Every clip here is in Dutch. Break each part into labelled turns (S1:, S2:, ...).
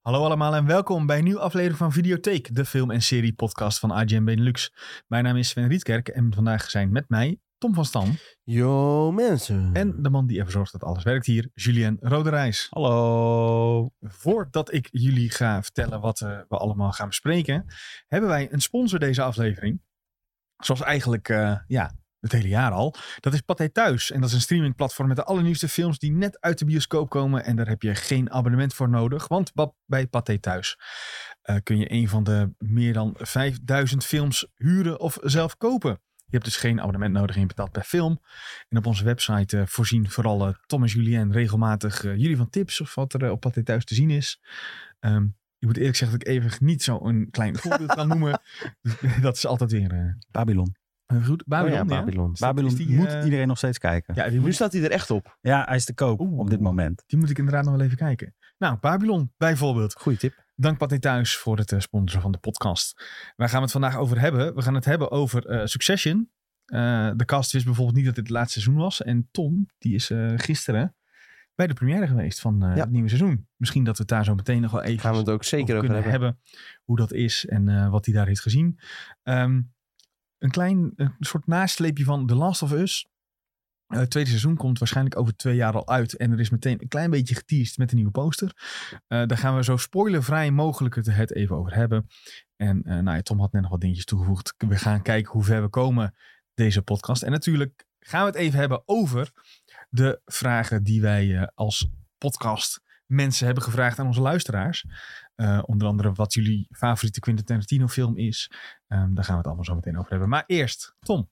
S1: Hallo allemaal en welkom bij een nieuwe aflevering van Videotheek, de film- en serie-podcast van AGM Benelux. Mijn naam is Sven Rietkerk en vandaag zijn met mij Tom van Stam
S2: Yo mensen.
S1: en de man die ervoor zorgt dat alles werkt hier, Julien Roderijs.
S3: Hallo.
S1: Voordat ik jullie ga vertellen wat eh, we allemaal gaan bespreken, hebben wij een sponsor deze aflevering. Zoals eigenlijk eh, ja, het hele jaar al. Dat is Pathé Thuis. En dat is een streamingplatform met de allernieuwste films die net uit de bioscoop komen. En daar heb je geen abonnement voor nodig. Want ba- bij Pathé Thuis eh, kun je een van de meer dan 5000 films huren of zelf kopen. Je hebt dus geen abonnement nodig en je betaalt per film. En op onze website eh, voorzien vooral eh, Tom en Julien regelmatig eh, jullie van tips of wat er eh, op Pathé Thuis te zien is. Ehm, ik moet eerlijk zeggen dat ik even niet zo'n klein voorbeeld kan noemen. Dus, dat is altijd weer eh,
S3: Babylon.
S1: goed. Babylon,
S2: oh ja,
S1: ja.
S2: Babylon.
S1: Is
S3: Babylon
S1: die,
S3: moet
S1: eh,
S3: iedereen nog steeds kijken. Ja,
S1: Ja, die
S2: Nu
S1: moet,
S2: staat hij er echt op.
S3: hij is te koop
S1: Oeh.
S3: op dit moment.
S1: die moet ik inderdaad nog wel even kijken. Nou, Babylon bijvoorbeeld.
S2: Goeie tip.
S1: Dank Pathé Thuis voor het eh, sponsoren van de podcast. Waar gaan we het vandaag over hebben? We gaan het hebben over eh, Succession. Eh, de cast wist bijvoorbeeld niet dat dit het laatste seizoen was. En Tom, die is eh, gisteren bij de première geweest van eh,
S2: Ja.
S1: het nieuwe seizoen. Misschien dat we het daar zo meteen nog wel even
S2: Gaan we het ook zeker
S1: over
S2: over
S1: kunnen
S2: hebben.
S1: hebben. Hoe dat is en eh, wat hij daar heeft gezien. Ehm, een klein een soort nasleepje van The Last of Us. Eh, het tweede seizoen komt waarschijnlijk over twee jaar al uit. En er is meteen een klein beetje geteased met een nieuwe poster. Eh, daar gaan we zo spoilervrij mogelijk het, het even over hebben. En eh, nou ja, Tom had net nog wat dingetjes toegevoegd. We gaan kijken hoe ver we komen deze podcast. En natuurlijk gaan we het even hebben over de vragen die wij eh, als podcast mensen hebben gevraagd aan onze luisteraars. Eh, onder andere wat jullie favoriete Quentin Tarantino film is. Ehm, daar gaan we het allemaal zo meteen over hebben. Maar eerst, Tom.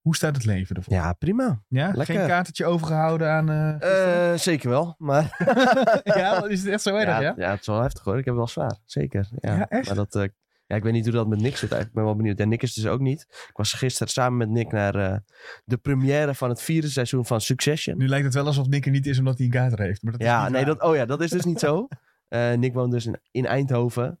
S1: Hoe staat het leven ervoor?
S2: Ja, prima.
S1: Ja,
S2: lekker.
S1: geen katertje overgehouden aan... eh, gisteren?
S2: Eh, zeker wel. Maar
S1: ja, is het echt zo erg, ja?
S2: ja, het is wel heftig hoor. Ik heb het wel zwaar. Zeker. Ja,
S1: Ja, echt?
S2: Maar dat, eh, ja, ik weet niet hoe dat met Nick zit. eigenlijk. Ik ben wel benieuwd. En Nick is dus ook niet. Ik was gisteren samen met Nick naar eh, de première van het vierde seizoen van Succession.
S1: Nu lijkt het wel alsof Nick er niet is omdat hij een kater heeft. Maar dat is
S2: Ja,
S1: niet
S2: nee,
S1: waar.
S2: dat, oh ja, dat is dus niet zo. Eh, Nick woont dus in, in Eindhoven.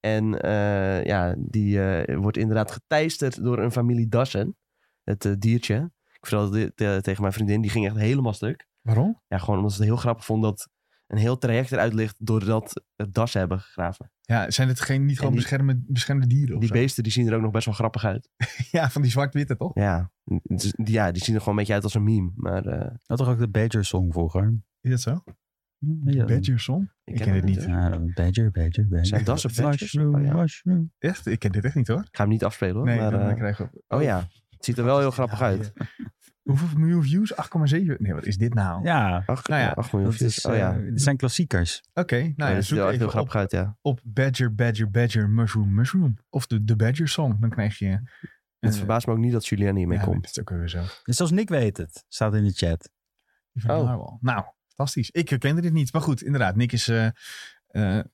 S2: En eh, ja, die eh, wordt inderdaad geteisterd door een familie Dassen. Het eh, diertje. Ik vertelde dit eh, tegen mijn vriendin, die ging echt helemaal stuk.
S1: Waarom?
S2: Ja, gewoon omdat ze het heel grappig vond dat een heel traject eruit ligt doordat het Dassen hebben gegraven.
S1: Ja, zijn het geen, niet gewoon
S2: die-
S1: beschermde, beschermde dieren of
S2: Die
S1: zo?
S2: beesten die zien er ook nog best wel grappig uit.
S1: Ja, van die zwart-witte toch?
S2: Ja, dus- die- ja die zien er gewoon een beetje uit als een meme. Maar eh,
S3: Dat toch ook de Badger song vroeger?
S1: Is dat zo?
S3: Weet je dat?
S1: Hmm, Badger song?
S2: ik,
S1: ken het niet. eh.
S2: hoor.
S3: Ja, Badger, Badger, Badger.
S2: Zijn dassen badgers?
S3: Mushroom,
S2: Oh ja.
S3: mushroom.
S1: Echt? Ik ken dit echt niet hoor.
S2: Ik ga hem niet afspelen hoor.
S1: nee,
S2: maar,
S1: dan, dan
S2: eh,
S1: krijgen we...
S2: oh ja, het ziet er wel heel grappig
S1: Ja,
S2: uit.
S1: ja. Hoeveel miljoen views? 8,7? Nee, wat is dit nou?
S3: Ja,
S2: Ach,
S1: Nou ja,
S2: ja, ach, miljoen
S3: dat
S2: views.
S3: is,
S2: oh ja.
S3: eh, dit zijn klassiekers.
S1: Oké, nou ja,
S2: dat ziet
S1: zoek
S2: er wel echt heel
S1: even op,
S2: grappig uit, ja.
S1: op Badger, Badger, Badger, Mushroom, Mushroom. Of de, de Badger song. Dan krijg je... eh,
S2: Het verbaast me ook niet dat Julian hiermee
S1: ja,
S2: komt.
S1: Dat is ook weer zo.
S3: Dus zelfs Nick weet het. Staat in de chat.
S1: Die van
S2: Oh.
S1: Narwhal. Nou, fantastisch. Ik herkende dit niet. Maar goed, inderdaad. Nick is... eh, eh,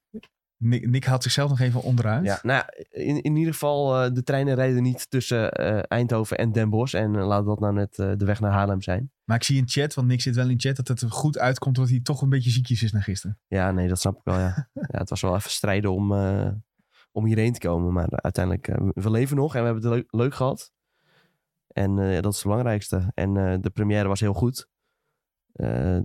S1: Nick, Nick haalt zichzelf nog even onderuit.
S2: Ja, nou, ja, in, in ieder geval, eh, de treinen rijden niet tussen eh, Eindhoven en Den Bosch. En eh, laat dat nou net eh, de weg naar Haarlem zijn.
S1: Maar ik zie in chat, want Nick zit wel in chat, dat het er goed uitkomt dat hij toch een beetje ziekjes is na gisteren.
S2: Ja, nee, dat snap ik wel, ja. ja het was wel even strijden om, eh, om hierheen te komen. Maar uiteindelijk, eh, we leven nog en we hebben het leuk, leuk gehad. En eh, ja, dat is het belangrijkste. En eh, de première was heel goed. Eh,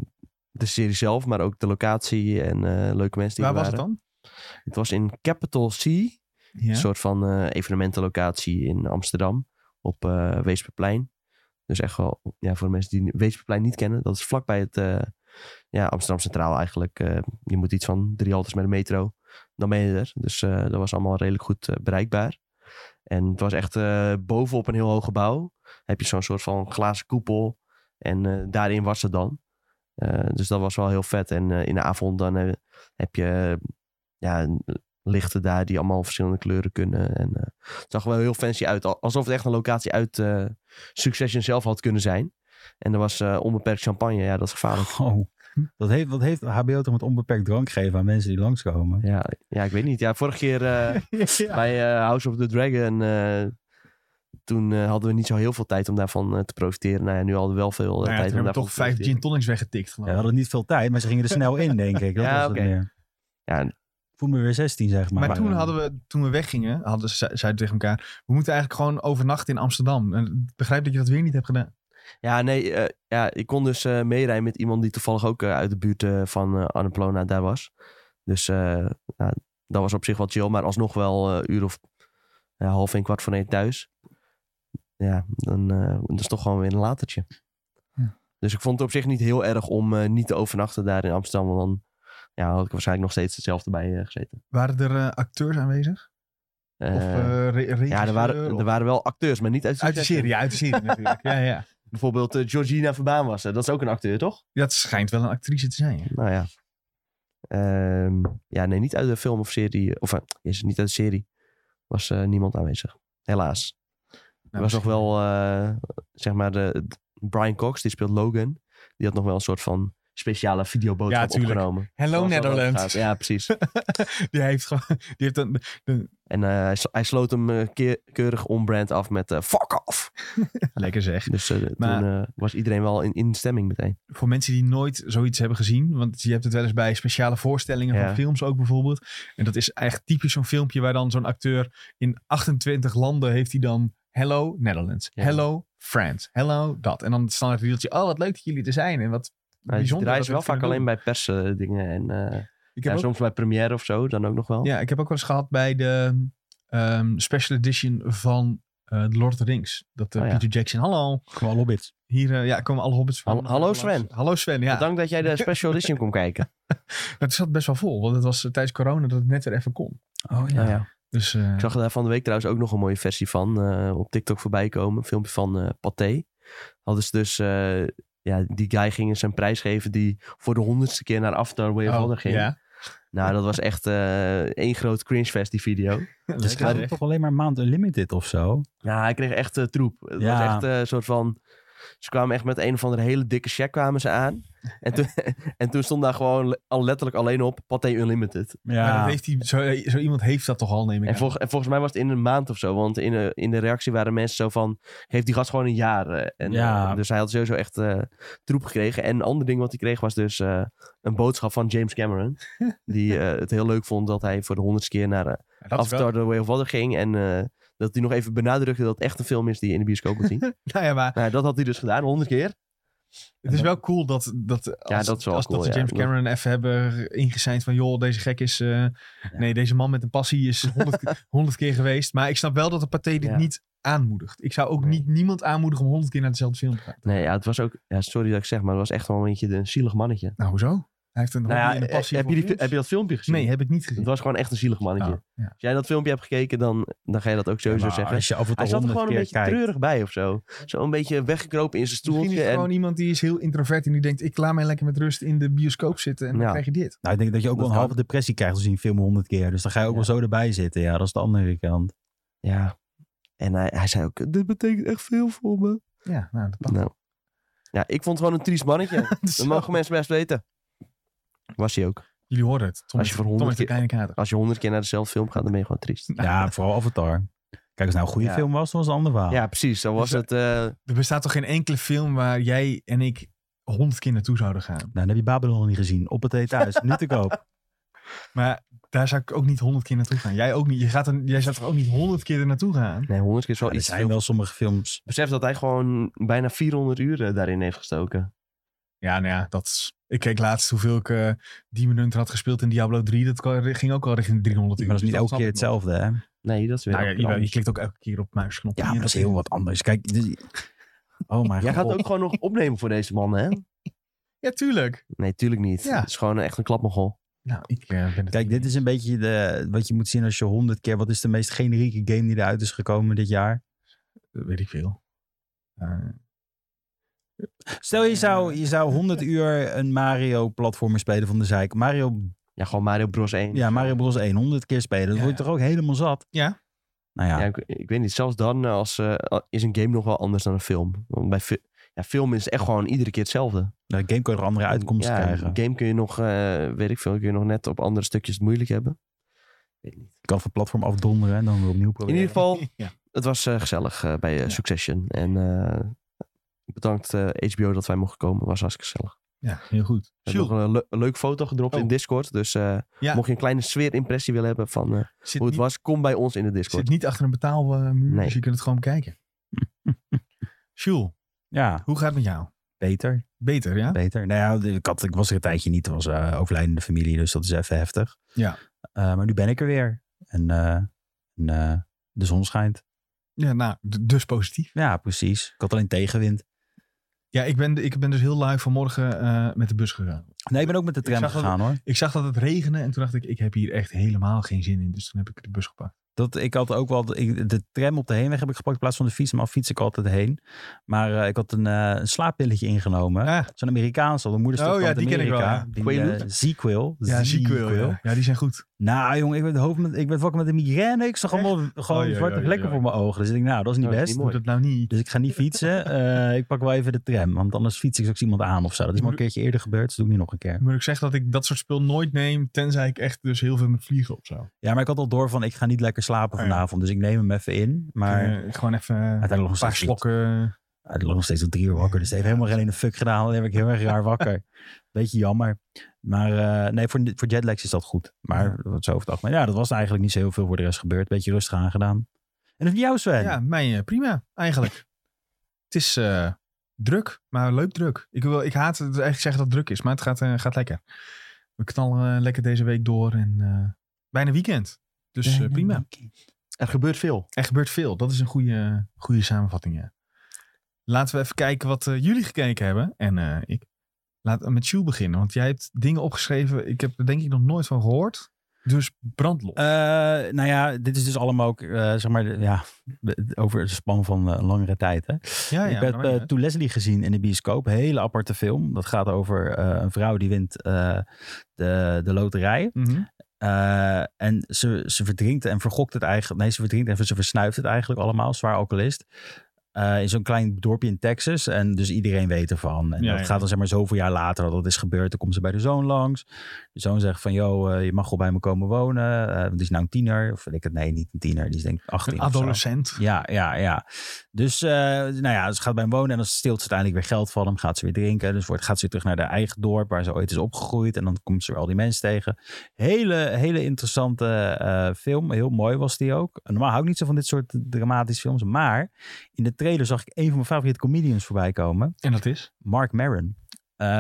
S2: de serie zelf, maar ook de locatie en eh, leuke mensen
S1: Waar
S2: die er
S1: was het
S2: waren.
S1: dan?
S2: Het was in Capital C.
S1: Ja.
S2: Een soort van eh, evenementenlocatie in Amsterdam op eh Weesperplein. Dus echt wel, ja, voor de mensen die Weesperplein niet kennen, dat is vlakbij het eh, ja, Amsterdam Centraal eigenlijk. Eh, je moet iets van drie haltes met de metro, dan ben je er. Dus eh, dat was allemaal redelijk goed eh, bereikbaar. En het was echt eh, bovenop een heel hoog gebouw. Heb je zo'n soort van glazen koepel. En eh, daarin was het dan. Eh, dus dat was wel heel vet. En eh, in de avond dan eh, heb je eh, ja, een- lichten daar die allemaal verschillende kleuren kunnen. En eh, het zag er wel heel fancy uit. Al- Alsof het echt een locatie uit eh, Succession zelf had kunnen zijn. En er was eh, onbeperkt champagne. Ja, dat is gevaarlijk.
S3: Oh, dat heeft, wat heeft HBO toch met onbeperkt drank geven aan mensen die langskomen?
S2: Ja, ja, ik weet niet. Ja, vorige keer eh,
S1: Ja.
S2: bij eh, House of the Dragon... eh, toen eh, hadden we niet zo heel veel tijd om daarvan eh, te profiteren. Nou ja, nu hadden we wel veel eh,
S1: Nou ja,
S2: tijd
S1: toen
S2: om
S1: hebben we
S2: daarvan
S1: toch
S2: te
S1: vijf
S2: profiteren.
S1: gin tonics weggetikt
S3: Ja,
S1: geloof
S3: we
S1: ik.
S3: hadden niet veel tijd, maar ze gingen er snel in, denk ik. Dat
S2: Ja,
S3: was het
S2: oké.
S3: meer.
S2: Ja.
S3: Voel me weer 16, zeg maar.
S1: maar toen hadden we, toen we weggingen, hadden ze, zeiden we tegen elkaar, we moeten eigenlijk gewoon overnachten in Amsterdam. En ik begrijp dat je dat weer niet hebt gedaan.
S2: Ja, nee, eh, ja, ik kon dus eh meerijden met iemand die toevallig ook eh, uit de buurt eh, van eh Annapolona daar was. Dus eh, nou, dat was op zich wel chill. Maar alsnog wel eh, uur of ja, half en kwart voor negen thuis. Ja, dan eh, dat is toch gewoon weer een latertje.
S1: Ja.
S2: Dus ik vond het op zich niet heel erg om eh, niet te overnachten daar in Amsterdam. Want dan ja, had ik waarschijnlijk nog steeds hetzelfde bij eh, gezeten.
S1: Waren er eh, acteurs aanwezig?
S2: Eh,
S1: Of eh re-
S2: ja, er waren,
S1: regisseur
S2: er
S1: of-
S2: waren wel acteurs, maar niet uit,
S1: Uit de serie, ja, uit de serie natuurlijk. Ja, ja.
S2: Bijvoorbeeld eh, Georgina Verbaan was er. Dat is ook een acteur, toch?
S1: Dat schijnt wel een actrice te zijn. ja.
S2: Nou ja. Ehm, ja, nee, niet uit de film of serie. Of eh, is het niet uit de serie. Was eh, niemand aanwezig. Helaas. er
S1: Nou,
S2: was nog wel, eh, zeg maar, de, Brian Cox, die speelt Logan. Die had nog wel een soort van speciale
S1: Ja,
S2: videoboodschap
S1: tuurlijk.
S2: opgenomen.
S1: Hello
S2: Zoals dat altijd gaat.
S1: Netherlands.
S2: Ja, precies.
S1: die heeft gewoon... Die heeft een,
S2: En eh, hij, sl- hij sloot hem eh, keer- keurig on-brand af met eh, fuck off.
S1: Lekker zeg.
S2: Dus eh,
S1: Maar-
S2: toen eh, was iedereen wel in, in stemming meteen.
S1: Voor mensen die nooit zoiets hebben gezien. Want je hebt het wel eens bij speciale voorstellingen
S2: Ja.
S1: van films ook bijvoorbeeld. En dat is echt typisch zo'n filmpje waar dan zo'n acteur in 28 landen heeft hij dan... Hello Netherlands.
S2: Ja.
S1: Hello France. Hello dat. En dan staan het riedeltje. Oh, wat leuk dat jullie er zijn. En wat
S2: Hij
S1: bijzonder. dat
S2: draaide
S1: we
S2: ze wel
S1: het
S2: vaak
S1: kunnen
S2: alleen
S1: doen.
S2: bij persdingen. En eh,
S1: Ik
S2: ja,
S1: heb ook
S2: soms bij première of zo, dan ook nog wel.
S1: Ja, ik heb ook wel eens gehad bij de ehm, special edition van eh The Lord of the Rings. Dat eh,
S2: Oh ja.
S1: Peter Jackson, hallo.
S3: Gewoon hobbits.
S1: Hier eh, ja, komen alle hobbits van.
S2: Hal- hallo Sven.
S1: Hallo Sven, ja.
S2: Dank dat jij de special edition kon kijken.
S1: Maar Het zat best wel vol, want het was eh, tijdens corona dat het net weer even kon.
S3: Oh
S2: Nou ja.
S1: Dus eh,
S2: Ik zag daar van de week trouwens ook nog een mooie versie van eh, op TikTok voorbij komen. Een filmpje van eh Pathé. Hadden ze dus, eh, ja, die guy ging eens een prijs geven die voor de honderdste keer naar After Way of
S1: oh,
S2: Water ging.
S1: ja.
S2: Nou, dat was echt eh, één groot cringe fest, die video.
S3: Dus
S1: Lekker
S3: gaat
S1: zeg.
S3: het toch alleen maar maand unlimited of zo?
S2: Ja, hij kreeg echt eh, troep. Het
S3: Ja.
S2: was echt eh, een soort van... Ze kwamen echt met een of andere hele dikke check kwamen ze aan. En toen, en toen stond daar gewoon le- al letterlijk alleen op Pathé Unlimited.
S1: Maar dat
S3: Ja,
S1: heeft die, zo, zo iemand heeft dat toch al, neem ik
S2: En,
S1: aan.
S2: volg- en volgens mij was het in een maand of zo. Want in de, in de reactie waren mensen zo van... Heeft die gast gewoon een jaar. eh, En,
S3: Ja.
S2: eh, dus hij had sowieso echt eh, troep gekregen. En een ander ding wat hij kreeg was dus eh, een boodschap van James Cameron. die eh, het heel leuk vond dat hij voor de honderdste keer naar eh,
S1: Ja, dat is wel-
S2: Avatar The Way of Water ging. En eh, dat hij nog even benadrukte dat het echt een film is die je in de bioscoop moet zien.
S1: nou ja, maar
S2: nou, dat had hij dus gedaan, honderd keer.
S1: het is wel cool dat, dat als,
S2: dat is wel
S1: als
S2: cool,
S1: dat ze
S2: ja.
S1: James
S2: Dat-
S1: Cameron even hebben ingeseind van joh, deze gek is... eh, Nee, deze man met een passie is 100, ke- 100 keer geweest. Maar ik snap wel dat de partij dit
S2: Ja.
S1: niet aanmoedigt. Ik zou ook
S2: Nee.
S1: niet niemand aanmoedigen om 100 keer naar dezelfde film te gaan.
S2: Nee, ja, het was ook... Ja, sorry dat ik zeg, maar het was echt wel een beetje een zielig mannetje.
S1: Nou, hoezo? Hij heeft een hobby
S2: Nou ja,
S1: en een passie
S2: heb
S1: voor
S2: je, die,
S1: films.
S2: heb je dat filmpje gezien?
S1: Nee, heb ik niet
S2: Het
S1: gezien.
S2: was gewoon echt een zielig mannetje.
S1: Oh, ja.
S2: Als jij dat filmpje hebt gekeken, dan, dan ga je dat ook sowieso
S3: Maar
S2: zeggen.
S3: als je af en toe
S2: Hij zat er
S3: 100
S2: gewoon een
S3: keer
S2: beetje
S3: kijkt.
S2: treurig bij of zo. Zo een beetje weggekropen in zijn
S1: Misschien is
S2: stoeltje.
S1: het
S2: En,
S1: gewoon iemand die is heel introvert en die denkt... ik laat mij lekker met rust in de bioscoop zitten en
S2: Ja.
S1: dan krijg je dit.
S3: Nou, ik denk dat je
S2: Dat
S3: ook wel een
S2: kan.
S3: halve depressie krijgt als je een film honderd keer. Dus dan ga je ook
S2: Ja.
S3: wel zo erbij zitten. Ja, dat is de andere kant.
S2: ja. en hij, hij zei ook, dit betekent echt veel voor me.
S1: Ja, nou, dat past.
S2: Nou. Ja, ik vond het gewoon een triest mannetje.
S1: Zo.
S2: dat mogen mensen best weten. Was hij ook.
S1: Jullie horen het. Tom,
S2: Als je
S1: heeft-
S2: voor
S1: Tom heeft
S2: 100
S1: een kleine kader.
S2: Als je honderd keer naar dezelfde film gaat, dan ben je gewoon triest.
S3: Ja, vooral Avatar. Kijk, als het nou een goede
S2: Ja.
S3: film was, dan was het een ander verhaal.
S2: Ja, precies. Zo was
S1: Dus,
S2: het. eh,
S1: Er bestaat toch geen enkele film waar jij en ik 100 keer naartoe zouden gaan.
S3: Nou, dan heb je Babylon nog niet gezien. Op het thuis. nu te koop.
S1: Maar daar zou ik ook niet 100 keer naartoe gaan. Jij ook niet. Je gaat er, jij zou toch ook niet 100 keer er naartoe gaan?
S2: nee, honderd keer is wel
S3: Er
S2: iets. te
S3: zijn
S2: veel.
S3: wel sommige films.
S2: Besef dus dat hij gewoon bijna 400 uur eh, daarin heeft gestoken.
S1: Ja, nou ja, dat is- Ik keek laatst hoeveel ik eh Demon Hunter had gespeeld in Diablo 3. Dat kwam- ging ook al richting de 300 uur.
S3: Maar dat is
S1: Dus
S3: niet
S1: snap
S3: elke keer
S1: ik nog.
S3: hetzelfde, hè?
S2: Nee, dat is weer.
S1: Nou ja,
S2: een
S1: jawel, je
S2: ander.
S1: klikt ook elke keer op muisknop.
S3: Ja, maar dat is heel wat anders. Kijk, dit- oh mijn
S2: Jij gaat
S3: god.
S2: ook gewoon nog opnemen voor deze man, hè?
S1: Ja, tuurlijk.
S2: Nee, tuurlijk niet.
S1: Ja.
S2: Het is gewoon echt een klapmogel.
S1: Nou, ik eh, ben het
S3: Kijk,
S1: niet
S3: dit
S1: eens.
S3: is een beetje de, wat je moet zien als je honderd keer... Wat is de meest generieke game die eruit is gekomen dit jaar?
S1: Dat Weet ik veel. Eh,
S3: Stel je zou, je zou 100 uur een Mario platformer spelen van de zijk. Mario,
S2: Ja, gewoon Mario Bros 1.
S3: ja, Mario Bros 1 100 keer spelen. Dan
S1: Ja.
S3: word je toch ook helemaal zat.
S1: Ja.
S3: Nou ja,
S2: Ja, ik, ik weet niet. Zelfs dan eh, als, eh, is een game nog wel anders dan een film. Want bij fi- ja, film is echt gewoon iedere keer hetzelfde.
S3: de game kan je nog andere uitkomsten
S2: ja,
S3: krijgen.
S2: Een game kun je nog, eh, weet ik veel, kun je nog net op andere stukjes het moeilijk hebben. Weet niet.
S3: Je kan van platform afdonderen en dan weer opnieuw
S2: In
S3: proberen.
S2: ieder geval,
S1: ja.
S2: het was eh, gezellig eh, bij eh,
S1: Ja.
S2: Succession. En eh, bedankt eh, HBO dat wij mochten komen. Was hartstikke gezellig.
S1: ja, heel goed.
S2: We hebben nog een le- een leuke foto gedropt
S1: Oh.
S2: in Discord. Dus eh,
S1: Ja.
S2: mocht je een kleine sfeerimpressie willen hebben van eh,
S1: zit,
S2: hoe het
S1: niet,
S2: was, kom bij ons in de Discord.
S1: zit niet achter een betaalmuur,
S2: Nee.
S1: dus je kunt het gewoon bekijken. Jules,
S3: Ja,
S1: hoe gaat het met jou?
S3: Beter,
S1: Beter, ja?
S3: beter. Nou ja, ik, had, ik was er een tijdje niet. Het was eh, overlijdende familie, dus dat is even heftig.
S1: Ja.
S3: Eh, maar nu ben ik er weer. En, eh, en, eh, de zon schijnt.
S1: Ja, nou, d- dus positief.
S3: Ja, precies. Ik had alleen tegenwind.
S1: Ja, ik ben, ik ben dus heel lui vanmorgen eh, met de bus gegaan.
S3: Nee, ik ben ook met de tram
S1: zag dat-
S3: gegaan hoor.
S1: Ik zag dat het regende en toen dacht ik, ik heb hier echt helemaal geen zin in. Dus toen heb ik de bus gepakt.
S3: Dat, ik had ook wel ik, de tram op de heenweg heb ik gepakt in plaats van de fiets. Maar fiets ik altijd heen. Maar eh, ik had een, eh, een slaappilletje ingenomen.
S1: Ja,
S3: Zo'n Amerikaanse, de moederstuk
S1: Oh
S3: van
S1: ja,
S3: het
S1: die ken ik wel,
S3: Amerika.
S1: ja.
S3: Die, eh,
S2: Quaalude?
S3: Zequel.
S1: ja
S3: Zequel.
S1: ja. Ja, die zijn goed.
S3: Nou jongen, ik werd, hoofd met, ik werd wakker met een migraine. Ik zag allemaal gewoon
S1: Oei, oei,
S3: zwarte
S1: oei,
S3: vlekken
S1: oei.
S3: voor mijn ogen. Dus ik denk, nou, dat is niet
S2: Oh, dat is
S3: best.
S2: niet
S1: Moet het nou niet.
S3: dus ik ga niet fietsen. Eh, ik pak wel even de tram. Want anders fiets ik straks iemand aan of zo. Dat is maar een keertje eerder gebeurd. Dus doe ik nu nog een keer.
S1: Moet ik zeggen dat ik dat soort spul nooit neem, tenzij ik echt dus heel veel met vliegen op zou.
S3: Ja, maar ik had al door van, ik ga niet lekker slapen
S1: Oh, ja.
S3: vanavond. Dus ik neem hem even in. Maar
S1: Eh, gewoon even een
S3: uiteindelijk nog
S1: paar
S3: steeds niet.
S1: slokken.
S3: Hij lag nog steeds om drie uur wakker. Dus hij heeft helemaal geen ene fuck gedaan. Dan heb ik heel erg raar wakker. Beetje jammer. Maar eh, nee, voor, voor jetlags is dat goed. Maar wat zo over het algemeen. Ja, dat was eigenlijk niet zo heel veel voor de rest gebeurd. Beetje rustig aangedaan. En van jou Sven?
S1: Ja, mij eh, prima eigenlijk. het is eh, druk, maar leuk druk. Ik, wil, ik haat het eigenlijk zeggen dat het druk is, maar het gaat, eh, gaat lekker. We knallen eh, lekker deze week door en eh, bijna weekend. Dus eh, prima.
S2: Er gebeurt veel.
S1: Er gebeurt veel. Dat is een goede, goede samenvatting, ja. Laten we even kijken wat eh, jullie gekeken hebben. En eh, ik laat met Sjoe beginnen. Want jij hebt dingen opgeschreven. Ik heb er denk ik nog nooit van gehoord. Dus brandlos.
S3: Eh, nou ja, dit is dus allemaal ook, eh, zeg maar, de- ja, de- over de span van eh, langere tijd. Hè?
S1: ja, ja.
S3: ik heb
S1: maar maakt
S3: eh
S1: niet
S3: To Leslie gezien in de bioscoop. Hele aparte film. Dat gaat over eh, een vrouw die wint eh, de, de loterij.
S1: uit. Mhm.
S3: Eh, en ze, ze verdrinkt en vergokt het eigenlijk. Nee, ze verdrinkt en ze versnuift het eigenlijk allemaal. Zwaar alcoholist. Eh, in zo'n klein dorpje in Texas. En dus iedereen weet ervan. En
S1: Ja,
S3: dat
S1: ja.
S3: gaat dan zeg maar zoveel jaar later dat dat is gebeurd. Dan komt ze bij de zoon langs. De zoon zegt van, yo, eh, je mag wel bij me komen wonen. Eh, want die is nou een tiener. Of weet ik het, nee, niet een tiener. Die is denk ik 18
S1: Een
S3: of zo.
S1: adolescent.
S3: Ja, ja, ja. Dus eh, nou ja, ze gaat bij hem wonen en dan steelt ze uiteindelijk weer geld van hem. Gaat ze weer drinken. Dus wordt, gaat ze weer terug naar haar eigen dorp waar ze ooit is opgegroeid. En dan komt ze weer al die mensen tegen. Hele, hele interessante eh, film. Heel mooi was die ook. Normaal hou ik niet zo van dit soort dramatische films. Maar in de trailer zag ik een van mijn favoriete comedians voorbij komen.
S1: En dat is?
S3: Mark Maron. Eh, die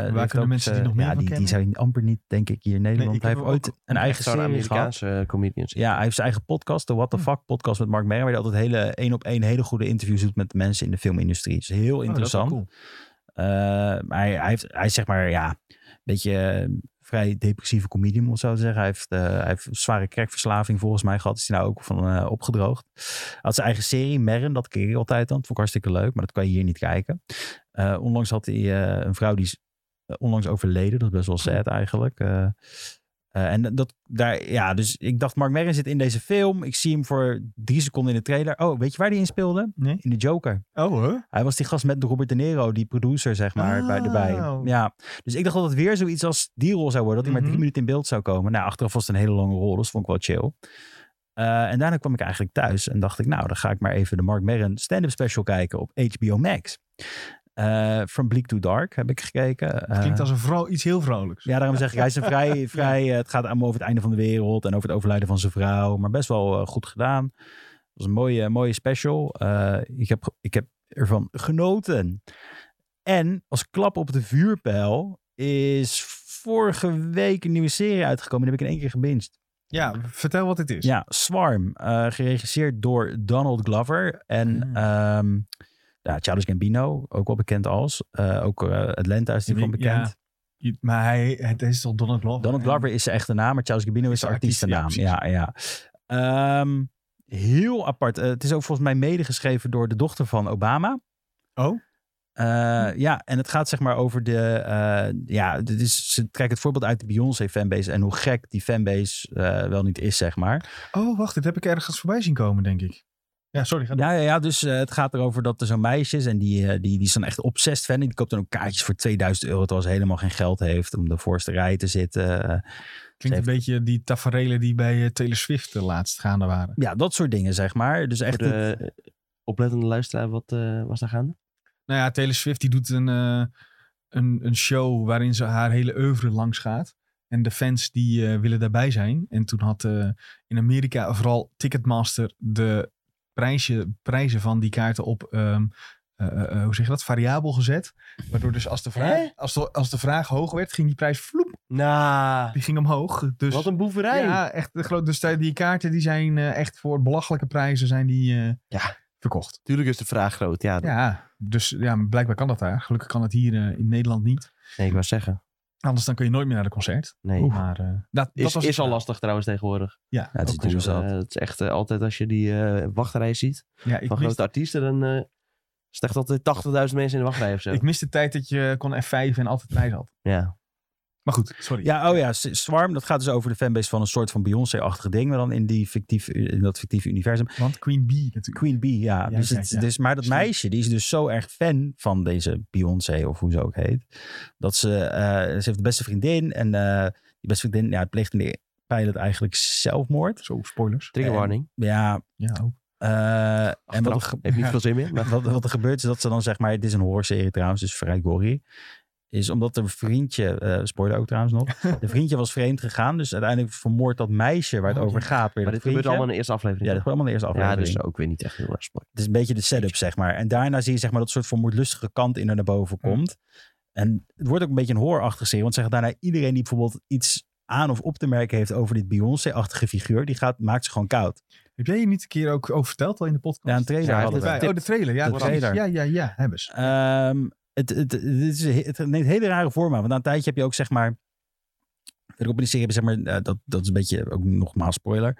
S3: heeft
S1: kunnen
S3: ook,
S1: mensen die
S3: eh,
S1: nog meer
S3: ja,
S1: van
S3: die, die
S1: kennen?
S3: zou je amper niet, denk ik, hier in Nederland.
S1: ik
S3: hij
S1: heb
S3: heeft
S1: hem
S3: ooit
S1: ook-
S3: een eigen
S2: Zo'n
S3: serie gehad.
S2: Amerikaanse eh, comedians.
S3: Ja, hij heeft zijn eigen podcast, de What the
S1: Hm.
S3: Fuck podcast met Mark Maron. Waar hij altijd hele één op één hele goede interviews doet met mensen in de filmindustrie. is heel interessant.
S1: Oh, dat is wel
S3: Eh, maar hij, hij, heeft, hij is zeg maar, ja, een beetje eh, vrij depressieve comedian, om het zo te zeggen. Hij heeft, eh, hij heeft een zware crackverslaving volgens mij gehad. Is hij nou ook van eh, opgedroogd. Hij had zijn eigen serie, Merren, dat keek ik altijd dan. Vond ik hartstikke leuk, maar dat kan je hier niet kijken. Eh, onlangs had hij eh, een vrouw die is eh, onlangs overleden. Dat is best wel sad eigenlijk. Eh, eh, en dat, daar, ja, dus ik dacht, Mark Merren zit in deze film. Ik zie hem voor drie seconden in de trailer. Oh, weet je waar die in speelde?
S1: Nee.
S3: In de Joker.
S1: cool. Oh, hoor.
S3: Hij was die gast met Robert De Niro, die producer, zeg maar, bij, erbij.
S1: Oh.
S3: Ja. Dus ik dacht dat het weer zoiets als die rol zou worden. Dat hij
S1: Mhm.
S3: maar drie minuten in beeld zou komen. Nou, achteraf was het een hele lange rol, dus vond ik wel chill. Eh, en daarna kwam ik eigenlijk thuis en dacht ik, nou, dan ga ik maar even de Mark Merren stand-up special kijken op HBO Max. Eh, From Bleak to Dark heb ik gekeken. Eh,
S1: Klinkt als een vrouw iets heel vrolijks.
S3: ja, daarom zeg ik, hij is een vrij, vrij eh, het gaat allemaal over het einde van de wereld en over het overlijden van zijn vrouw, maar best wel eh, goed gedaan. Het was een mooie, mooie special. Eh, ik, heb, ge- ik heb ervan genoten. En als klap op de vuurpijl is vorige week een nieuwe serie uitgekomen. Die heb ik in één keer gebinged.
S1: Ja, vertel wat het is.
S3: Ja, Swarm. eh, geregisseerd door Donald Glover. En
S1: Ah.
S3: ehm ja, Charles Gambino, ook wel bekend als. Eh, ook eh, Atlanta is die
S1: Ik
S3: van
S1: denk-
S3: bekend.
S1: ja. Je- Maar hij, het is toch Donald Glover?
S3: Donald
S1: En-
S3: Glover is zijn echte naam, maar Charles Gambino is
S1: Is
S3: zijn
S1: de artiest,
S3: artiestennaam. Ja, ja. Ehm, heel apart. Eh, het is ook volgens mij medegeschreven door de dochter van Obama.
S1: Oh,
S3: Eh, Ja, en het gaat zeg maar over de... eh, ja, dit is, ze trekken het voorbeeld uit de Beyoncé-fanbase... en hoe gek die fanbase eh, wel niet is, zeg maar.
S1: oh, wacht, dit heb ik ergens voorbij zien komen, denk ik. Ja, sorry. Ga door.
S3: Ja, ja, ja dus eh, het gaat erover dat er zo'n meisje is en die, eh, die, die is dan echt obsessed fan. En die koopt dan ook kaartjes voor 2000 euro, terwijl ze helemaal geen geld heeft om de voorste rij te zitten. Eh,
S1: Klinkt een beetje die taferelen die bij eh, Taylor Swift de laatst gaande waren.
S3: ja, dat soort dingen, zeg maar. Dus echt
S2: Voor de eh, oplettende luisteraar, wat eh, was daar gaande?
S1: Nou ja, Taylor Swift die doet een, eh, een, een show waarin ze haar hele oeuvre langs gaat. En de fans die eh, willen daarbij zijn. En toen had eh, in Amerika vooral Ticketmaster de prijzen, prijzen van die kaarten op ehm, eh, eh, eh, hoe zeg je dat, variabel gezet. Waardoor dus als de, vraag,
S2: Hè?
S1: als, de, als de vraag hoog werd, ging die prijs vloep,
S2: Nou,
S1: die ging omhoog. Dus,
S2: wat een boeverij.
S1: Ja, echt, de gro- dus die kaarten die zijn eh, echt voor belachelijke prijzen zijn die, eh,
S2: Ja.
S1: verkocht.
S2: Tuurlijk is de vraag groot. Ja, dat-
S1: Ja, dus ja, blijkbaar kan dat daar. Gelukkig kan het hier eh, in Nederland niet.
S2: nee, ik wou zeggen.
S1: Anders dan kun je nooit meer naar een concert.
S2: Nee.
S1: Maar eh, dat, dat
S2: Is,
S1: was
S2: is al lastig trouwens tegenwoordig.
S1: Ja,
S3: Ja, het is
S1: ook weer
S3: duur
S1: zo.
S3: zat.
S2: Eh, het is echt eh, altijd als je die eh, wachtrij ziet
S1: Ja, ik
S2: van
S1: mis
S2: grote artiesten, dan eh slecht altijd 80.000 mensen in de wachtrij of zo.
S1: Ik mis de tijd dat je eh, kon F5 en altijd prijs had.
S2: Ja.
S1: Maar goed, sorry.
S3: Ja, oh ja, S- Swarm, dat gaat dus over de fanbase van een soort van Beyoncé-achtige ding, maar dan in, die fictief, in dat fictieve universum.
S1: Want Queen Bee natuurlijk.
S3: Queen Bee, ja.
S1: Ja,
S3: dus
S1: kijk,
S3: het-
S1: ja.
S3: Dus, maar dat
S1: Slim.
S3: meisje, die is dus zo erg fan van deze Beyoncé, of hoe ze ook heet, dat ze, eh, ze heeft de beste vriendin en eh, die beste vriendin, ja, pleegt in de pilot eigenlijk zelfmoord.
S1: Zo, spoilers.
S2: Trigger warning.
S3: Ja,
S1: Ja, ook.
S3: eh, en wat, er
S2: Achteraf.
S3: ge-
S2: Heeft niet veel zin meer. Maar
S3: wat, wat er gebeurt is dat ze dan zeg maar, het is een horrorserie trouwens, dus vrij gory. Is omdat een vriendje, eh spoiler ook trouwens nog, de vriendje was vreemd gegaan. Dus uiteindelijk vermoordt dat meisje waar het
S1: Oh,
S3: over
S1: ja.
S3: gaat weer
S2: Maar dit gebeurt
S3: dat vriendje.
S2: allemaal in de eerste aflevering.
S3: Ja, dat
S2: toch?
S3: gebeurt allemaal in de eerste
S2: ja,
S3: aflevering.
S2: dus ook weer niet echt heel erg spannend.
S3: Het is een beetje de setup, zeg maar. En daarna zie je zeg maar, dat soort vermoedlustige kant in haar naar boven
S1: Ja.
S3: komt. En het wordt ook een beetje een horrorachtige serie. Want zeg daarna iedereen die bijvoorbeeld iets aan of op te merken heeft over dit Beyoncé-achtige figuur, die gaat, maakt ze gewoon koud.
S1: Heb jij je niet een keer ook over verteld al in de podcast?
S3: Ja, een trailer
S2: Ja, hij
S3: hadden
S2: heeft
S3: we.
S2: het
S1: oh, de trailer. Ja,
S3: De
S1: precies.
S3: trailer.
S1: Ja, ja, ja. Hebben ze.
S3: Ehm, het, het, het, is, het neemt hele rare vormen. aan. Want na een tijdje heb je ook zeg maar. Verderop in de serie hebben zeg maar. eh, dat, dat is een beetje ook nogmaals spoiler.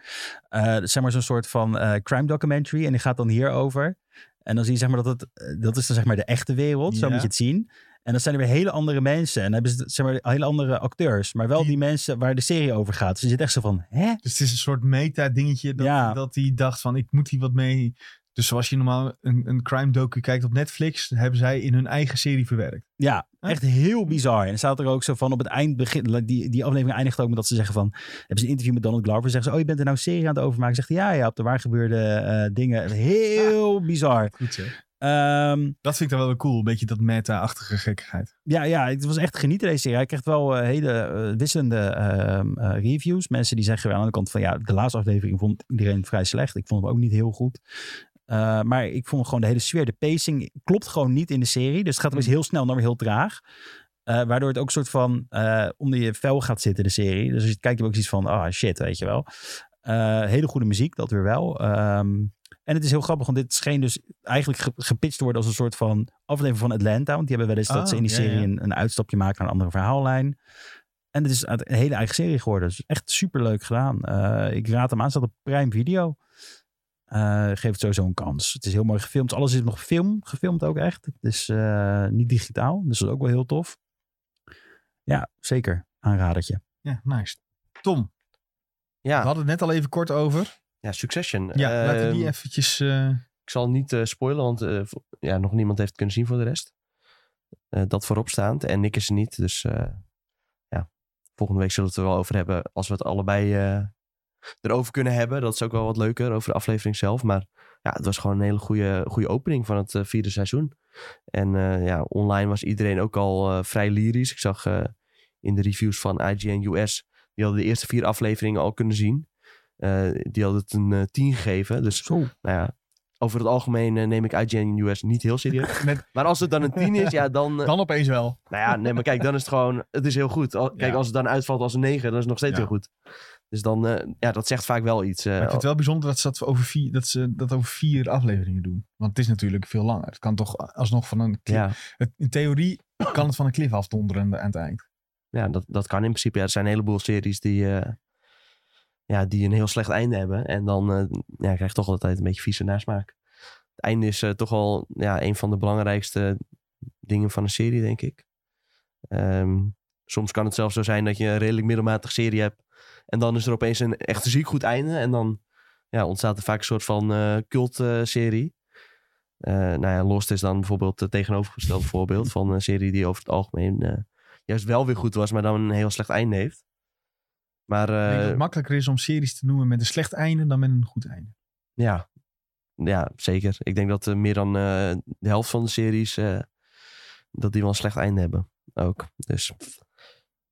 S3: Eh, zeg maar zo'n soort van eh, crime documentary. En die gaat dan hierover. En dan zie je zeg maar dat het. eh, Dat is dan zeg maar de echte wereld. Zo
S1: Ja.
S3: moet je het zien. En dan zijn er weer hele andere mensen. En dan hebben ze zeg maar hele andere acteurs. Maar wel die,
S1: Die-
S3: mensen waar de serie over gaat. Dus je zit echt zo van. Hè?
S1: Dus het is een soort meta-dingetje dat,
S3: Ja.
S1: dat hij dacht van, ik moet hier wat mee. Dus zoals je normaal een, een crime docu kijkt op Netflix, hebben zij in hun eigen serie verwerkt.
S3: Ja,
S1: Huh?
S3: echt heel bizar. En er staat er ook zo van op het eind, begin, die, die aflevering eindigt ook met dat ze zeggen van, hebben ze een interview met Donald Glover, zeggen ze, oh je bent er nou een serie aan het overmaken. Zegt hij, ja, ja, op de waar gebeurde eh, dingen. Heel bizar.
S1: Goed zeg.
S3: Ehm,
S1: Dat vind ik dan wel weer cool, een beetje dat meta-achtige gekkigheid.
S3: ja, ja, het was echt genieten deze serie. Hij krijgt wel eh, hele eh, wisselende ehm, eh, reviews. Mensen die zeggen wel aan de kant van, ja, de laatste aflevering vond iedereen vrij slecht. Ik vond hem ook niet heel goed. Eh, maar ik vond gewoon de hele sfeer, de pacing klopt gewoon niet in de serie. Dus het gaat opeens
S1: Mm.
S3: heel snel naar weer heel traag. Eh, waardoor het ook een soort van eh, onder je vel gaat zitten, de serie. Dus als je het kijkt, heb je ook zoiets van, ah shit, weet je wel. Eh, hele goede muziek, dat weer wel. Ehm, en het is heel grappig, want dit scheen dus eigenlijk ge- gepitcht te worden als een soort van aflevering van Atlanta. Want die hebben wel eens dat
S1: Ah,
S3: ze in die
S1: ja,
S3: serie
S1: ja.
S3: Een, een uitstapje maken naar een andere verhaallijn. En het is uit- een hele eigen serie geworden. Dus echt superleuk gedaan. Eh, ik raad hem aan, staat op Prime Video. Eh, geef het sowieso een kans. Het is heel mooi gefilmd. Alles is nog film, gefilmd ook echt. Het is eh, niet digitaal, dus dat is ook wel heel tof. Ja, zeker. Aanradertje.
S1: Ja, nice. Tom, we
S2: Ja,
S1: hadden het net al even kort over.
S2: ja Succession.
S1: Ja, laten we
S2: Ehm,
S1: die eventjes... eh,
S2: Ik zal niet eh, spoilen, want eh, vo- ja, nog niemand heeft het kunnen zien voor de rest. Eh, dat vooropstaand. En Nick is er niet. Dus eh, ja, volgende week zullen we het er wel over hebben. Als we het allebei eh, erover kunnen hebben. Dat is ook wel wat leuker over de aflevering zelf. Maar ja, het was gewoon een hele goede, goede opening van het eh, vierde seizoen. En eh, ja, online was iedereen ook al eh, vrij lyrisch. Ik zag eh, in de reviews van IGN US. Die hadden de eerste vier afleveringen al kunnen zien. Eh, die hadden het een eh, 10 gegeven. Dus
S3: Zo.
S2: nou ja, over het algemeen eh, neem ik IGN US niet heel serieus.
S1: Net-
S2: Maar als het dan een 10 is, ja, dan... eh,
S1: dan opeens wel.
S2: nou ja, nee, maar kijk, dan is het gewoon... Het is heel goed. Al- kijk,
S1: Ja.
S2: als het dan uitvalt als een 9, dan is het nog steeds
S1: Ja.
S2: heel goed. Dus dan, eh, ja, dat zegt vaak wel iets. eh,
S1: Maar ik vind het wel bijzonder dat ze dat over, vier, dat ze dat over vier afleveringen doen. Want het is natuurlijk veel langer. Het kan toch alsnog van een... clip-
S2: ja,
S1: het- in theorie kan het van een cliff afdonderen aan het eind.
S2: ja dat, dat kan in principe. Ja, er zijn een heleboel series die, eh, ja, die een heel slecht einde hebben. En dan eh, ja, krijg je toch altijd een beetje vieze nasmaak. Het einde is eh, toch wel ja, een van de belangrijkste dingen van een serie, denk ik. Ehm, soms kan het zelfs zo zijn dat je een redelijk middelmatige serie hebt. En dan is er opeens een echt ziek goed einde. En dan ja, ontstaat er vaak een soort van eh cult-serie. nou ja, Lost is dan bijvoorbeeld het tegenovergestelde voorbeeld van een serie die over het algemeen eh, juist wel weer goed was, maar dan een heel slecht einde heeft. Maar
S1: Ik denk dat
S2: eh,
S1: het makkelijker is om series te noemen met een slecht einde dan met een goed einde.
S2: Ja, ja zeker. Ik denk dat eh, meer dan eh, de helft van de series... eh, dat die wel een slecht einde hebben. Ook. Dus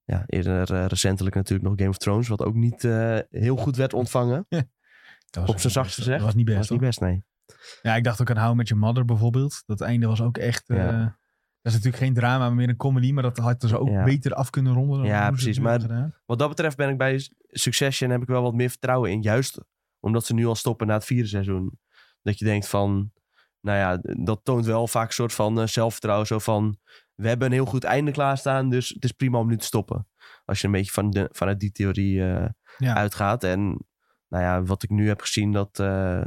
S2: ja, eerder eh, recentelijk natuurlijk nog Game of Thrones... wat ook niet eh, heel goed werd ontvangen.
S1: Dat
S2: Op zijn zachtst gezegd.
S1: Dat was niet best.
S2: was niet best, nee.
S1: Ja, ik dacht ook aan How I Met Your Mother bijvoorbeeld. Dat einde was ook echt... eh,
S2: Ja.
S1: dat is natuurlijk geen drama, maar meer een comedy. Maar dat hadden ze ook
S2: Ja.
S1: beter af kunnen ronden. Dan
S2: Ja,
S1: hoe ze het
S2: precies,
S1: nu
S2: maar-
S1: hebben gedaan.
S2: Wat dat betreft ben ik bij S- Succession heb ik wel wat meer vertrouwen in. Juist omdat ze nu al stoppen na het vierde seizoen. Dat je denkt van, nou ja, dat toont wel vaak een soort van eh, zelfvertrouwen. Zo van, we hebben een heel goed einde klaarstaan, dus het is prima om nu te stoppen. Als je een beetje van de, vanuit die theorie eh,
S1: Ja.
S2: uitgaat. En nou ja, wat ik nu heb gezien, dat, eh,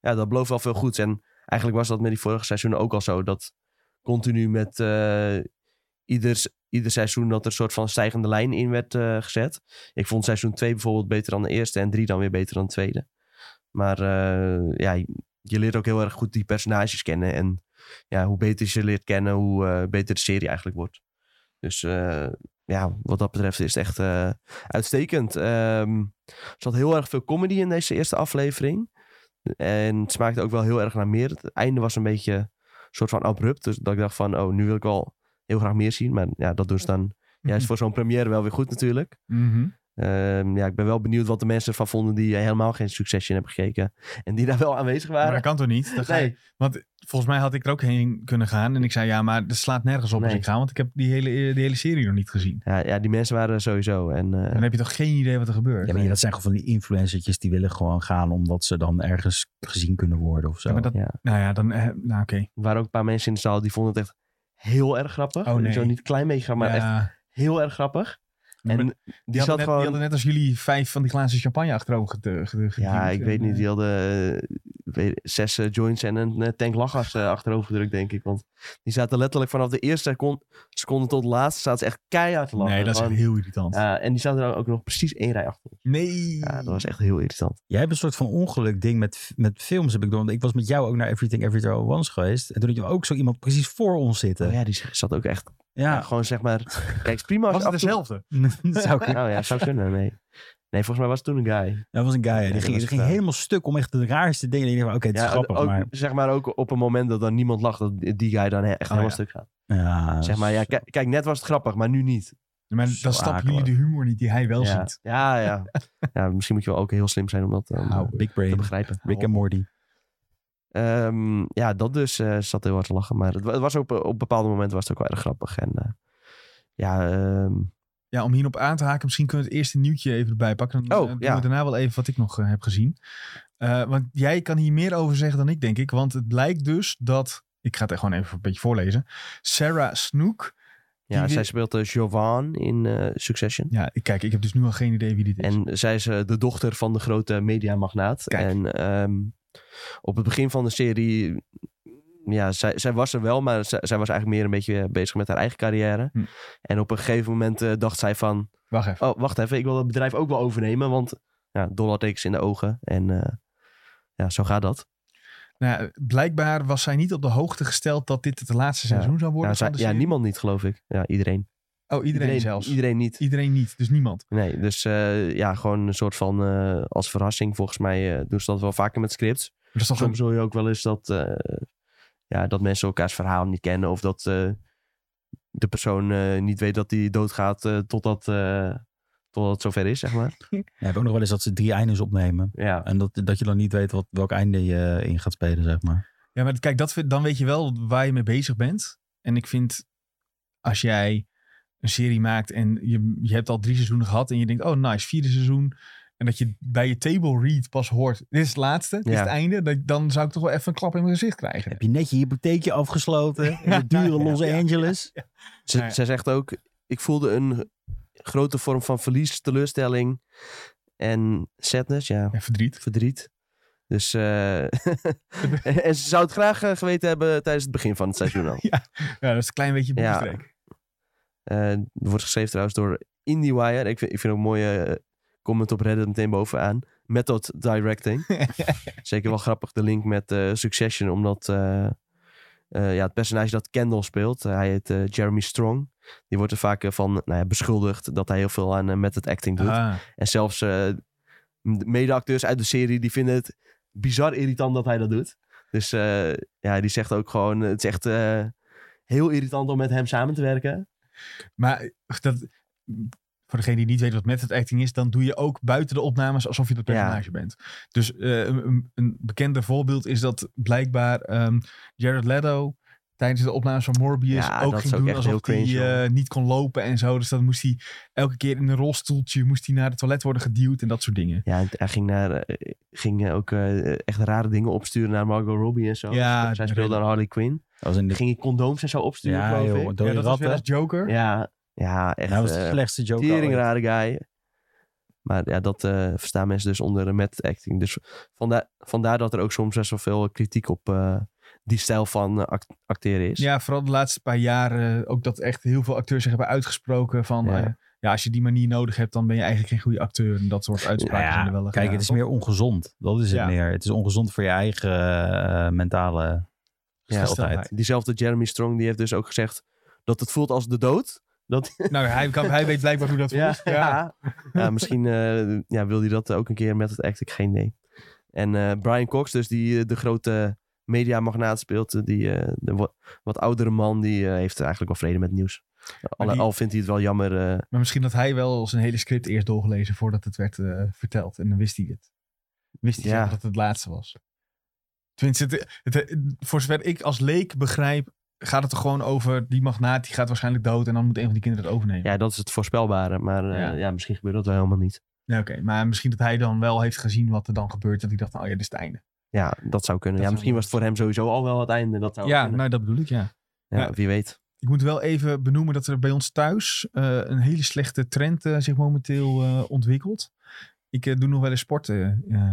S2: ja, dat belooft wel veel goeds. En eigenlijk was dat met die vorige seizoenen ook al zo. Dat continu met eh, ieder, ieder seizoen dat er een soort van stijgende lijn in werd eh, gezet. Ik vond seizoen 2 bijvoorbeeld beter dan de eerste en 3 dan weer beter dan de tweede. Maar eh, ja, je- je leert ook heel erg goed die personages kennen. En ja, hoe beter je ze leert kennen, hoe eh, beter de serie eigenlijk wordt. Dus eh, ja, wat dat betreft is het echt eh, uitstekend. Ehm, er zat heel erg veel comedy in deze eerste aflevering. En het smaakte ook wel heel erg naar meer. Het einde was een beetje een soort van abrupt. Dus dat ik dacht van, oh, nu wil ik al heel graag meer zien. Maar ja, dat doen ze dan juist voor zo'n première wel weer goed natuurlijk.
S1: Mhm.
S2: Ehm, ja, ik ben wel benieuwd wat de mensen ervan vonden die helemaal geen succesje hebben gekeken. En die daar wel aanwezig
S1: Maar
S2: waren.
S1: dat kan toch niet? Dan ga je-
S2: nee,
S1: Volgens mij had ik er ook heen kunnen gaan. En ik zei, ja, maar dat slaat nergens op als
S2: Nee.
S1: ik ga. Want ik heb die hele, eh, die hele serie nog niet gezien.
S2: ja, ja, die mensen waren er sowieso. En, eh,
S1: Dan heb je toch geen idee wat er gebeurt?
S3: Ja, maar dat zijn gewoon van die influencertjes die willen gewoon gaan omdat ze dan ergens gezien kunnen worden of zo.
S1: Ja, maar dat-
S2: ja.
S1: Nou ja, dan... eh, nou, oké.
S2: Er waren ook een paar mensen in de zaal die vonden het echt heel erg grappig.
S1: Oh, nee.
S2: Zo niet een klein beetje grappig, maar echt
S1: Ja.
S2: heel erg grappig. En
S1: die,
S2: die
S1: hadden
S2: zat
S1: net, die
S2: gewoon...
S1: hadden net als jullie vijf van die glazen champagne achterover geduwd.
S2: Ja, ik
S1: eh,
S2: weet niet. Die hadden eh, weet- zes eh, joints en een eh, tank lachgas eh, achterover gedrukt, denk ik. Want die zaten letterlijk vanaf de eerste secon- seconde tot de laatste zaten ze echt keihard te lachen.
S1: Nee, dat is echt
S2: Gewoon,
S1: heel irritant.
S2: ja, Eh, en die zaten er ook nog precies één rij achter. ons.
S1: Nee.
S2: Ja, dat was echt heel irritant.
S3: Jij hebt een soort van ongeluk ding met, met films heb ik door. Want ik was met jou ook naar Everything Everywhere All At Once geweest. En toen had je ook zo iemand precies voor ons zitten.
S2: Oh
S3: ja,
S2: ja, die zat ook echt... ja, gewoon zeg maar... Kijk, het is prima als
S1: was
S2: je
S1: het
S2: af en toe-
S1: dezelfde?
S3: dat zou kunnen.
S2: Oh ja, zou kunnen, nee. Nee, volgens mij was het toen een guy.
S3: Dat was een guy.
S2: Ja,
S3: die
S2: dat
S3: ging,
S2: was
S3: die ging
S2: het, eh.
S3: helemaal stuk om echt de raarste dingen. En ik dacht van, Oké, het is
S2: Ja,
S3: grappig,
S2: ook,
S3: maar...
S2: Zeg maar ook op een moment dat dan niemand lacht, dat die guy dan he- echt helemaal
S1: ja.
S2: stuk gaat.
S3: Ja,
S2: Zeg maar, ja, kijk, kijk, net was het grappig, maar nu niet.
S1: Maar
S3: Zo
S1: dan snappen jullie
S3: akelig.
S1: de humor niet die hij wel
S2: ja.
S1: ziet.
S2: Ja, ja. ja, misschien moet je wel ook heel slim zijn om dat eh, om,
S3: nou,
S2: eh,
S3: big
S2: te
S3: brain.
S2: begrijpen.
S3: Rick en Morty.
S2: Ehm, ja, dat dus eh, zat heel hard te lachen. Maar het, wa- het was op, op bepaalde momenten was het ook wel erg grappig. En eh, ja, ehm,
S1: Ja, om hierop aan te haken, misschien kunnen we het eerste nieuwtje even erbij pakken. Dan
S2: Oh,
S1: eh, doen
S2: ja.
S1: we daarna wel even wat ik nog eh, heb gezien. Eh, want jij kan hier meer over zeggen dan ik, denk ik. Want het blijkt dus dat, ik ga het echt gewoon even een beetje voorlezen. Sarah Snook,
S2: ja
S1: Die-
S2: zij speelt eh, Jovan in eh, Succession.
S1: ja, ik- kijk, ik heb dus nu al geen idee wie dit is.
S2: En zij is eh, de dochter van de grote mediamagnaat.
S1: Kijk.
S2: En ehm, op het begin van de serie... Ja, zij, zij was er wel, maar zij, zij was eigenlijk meer een beetje eh, bezig met haar eigen carrière.
S1: Hm.
S2: En op een gegeven moment eh, dacht zij van...
S1: Wacht even.
S2: Oh, wacht even. Ik wil dat bedrijf ook wel overnemen. Want ja, dollartekens in de ogen. En eh, ja, zo gaat dat.
S1: Nou, ja, blijkbaar was zij niet op de hoogte gesteld dat dit het laatste
S2: Ja.
S1: seizoen zou
S2: Ja,
S1: worden.
S2: zij-
S1: van de
S2: ja,
S1: serie.
S2: niemand niet, geloof ik. Ja, iedereen.
S1: Oh, iedereen, zelfs. Iedereen.
S2: Iedereen niet.
S1: niet, dus niemand.
S2: Nee, dus eh, ja, gewoon een soort van eh, als verrassing. Volgens mij eh, doen ze dat wel vaker met scripts.
S1: Maar Dat is toch
S2: Soms hoor je ook wel eens dat, eh, ja, dat mensen elkaars verhaal niet kennen. Of dat eh, de persoon eh, niet weet dat hij doodgaat eh, totdat, eh, totdat het zover is, zeg maar.
S3: Ja, heb ook nog wel eens dat ze drie eindes opnemen.
S2: Ja,
S3: En dat, dat je dan niet weet wat, welk einde je eh, in gaat spelen, zeg maar.
S1: Ja, maar kijk, dat, vind- dan weet je wel waar je mee bezig bent. En ik vind, als jij een serie maakt en je, je hebt al drie seizoenen gehad en je denkt, oh nice, vierde seizoen. En dat je bij je table read pas hoort, dit is het laatste, dit is
S2: Ja.
S1: het einde. dat- Dan zou ik toch wel even een klap in mijn gezicht krijgen.
S3: Heb je net je hypotheekje afgesloten? In de dure Los Angeles?
S2: Ze,
S1: Nou ja.
S2: Zij zegt ook, ik voelde een grote vorm van verlies, teleurstelling en sadness, ja,
S1: En verdriet.
S2: verdriet. Dus, eh, en ze zou het graag eh, geweten hebben tijdens het begin van het seizoen al.
S1: Ja, dat is een klein beetje
S2: Ja.
S1: boekstreek.
S2: Eh, er wordt geschreven trouwens door IndieWire. Ik vind, ik vind ook een mooie eh, comment op Reddit meteen bovenaan. Method directing. Zeker wel grappig de link met eh, Succession, omdat eh, eh, ja, het personage dat Kendall speelt, eh, hij heet eh, Jeremy Strong. Die wordt er vaak eh, van nou ja, beschuldigd dat hij heel veel aan eh, method acting doet.
S1: Ah,
S2: En zelfs eh, m- de medeacteurs uit de serie, die vinden het bizar irritant dat hij dat doet. Dus eh, ja, die zegt ook gewoon, eh, het is echt eh, heel irritant om met hem samen te werken.
S1: maar dat, Voor degene die niet weet wat method acting is, dan doe je ook buiten de opnames alsof je dat
S2: Ja.
S1: personage bent. Dus eh, een, een- een bekender voorbeeld is dat blijkbaar ehm, Jared Leto tijdens de opnames van Morbius
S2: Ja,
S1: ook
S2: dat
S1: ging
S2: is ook
S1: doen
S2: echt
S1: alsof
S2: heel
S1: hij
S2: cringe,
S1: eh, niet kon lopen en zo. Dus dan moest hij elke keer in een rolstoeltje moest hij naar het toilet worden geduwd en dat soort dingen.
S2: Ja, en hij ging, naar, eh, ging eh, ook eh, echt rare dingen opsturen naar Margot Robbie en zo.
S1: Ja,
S2: Zij speelde aan Harley Quinn.
S3: Dat was in
S2: Dan
S3: de...
S2: ging hij condooms en zo opsturen,
S3: Ja,
S2: geloof
S3: joh,
S2: ik.
S1: Ja,
S3: dode
S1: dat was weer
S3: ratten.
S1: als Joker.
S2: Ja, ja echt
S3: Dat Nou, was de
S2: eh,
S3: slechtste joke
S2: Tering
S3: ooit.
S2: rare guy. Maar ja, dat eh, verstaan mensen dus onder met acting. Dus vandaar, vandaar dat er ook soms best wel veel kritiek op eh, die stijl van eh, act- acteren is.
S1: Ja, vooral de laatste paar jaren. Ook dat echt heel veel acteurs zich hebben uitgesproken van...
S2: Ja.
S1: Ja. ja, als je die manier nodig hebt, dan ben je eigenlijk geen goede acteur. En dat soort uitspraken
S3: Nou ja,
S1: zijn er wel
S3: Kijk, het is meer ongezond. Dat is het
S1: Ja.
S3: meer. Het is ongezond voor je eigen eh, mentale
S2: Ja,
S3: gesteldheid.
S2: Diezelfde Jeremy Strong, die heeft dus ook gezegd dat het voelt als de dood. Dat,
S1: Nou, hij, kan, hij weet blijkbaar hoe dat voelt. Ja.
S2: ja. Ja, misschien eh, ja, wil hij dat ook een keer met het act. Ik geen idee. En eh, Brian Cox, dus die eh, de grote mediamagnaat speelt. eh, Die eh, de wat, wat oudere man, die eh, heeft eigenlijk wel vrede met het nieuws. Al,
S1: die-
S2: al vindt hij het wel jammer eh,
S1: Maar misschien had hij wel zijn hele script eerst doorgelezen voordat het werd eh, verteld. En dan wist hij het. Wist hij
S2: Ja.
S1: zeker dat het het laatste was. Tenminste, het, het, het- voor zover ik als leek begrijp, gaat het er gewoon over... die magnaat, die gaat waarschijnlijk dood en dan moet een van die kinderen het overnemen.
S2: Ja, dat is het voorspelbare. Maar eh, ja.
S1: Ja.
S2: misschien gebeurt dat wel helemaal niet.
S1: Ja, Oké, maar misschien dat hij dan wel heeft gezien wat er dan gebeurt. Dat hij dacht, oh ja, dit is het einde.
S2: Ja, dat zou kunnen.
S1: Dat zou
S2: ja, misschien was het voor hem sowieso al wel het einde. Dat zou
S1: Ja,
S2: kunnen.
S1: nou dat bedoel ik, ja.
S2: ja,
S1: ja.
S2: Wie weet.
S1: Ik moet wel even benoemen dat er bij ons thuis eh, een hele slechte trend eh, zich momenteel eh, ontwikkelt. Ik eh, doe nog wel eens sporten eh,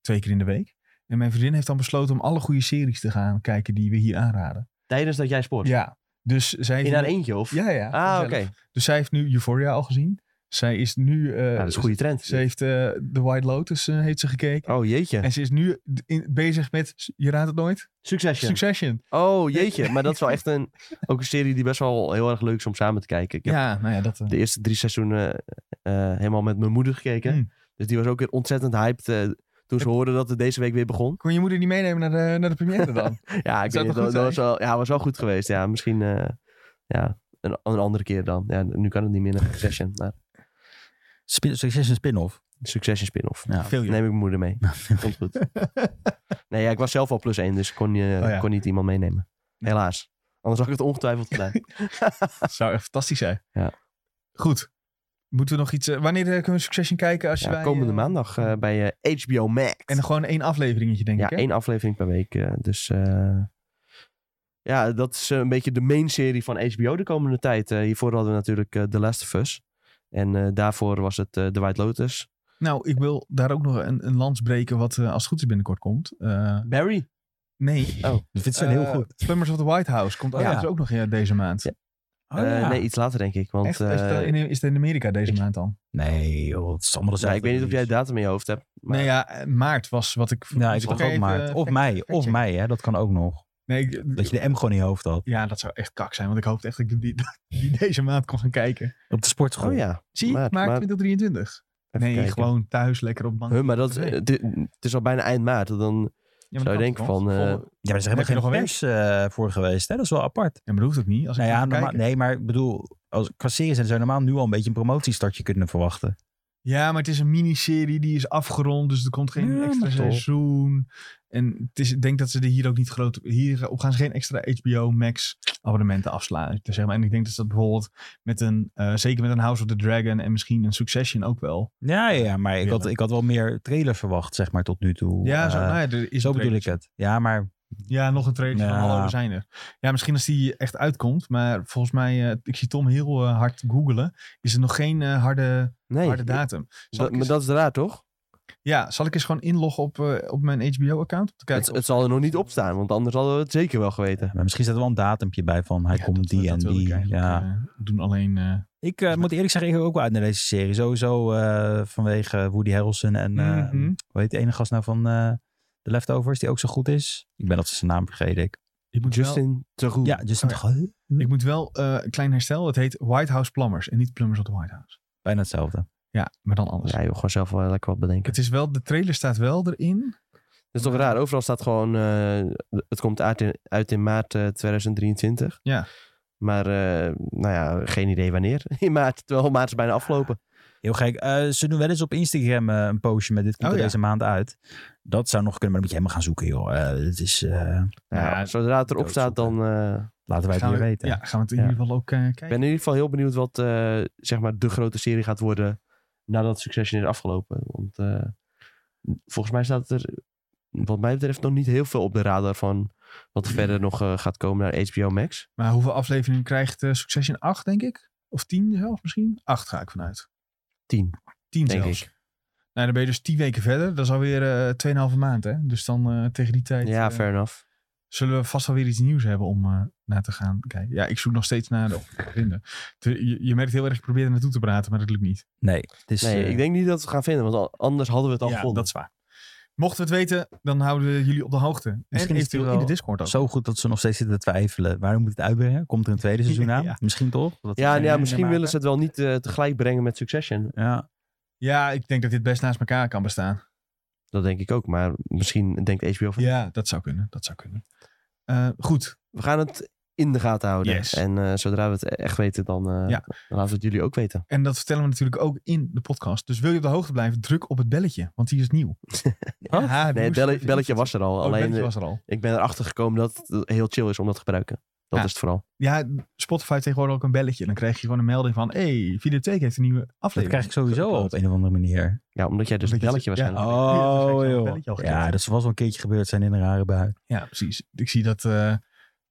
S1: twee keer in de week. En mijn vriendin heeft dan besloten om alle goede series te gaan kijken die we hier aanraden.
S2: Tijdens dat jij sport.
S1: Ja, dus zij heeft
S2: In haar
S1: nu-
S2: eentje of?
S1: Ja, ja.
S2: ah,
S1: vanzelf.
S2: oké. Nou,
S1: Dus zij heeft nu Euphoria al gezien. Zij is nu... eh
S2: dat is een goede trend.
S1: Ze heeft eh The White Lotus eh, heeft ze gekeken.
S2: Oh jeetje.
S1: En ze is nu in- bezig met, je raadt het nooit,
S2: Succession.
S1: Succession.
S2: Oh jeetje. Maar dat is wel echt een, ook een serie die best wel heel erg leuk is om samen te kijken. Ik heb
S1: Ja, nou ja, dat... eh,
S2: de eerste drie seizoenen eh, helemaal met mijn moeder gekeken.
S1: Hmm.
S2: Dus die was ook weer ontzettend hyped eh, toen ze hoorde dat het deze week weer begon.
S1: Kon je moeder niet meenemen naar de, naar de première dan?
S2: Ja,
S1: Zou
S2: ik
S1: het
S2: weet niet, dat,
S1: nog
S2: dat
S1: goed
S2: was wel, ja, was wel goed geweest. Ja, misschien eh, ja, een, een andere keer dan. Ja, nu kan het niet meer naar Succession. Maar
S3: Spin, succes een spin-off.
S2: Succession spin-off.
S3: Ja.
S1: Veel
S2: Neem ik mijn moeder mee. Komt goed. Nee, ja, ik was zelf al plus één, dus ik kon, je
S1: Oh ja.
S2: kon niet iemand meenemen. Helaas. Anders had ik het ongetwijfeld gedaan.
S1: Dat zou echt fantastisch zijn.
S2: Ja.
S1: Goed. Moeten we nog iets... eh, wanneer eh, kunnen we Succession kijken? Als je
S2: Ja,
S1: wij,
S2: komende
S1: eh,
S2: maandag eh, bij eh, HBO Max.
S1: En dan gewoon één afleveringetje, denk
S2: ja,
S1: ik, hè?
S2: één aflevering per week. eh, dus eh, ja, dat is eh, een beetje de main serie van HBO de komende tijd. Eh, hiervoor hadden we natuurlijk eh, The Last of Us. En eh, daarvoor was het eh, The White Lotus.
S1: Nou, ik wil daar ook nog een, een lans breken wat eh, als het goed is binnenkort komt. Eh,
S2: Barry.
S1: nee.
S2: Oh,
S3: Dat vindt ze
S1: Eh,
S3: heel goed.
S1: Plumbers of the White House komt ook,
S2: Ja.
S1: dat is ook nog ja, deze maand.
S2: Ja,
S3: Oh, ja.
S2: Eh, nee, iets later denk ik. Want
S1: echt? Is, het,
S2: eh,
S1: eh, in, is het in Amerika deze
S2: ik-
S1: maand dan?
S3: nee, joh, het is allemaal
S2: ja, ik weet niet of jij het datum in je hoofd hebt. Maar
S1: nee, ja, eh, maart was wat ik...
S3: Ja, ik
S1: moest
S3: dacht
S1: nog
S3: ook
S1: even,
S3: maar.
S1: eh,
S3: Of
S1: fact-
S3: mij, of
S1: factchecken.
S3: mij, hè. Dat kan ook nog.
S1: Nee, ik-
S3: Dat je de M gewoon in je hoofd had.
S1: ja, dat zou echt kak zijn, want ik hoopte echt dat ik die, die deze maand kon gaan kijken.
S3: Op de sportschool.
S2: Oh ja.
S1: Zie, je?
S2: Maart,
S1: maart,
S2: maart.
S1: 2023.
S2: Even
S1: Nee,
S2: kijken.
S1: gewoon thuis lekker op de bank.
S2: Huh, maar dat,
S1: Nee.
S2: het, het is al bijna eind maart. Dan,
S1: Ja,
S2: Zou je denken van, eh,
S3: Ja, maar er is
S1: Heb je
S3: helemaal
S1: nog
S3: geen
S1: een
S3: pers eh, voor geweest, hè. Dat is wel apart.
S1: en bedoelt het niet. Als ik
S3: Nou ja,
S1: even
S3: normaal,
S1: kijk.
S3: nee, maar ik bedoel, als, qua series en zo normaal nu al een beetje een promotiestartje kunnen verwachten.
S1: ja, maar het is een miniserie die is afgerond, dus er komt geen
S3: Ja, maar
S1: extra
S3: toch.
S1: seizoen. En het is, ik denk dat ze er hier ook niet groot hier eh, op gaan ze geen extra HBO Max abonnementen afslaan. Zeg maar. En ik denk dat ze dat bijvoorbeeld met een, eh, zeker met een House of the Dragon en misschien een Succession ook wel.
S3: Ja, ja, ja, maar ik had,
S1: Ja.
S3: ik had wel meer trailers verwacht, zeg maar, tot nu toe.
S1: ja, zo,
S3: Eh,
S1: nou ja, er is
S3: zo
S1: een
S3: bedoel ik
S1: trailer.
S3: het. Ja, maar
S1: Ja, nog een trailer
S3: Ja.
S1: van hallo, we zijn er. Ja, misschien als die echt uitkomt, maar volgens mij, eh, ik zie Tom heel eh, hard googelen, is er nog geen eh, harde,
S2: nee,
S1: harde datum. Zal
S2: dat,
S1: ik eens-
S2: maar dat is raar toch?
S1: Ja, zal ik eens gewoon inloggen op, eh, op mijn HBO-account? Om te kijken
S2: Het,
S1: of-
S2: het zal er nog niet op staan, want anders hadden we het zeker wel geweten.
S3: eh, Maar misschien staat er wel een datumpje bij van hij
S1: Ja,
S3: komt
S1: dat-
S3: die
S1: dat
S3: en
S1: wilde ik
S3: die.
S1: eigenlijk,
S3: Ja.
S1: eh, doen alleen... eh,
S3: Ik eh, moet eerlijk zeggen, ik kijk ook wel uit naar deze serie. Sowieso eh, vanwege Woody Harrelson en eh,
S1: mhm.
S3: hoe heet de ene gast nou van eh The Leftovers die ook zo goed is. Ik ben dat zijn naam vergeten. Ik.
S1: ik, moet wel,
S2: Justin Theroux.
S3: Ja, Justin
S1: Oh ja.
S3: Theroux.
S1: ik moet wel eh, een klein herstel. Het heet White House Plumbers en niet Plumbers of the White House.
S3: Bijna hetzelfde.
S1: Ja, maar dan anders.
S2: Ja, joh, gewoon zelf wel lekker wat bedenken.
S1: Het is wel, de trailer staat wel erin.
S2: Dat is toch raar? Overal staat gewoon, eh, het komt uit in, uit in maart eh, 2023.
S1: Ja.
S2: Maar eh, nou ja, geen idee wanneer. In maart, terwijl maart is bijna afgelopen.
S3: Heel gek. Eh, ze doen wel eens op Instagram eh, een postje met dit komt
S1: Oh,
S3: er
S1: ja.
S3: deze maand uit. Dat zou nog kunnen, maar dan moet je helemaal gaan zoeken, joh. Eh, het is, eh,
S2: Nou ja,
S1: Ja,
S2: zodra het erop staat, dan... eh,
S3: laten wij het
S1: Gaan
S3: hier
S1: we,
S3: weten.
S1: Ja, gaan we het in
S2: Ja.
S1: ieder geval ook eh, kijken.
S2: Ik ben in ieder geval heel benieuwd wat eh, zeg maar de grote serie gaat worden nadat Succession is afgelopen. Want eh, volgens mij staat er, wat mij betreft, nog niet heel veel op de radar van wat er verder nog eh, gaat komen naar HBO Max.
S1: Maar hoeveel afleveringen krijgt eh, Succession? 8, denk ik? Of 10 zelfs misschien? 8 ga ik vanuit.
S2: 10,
S1: 10
S2: denk
S1: zelfs.
S2: ik.
S1: Nou, dan ben je dus 10 weken verder. Dat is alweer eh 2,5 maand, hè? Dus dan eh, tegen die tijd
S2: Ja,
S1: eh,
S2: fair enough.
S1: zullen we vast wel weer iets nieuws hebben om eh naar te gaan kijken. Ja, ik zoek nog steeds naar de of te vinden. Te- Je, je merkt heel erg, ik probeer er naartoe te praten, maar dat lukt niet.
S3: Nee, het is,
S2: Nee,
S3: eh,
S2: ik denk niet dat we het gaan vinden, want al- anders hadden we het al
S1: Dus, ja,
S2: gevonden.
S1: dat is waar. Mochten we het weten, dan houden we jullie op de hoogte.
S3: Misschien
S1: Misschien
S3: is
S1: en
S3: het
S1: eventueel
S3: wel
S1: in de Discord ook.
S3: zo goed dat ze nog steeds zitten te twijfelen. Waarom moet het uitbrengen? Komt er een tweede seizoen aan?
S1: Ja.
S3: Misschien toch? Dat-
S2: Ja,
S1: Nee,
S2: ja,
S1: nee,
S2: misschien
S1: maar-
S2: willen ze het wel niet eh, tegelijk brengen met Succession.
S3: ja.
S1: Ja, ik denk dat dit best naast elkaar kan bestaan.
S2: Dat denk ik ook, maar misschien denkt HBO van...
S1: Ja, dat zou kunnen. Dat zou kunnen. Eh, goed,
S2: We gaan het in de gaten houden.
S1: Yes.
S2: En eh, zodra we het echt weten, dan, eh,
S1: Ja.
S2: dan laten we het jullie ook weten.
S1: En dat vertellen we natuurlijk ook in de podcast. Dus wil je op de hoogte blijven, druk op het belletje. Want die is nieuw.
S2: Huh?
S1: Ja,
S2: Nee, het
S1: moest
S2: belle-
S1: even
S2: belletje
S1: iets-
S2: was er al.
S1: Oh, het
S2: Alleen
S1: belletje
S2: eh,
S1: was er al.
S2: ik ben erachter gekomen dat het heel chill is om dat te gebruiken. Dat
S1: Ja.
S2: is het vooral.
S1: Ja, Spotify heeft tegenwoordig ook een belletje. Dan krijg je gewoon een melding van... hey, Videotheek heeft een nieuwe
S3: Dat
S1: aflevering.
S3: krijg ik sowieso al op een of andere manier.
S2: Ja, omdat jij dus een
S1: Omdat je- ja.
S2: belletje waarschijnlijk. hebt.
S1: dat heb
S3: Oh,
S1: ik al-
S3: joh.
S1: belletje al gekend.
S3: Ja, dat was wel een keertje gebeurd zijn in een rare bui.
S1: Ja, precies. Ik zie dat eh,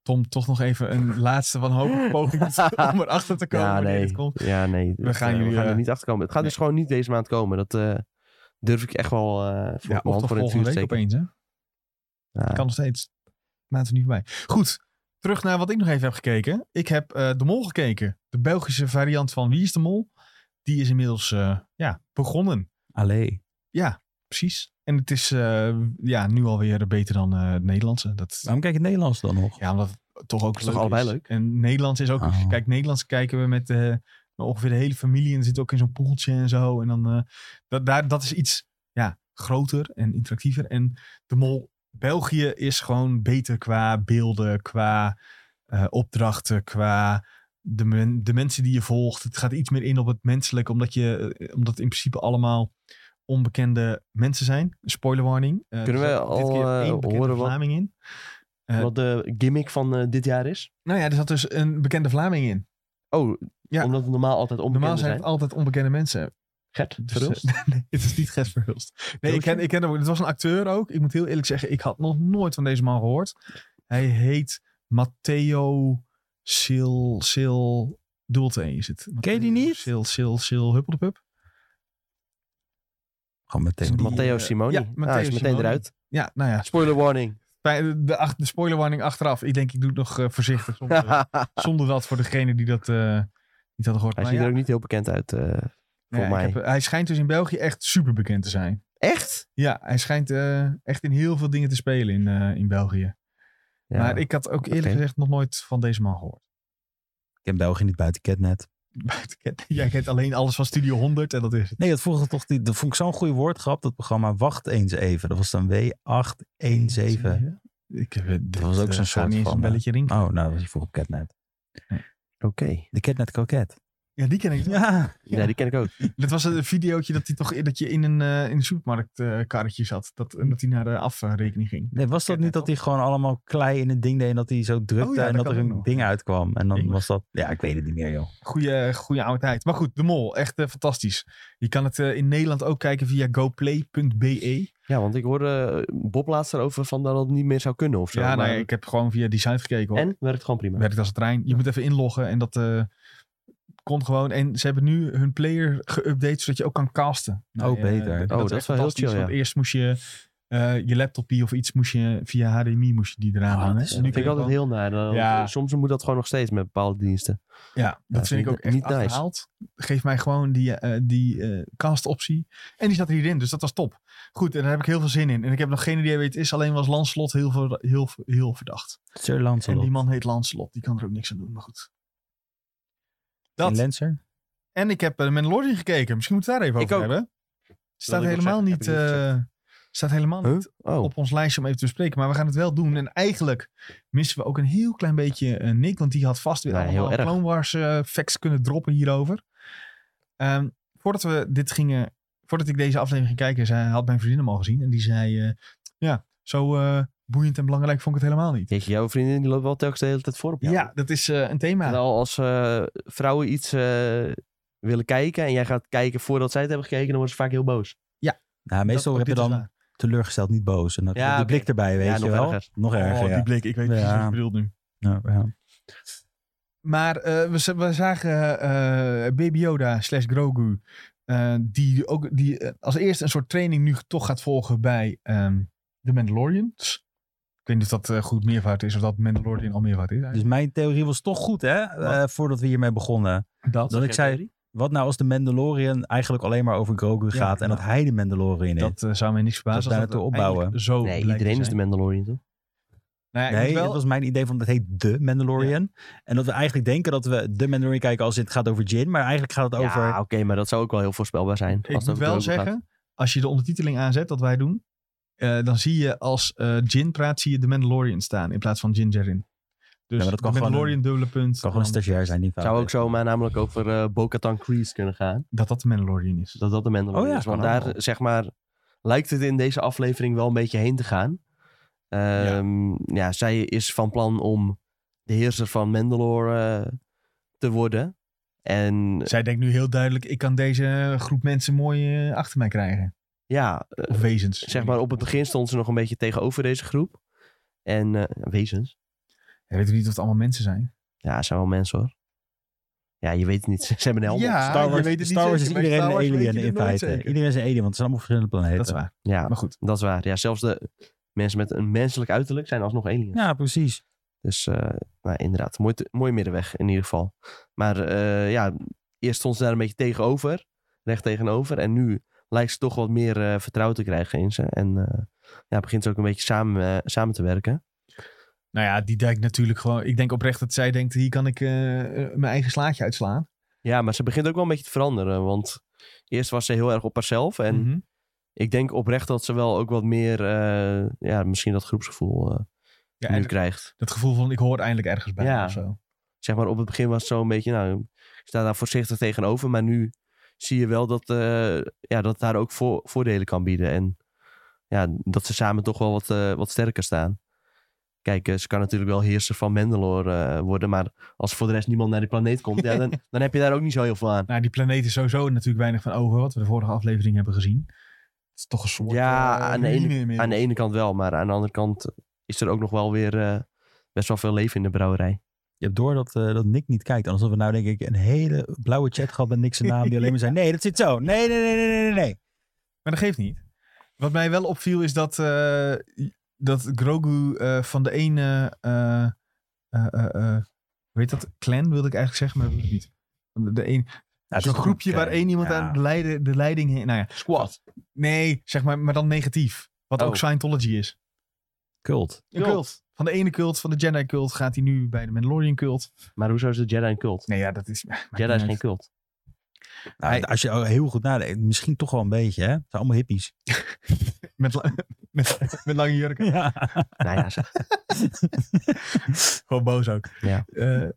S1: Tom toch nog even een laatste van hoop poging doet om erachter te komen
S2: ja,
S1: wanneer
S2: nee.
S1: dit komt.
S2: Ja, nee.
S1: We
S2: Dat,
S1: gaan
S2: eh,
S1: jullie,
S2: er
S1: eh,
S2: niet achter komen. Het gaat dus gewoon niet deze maand komen. Dat eh, durf ik echt wel eh, voor
S1: Ja,
S2: mijn
S1: of
S2: hand
S1: toch
S2: voor in het
S1: volgende
S2: vuur te
S1: week
S2: steken.
S1: opeens, hè?
S2: Ja.
S1: Kan nog steeds. Maand is niet voorbij. Goed, terug naar wat ik nog even heb gekeken. Ik heb eh, De Mol gekeken. De Belgische variant van Wie is de Mol? Die is inmiddels eh, ja, begonnen.
S3: Allee.
S1: Precies. En het is eh, ja, nu alweer beter dan eh het Nederlandse. Dat,
S3: Waarom kijk je het Nederlands dan nog?
S1: ja, omdat het toch ook
S2: Is toch allebei leuk?
S1: En Nederlands is ook...
S3: Oh.
S1: Kijk, Nederlands kijken we met eh, ongeveer de hele familie. En er zit ook in zo'n poeltje en zo. En dan... eh, dat, daar, dat is iets ja, groter en interactiever. En de mol België is gewoon beter qua beelden, qua eh, opdrachten, qua... De, men- de mensen die je volgt. Het gaat iets meer in op het menselijke, omdat, je, eh, omdat het in principe allemaal onbekende mensen zijn. Spoiler warning. Eh,
S2: Kunnen
S1: er
S2: we
S1: zat dit
S2: al,
S1: keer
S2: eh,
S1: één bekende
S2: horen wat-
S1: Vlaming in? eh,
S2: Wat de gimmick van eh, dit jaar is.
S1: Nou ja, er zat dus een bekende Vlaming in.
S2: Oh,
S1: Ja.
S2: omdat het normaal altijd
S1: Normaal
S2: onbekend
S1: zijn
S2: zijn.
S1: het altijd onbekende mensen.
S2: Gert,
S1: Dus,
S2: Verhulst.
S1: eh, nee, het is niet Gert Verhulst. Nee, ik ken, ik ken hem. ook. Het was een acteur ook. Ik moet heel eerlijk zeggen, ik had nog nooit van deze man gehoord. Hij heet Matteo Sil... Sil... Dubbel T is het.
S3: Ken je die niet?
S1: Sil... Sil... Sil... Huppeldepup.
S3: Gewoon meteen.
S1: die,
S2: Matteo
S1: eh,
S2: Simoni.
S1: ja,
S2: Ah,
S1: Matteo
S2: is meteen
S1: Simoni.
S2: eruit.
S1: Ja, nou ja.
S2: Spoiler warning.
S1: Bij de, de, ach- de spoilerwarning achteraf. Ik denk, ik doe het nog eh, voorzichtig. Zonder, zonder dat voor degene die dat eh, niet hadden gehoord.
S2: Hij
S1: Maar ja,
S2: ziet
S1: nou
S2: er ook niet heel bekend uit. eh,
S1: ja,
S2: voor
S1: ik
S2: mij.
S1: heb- hij schijnt dus in België echt super bekend te zijn.
S2: Echt?
S1: Ja, hij schijnt eh, echt in heel veel dingen te spelen in, eh, in België.
S2: Ja.
S1: Maar ik had ook eerlijk
S2: Oké.
S1: gezegd nog nooit van deze man gehoord.
S3: Ik ken België niet buiten Catnet.
S1: Buiten Ken- Jij kent alleen alles van Studio 100 en dat is het.
S3: Nee, dat, vroeger toch, die- dat vond ik zo'n goede woordgrap, dat programma. Wacht eens even. Dat was dan W817.
S1: Ik heb, eh, dat
S3: was ook zo'n soort van,
S1: een belletje ring.
S3: Oh, nou, dat was die vroeger op Catnet.
S2: Oké.
S3: De Catnet Coquette.
S1: Ja, die ken ik.
S3: Ja.
S2: Ja. die ken ik ook.
S1: Dat was een videootje dat, hij toch, dat je in een, eh, in een supermarktkarretje zat. Dat, dat hij naar de afrekening ging.
S3: Nee, was dat
S1: Catnet,
S3: niet dat hij gewoon allemaal klei in het ding deed en dat hij zo drukte
S1: Oh ja,
S3: en
S1: dat
S3: dat er
S1: kan ook
S3: een
S1: nog.
S3: ding uitkwam? En dan
S1: Ding.
S3: was dat... Ja, ik weet het niet meer, joh.
S1: Goeie, goeie oude tijd. Maar goed, De Mol, echt eh, fantastisch. Je kan het eh, in Nederland ook kijken via goplay.be.
S2: Ja, want ik hoorde eh, Bob laatst erover van dat het niet meer zou kunnen of zo.
S1: Ja,
S2: maar-
S1: nee, ik heb gewoon via die site gekeken hoor.
S2: En werkt gewoon prima.
S1: Werkt als een trein. Je moet even inloggen en dat eh komt gewoon. En ze hebben nu hun player geüpdate, zodat je ook kan casten.
S3: Oh,
S1: eh,
S3: beter.
S2: Oh, dat
S1: echt
S2: is wel heel
S1: fantastisch,
S2: chill, ja.
S1: Want eerst moest je eh, je laptopie of iets moest je via HDMI moest je die eraan
S3: Oh,
S1: hangen.
S3: dat is-
S1: En nu
S2: Ah, dat vind ik
S1: kun je
S2: altijd heel naar. dan-
S1: Ja.
S2: Soms moet dat gewoon nog steeds met bepaalde diensten.
S1: Ja, dat
S2: is
S1: vind ik
S2: niet-
S1: ook echt
S2: niet nice.
S1: achterhaald. Geef mij gewoon die, eh, die eh, cast-optie. En die zat er hierin, dus dat was top. Goed, en daar heb ik heel veel zin in. En ik heb nog geen idee wie het is, alleen was Lanslot heel, ver, heel, heel verdacht.
S3: Sir
S1: En
S3: Lancelot.
S1: die man heet Lanslot, die kan er ook niks aan doen, maar goed.
S3: En
S1: Dat.
S3: Lancer? Nou,
S1: En ik heb uh, Mandalorian eh, gekeken, misschien moeten we het daar even
S2: Ik
S1: over
S2: ook.
S1: hebben. Staat
S2: ik nog
S1: helemaal
S2: zeggen,
S1: niet,
S2: heb ik niet
S1: eh, Staat helemaal
S2: Huh?
S1: niet
S2: Oh,
S1: op ons lijstje om even te bespreken. Maar we gaan het wel doen. En eigenlijk missen we ook een heel klein beetje eh, Nick. Want die had vast weer
S2: Nou,
S1: allemaal
S2: heel erg.
S1: Clone Wars eh, facts kunnen droppen hierover. Ehm, voordat we dit gingen... Voordat ik deze aflevering ging kijken, zei, had mijn vriendin hem al gezien. En die zei, eh, ja, zo eh, boeiend en belangrijk vond ik het helemaal niet.
S2: jeetje, jouw vriendin die loopt wel telkens de hele tijd voor op
S1: Ja,
S2: jou.
S1: dat is eh, een thema.
S2: Terwijl als eh, vrouwen iets eh, willen kijken en jij gaat kijken voordat zij het hebben gekeken, dan worden ze vaak heel boos.
S3: Nou,
S1: Dat-
S3: meestal
S1: ook
S3: heb je
S1: dit is
S3: dan
S1: waar.
S3: teleurgesteld, niet boos. En dat,
S2: Ja,
S3: de
S2: oké.
S3: blik erbij, weet
S2: Ja,
S3: je
S2: nog
S3: wel.
S2: erger.
S3: Nog erger,
S1: oh,
S3: ja.
S1: die blik. Ik weet precies
S3: Ja.
S1: wat je bedoelt nu.
S3: Ja, ja.
S1: Maar eh, we, z- we zagen eh eh, Baby Yoda slash Grogu. eh, die ook, die eh, als eerste een soort training nu toch gaat volgen bij ehm de Mandalorians. Ik weet niet of dat eh, goed meervoud is of dat Mandalorian al meervoud is.
S3: Dus
S1: eigenlijk.
S3: mijn theorie was toch goed, hè? eh, voordat we hiermee begonnen.
S2: Dus
S1: dat,
S3: Dat ik zei, wat nou als de Mandalorian eigenlijk alleen maar over Grogu
S1: Ja,
S3: gaat en
S1: ja.
S3: dat hij de Mandalorian is?
S1: dat eh, zou mij niks verbazen.
S3: daar
S1: als
S3: naartoe
S1: dat uiteindelijk
S3: opbouwen.
S1: Zo
S2: Nee,
S1: blijkt te
S2: iedereen is de
S1: zijn.
S2: Mandalorian, toch?
S1: Nou ja, ik
S3: nee,
S1: moet wel-
S3: dat was mijn idee van dat heet de Mandalorian. En dat we eigenlijk denken dat we de Mandalorian kijken als het gaat over Jin, maar eigenlijk gaat het over...
S2: Ja, oké, maar dat zou ook wel heel voorspelbaar zijn. als
S1: Ik
S2: het
S1: moet
S2: over
S1: wel
S2: Grogu
S1: zeggen,
S2: gaat.
S1: als je de ondertiteling aanzet, dat wij doen, eh, dan zie je als eh Jin praat, zie je de Mandalorian staan in plaats van Jin Jarin. Dus
S3: maar dat kan
S1: de
S3: gewoon
S1: Mandalorian dubbele punt.
S3: Het kan gewoon een
S1: dan
S3: stagiair zijn die fout
S2: zou ook
S3: is.
S2: zomaar namelijk over eh Bo-Katan Kryze kunnen gaan.
S1: dat dat de Mandalorian is.
S2: Dat dat de Mandalorian
S3: Oh ja,
S2: is. Want
S3: kan
S2: daar,
S3: allemaal.
S2: zeg maar, lijkt het in deze aflevering wel een beetje heen te gaan. Ehm, ja. zij is van plan om de heerser van Mandalore eh, te worden. En
S1: Zij denkt nu heel duidelijk, ik kan deze groep mensen mooi eh, achter mij krijgen.
S2: ja, eh,
S1: Of wezens.
S2: zeg maar, op het begin stond ze nog een beetje tegenover deze groep. En eh, wezens.
S1: Ja, weet ik niet of het allemaal mensen zijn.
S2: Ja, het zijn wel mensen hoor. Ja, je weet het niet. Ze hebben een helm op.
S1: Ja,
S3: Star
S1: je
S3: Wars,
S1: weet het niet
S3: Star Wars
S1: zeker,
S3: is
S1: maar
S3: iedereen
S1: Star Wars weet
S3: een alien
S1: je het
S3: in
S1: nooit
S3: feite.
S1: zeker.
S3: Iedereen is een alien, want het zijn allemaal verschillende planeten.
S1: Dat is waar.
S2: Ja,
S1: Maar goed.
S2: dat is waar. Ja, zelfs de mensen met een menselijk uiterlijk zijn alsnog aliens.
S3: Ja, precies.
S2: Dus eh, nou, inderdaad, mooi, te- mooi middenweg in ieder geval. Maar eh, ja, eerst stond ze daar een beetje tegenover, recht tegenover. En nu lijkt ze toch wat meer eh, vertrouwen te krijgen in ze. En eh, ja, begint ze ook een beetje samen, eh, samen te werken.
S1: Nou ja, die denkt natuurlijk gewoon... Ik denk oprecht dat zij denkt, hier kan ik eh, eh, mijn eigen slaatje uitslaan.
S2: Ja, maar ze begint ook wel een beetje te veranderen. Want eerst was ze heel erg op haarzelf. En
S1: Mhm.
S2: ik denk oprecht dat ze wel ook wat meer, eh, ja, misschien dat groepsgevoel eh,
S1: ja,
S2: nu
S1: en
S2: krijgt.
S1: dat gevoel van, ik hoor eindelijk ergens bij
S2: Ja.
S1: of zo.
S2: zeg maar, op het begin was het zo'n beetje, nou, ik sta daar voorzichtig tegenover. Maar nu zie je wel dat, eh, ja, dat het daar ook voor, voordelen kan bieden. En ja, dat ze samen toch wel wat, eh, wat sterker staan. Kijk, eh, ze kan natuurlijk wel heerser van Mandalore eh, worden. Maar als voor de rest niemand naar die planeet komt, ja, dan, dan heb je daar ook niet zo heel veel aan.
S1: Nou, die planeet is sowieso natuurlijk weinig van over wat we de vorige aflevering hebben gezien. Het is toch een soort...
S2: Ja,
S1: eh,
S2: aan de
S1: ruïne
S2: ene-
S1: inmiddels.
S2: Aan de ene kant wel, maar aan de andere kant is er ook nog wel weer eh, best wel veel leven in de brouwerij.
S3: Je hebt door dat, eh, dat Nick niet kijkt. Anders hadden we nou denk ik een hele blauwe chat gehad met Nick zijn naam. Die alleen maar zei, nee, dat zit zo. Nee, nee, nee, nee, nee, nee, nee.
S1: Maar dat geeft niet. Wat mij wel opviel is dat, eh, dat Grogu eh, van de ene. eh, eh, eh, eh, hoe heet dat? Clan wilde ik eigenlijk zeggen, maar dat wil ik niet. De- De een,
S3: Nou, het
S1: Zo'n
S3: is
S1: groepje
S3: een-
S1: waar één iemand
S3: ja.
S1: aan de, leiden, de leiding heen. Nou ja,
S2: Squad.
S1: nee, zeg maar, maar dan negatief. Wat
S2: Oh.
S1: ook Scientology is.
S3: Cult.
S1: Een
S2: Cult.
S1: cult. Van de ene cult, van de Jedi cult, gaat hij nu bij de Mandalorian cult.
S2: Maar hoezo is de Jedi een cult?
S1: Nee, ja, dat is.
S2: Jedi is geen cult.
S3: Nou,
S1: Hij-
S3: als je al heel goed nadenkt, misschien toch wel een beetje, hè? Het zijn allemaal hippies.
S1: Met, la- met, met lange jurken.
S3: Ja.
S2: Nou ja, ze-
S1: Gewoon boos ook.
S2: Ja.
S1: Eh,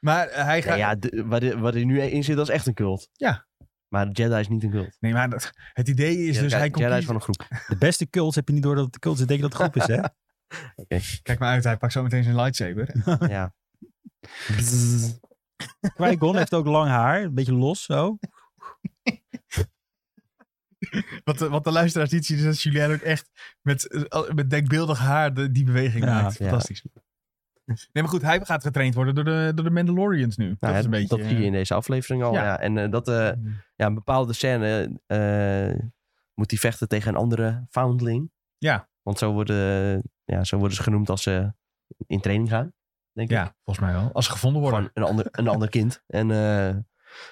S1: maar hij gaat.
S2: Nou ja, de- waar, de- waar hij nu in zit, dat is echt een cult.
S1: Ja.
S2: Maar Jedi is niet een cult.
S1: Nee, maar dat, het idee is dus.
S2: Jedi,
S1: hij komt
S2: Jedi is van een groep.
S3: De beste cults heb je niet door dat het de cults is. Denk je dat het groep is, hè?
S1: Kijk maar uit, hij pakt zo meteen zijn lightsaber.
S2: ja. Nou
S3: Qui-Gon heeft ook lang haar. Een beetje los, zo.
S1: Wat de, wat de luisteraars niet zien, is dat Julian ook echt met, eh, met denkbeeldig haar de- die beweging
S3: Ja,
S1: maakt.
S2: ja.
S1: Fantastisch. Nee, maar goed, hij gaat getraind worden door de, door de Mandalorians nu. dat
S2: Nou,
S1: is een
S2: ja,
S1: beetje... eh,
S2: dat zie je in deze aflevering al.
S1: Ja.
S2: Ja. En eh, dat, eh,
S1: eh,
S2: ja, een bepaalde scène eh, moet hij vechten tegen een andere foundling.
S1: Ja.
S2: Want zo worden, ja, zo worden ze genoemd als ze in training gaan, denk ik.
S1: ja, volgens mij wel. Als ze gevonden worden.
S2: Gewoon een ander, een ander kind. En eh,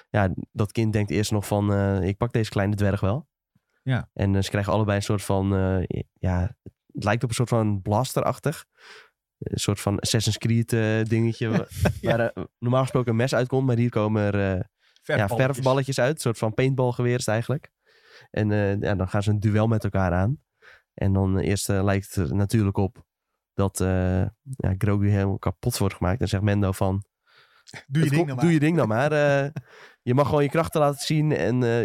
S2: ja, dat kind denkt eerst nog van, eh, ik pak deze kleine dwerg wel.
S1: Ja.
S2: En eh, ze krijgen allebei een soort van, eh, ja, het lijkt op een soort van blasterachtig. Een soort van Assassin's Creed eh, dingetje. wa-
S1: Ja.
S2: Waar eh, normaal gesproken een mes uitkomt, maar hier komen er eh, ja,
S1: Verfballetjes.
S2: verfballetjes uit. Een soort van paintballgeweer is het eigenlijk. En eh, ja, dan gaan ze een duel met elkaar aan. En dan eerst eh, lijkt het er natuurlijk op dat eh ja, Grogu helemaal kapot wordt gemaakt. Dan zegt Mendo van,
S1: Doe je
S2: het
S1: ding dan
S2: komt- doe
S1: maar.
S2: je ding dan maar. eh, je mag gewoon je krachten laten zien en eh,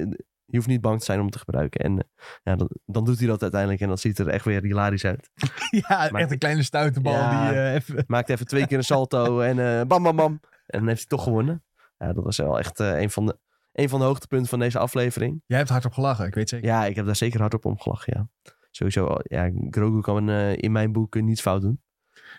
S2: je hoeft niet bang te zijn om het te gebruiken. En eh, ja, dan, dan doet hij dat uiteindelijk en dat ziet er echt weer hilarisch uit.
S1: Ja,
S2: Maar-
S1: echt een kleine stuitenbal
S2: Ja.
S1: die eh, even...
S2: Maakt even twee keer een salto en eh, bam, bam, bam. En dan heeft hij toch gewonnen. Ja, dat was wel echt eh, een, van de, een van de hoogtepunten van deze aflevering.
S1: Jij hebt hardop gelachen, ik weet zeker.
S2: Ja, ik heb daar zeker hard op omgelachen, ja. Sowieso, eh, ja, Grogu kan eh, in mijn boek eh, niets fout doen.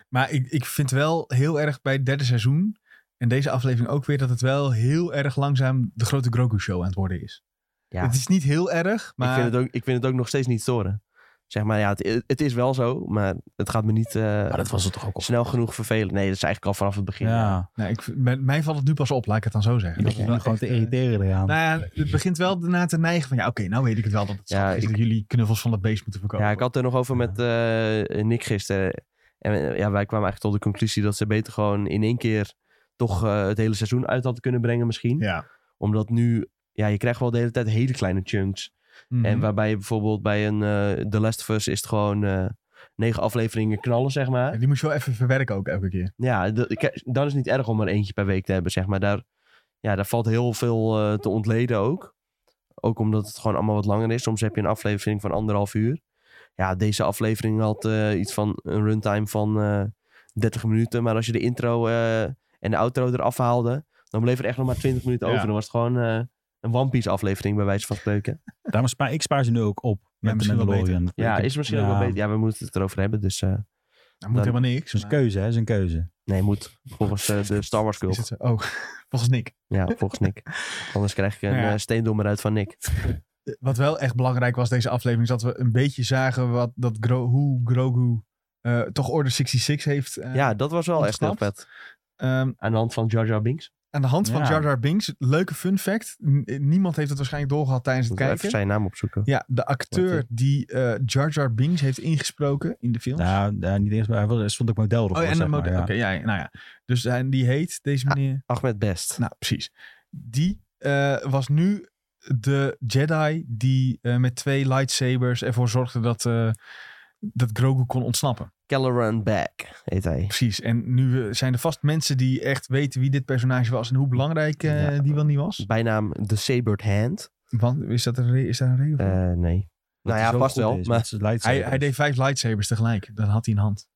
S1: Maar ik, ik vind wel heel erg bij het derde seizoen en deze aflevering ook weer dat het wel heel erg langzaam de grote Grogu-show aan het worden is.
S2: Ja.
S1: Het is niet heel erg, maar
S2: Ik, vind het ook, ik vind het ook nog steeds niet storen. Zeg maar, ja, het, het is wel zo, maar het gaat me niet eh,
S3: Maar dat was het toch ook al.
S2: snel genoeg vervelen. Nee, dat is eigenlijk al vanaf het begin. ja.
S3: Ja,
S1: nou, ik, mij, mij valt het nu pas op, laat ik het dan zo zeggen.
S3: ik
S1: Dat is
S3: begin
S1: wel
S3: me gewoon
S1: echt,
S3: te
S1: eh,
S3: irriteren eraan.
S1: Nou ja, het begint wel daarna te neigen van ja, oké, nou weet ik het wel dat het
S2: Ja,
S1: zaak is
S2: ik-
S1: dat jullie knuffels van dat beest moeten verkopen.
S2: Ja, ik had het er nog over
S3: Ja.
S2: met eh, Nick gisteren. En eh, ja, wij kwamen eigenlijk tot de conclusie dat ze beter gewoon in één keer toch eh, het hele seizoen uit hadden kunnen brengen misschien.
S1: Ja.
S2: Omdat nu, ja, je krijgt wel de hele tijd hele kleine chunks.
S1: Mhm.
S2: En waarbij je bijvoorbeeld bij een eh, The Last of Us is het gewoon eh, negen afleveringen knallen, zeg maar.
S1: Ja, die moet je wel even verwerken ook elke keer.
S2: Ja, d- ik- dan is het niet erg om er eentje per week te hebben, zeg maar. Daar, ja, daar valt heel veel eh, te ontleden ook. Ook omdat het gewoon allemaal wat langer is. Soms heb je een aflevering van anderhalf uur. Ja, deze aflevering had eh, iets van een runtime van eh 30 minuten. Maar als je de intro eh, en de outro eraf haalde, dan bleef er echt nog maar 20 minuten
S1: Ja.
S2: over. Dan was het gewoon eh, een One Piece aflevering, bij wijze van spreken.
S3: Daarom spaar ik spaar ze nu ook op met de
S1: misschien wel
S3: Mandalorian.
S2: Ja,
S3: Ik-
S2: is misschien ook
S3: ja,
S2: wel beter. Ja, we moeten het erover hebben. Dus eh,
S1: Nou, moet
S2: Dan-
S1: helemaal niks.
S3: Het is een
S1: maar-
S3: keuze, hè? Het is een keuze.
S2: nee, moet. Volgens eh, de Star Wars
S1: Is
S2: cult.
S1: het zo? Oh, volgens Nick.
S2: Ja, volgens Nick. Anders krijg ik een
S1: Nou ja.
S2: eh, steendommer uit van Nick.
S1: Eh, Wat wel echt belangrijk was deze aflevering, is dat we een beetje zagen wat, dat Gro- hoe Grogu eh, toch Order 66 heeft. eh,
S2: Ja, dat was wel echt heel
S1: ontsnapt.
S2: vet.
S1: ehm,
S2: Aan de hand van Jar Jar Binks.
S1: aan de hand van
S3: Ja.
S1: Jar Jar Binks, leuke fun fact. N- niemand heeft het waarschijnlijk doorgehad tijdens het
S2: Moeten we even
S1: kijken.
S2: zijn naam opzoeken.
S1: Ja, de
S2: Wat
S1: acteur die eh, Jar Jar Binks heeft ingesproken in de film.
S3: Nou, nou, niet eens, maar hij was- er stond ook model erop.
S1: oh, en
S3: zeg
S1: een
S3: maar,
S1: model.
S3: ja.
S1: Oké, ja, nou ja. Dus eh, die heet deze
S2: Ah.
S1: meneer.
S2: Ahmed Best.
S1: Nou, precies. Die eh, was nu de Jedi die eh, met twee lightsabers ervoor zorgde dat, eh, dat Grogu kon ontsnappen.
S2: Caloran Back heet hij.
S1: Precies. En nu eh, zijn er vast mensen die echt weten wie dit personage was en hoe belangrijk eh,
S2: Ja.
S1: die wel niet was.
S2: Bijnaam The Sabered Hand.
S1: Want is dat een, re- is daar een reden voor?
S2: Eh, nee.
S3: Dat
S2: nou
S3: hij
S2: ja,
S3: zo
S2: vast
S3: goed
S2: wel.
S3: is
S2: maar
S3: met zijn lightsabers.
S1: hij, hij deed vijf lightsabers tegelijk. Dan had hij een hand.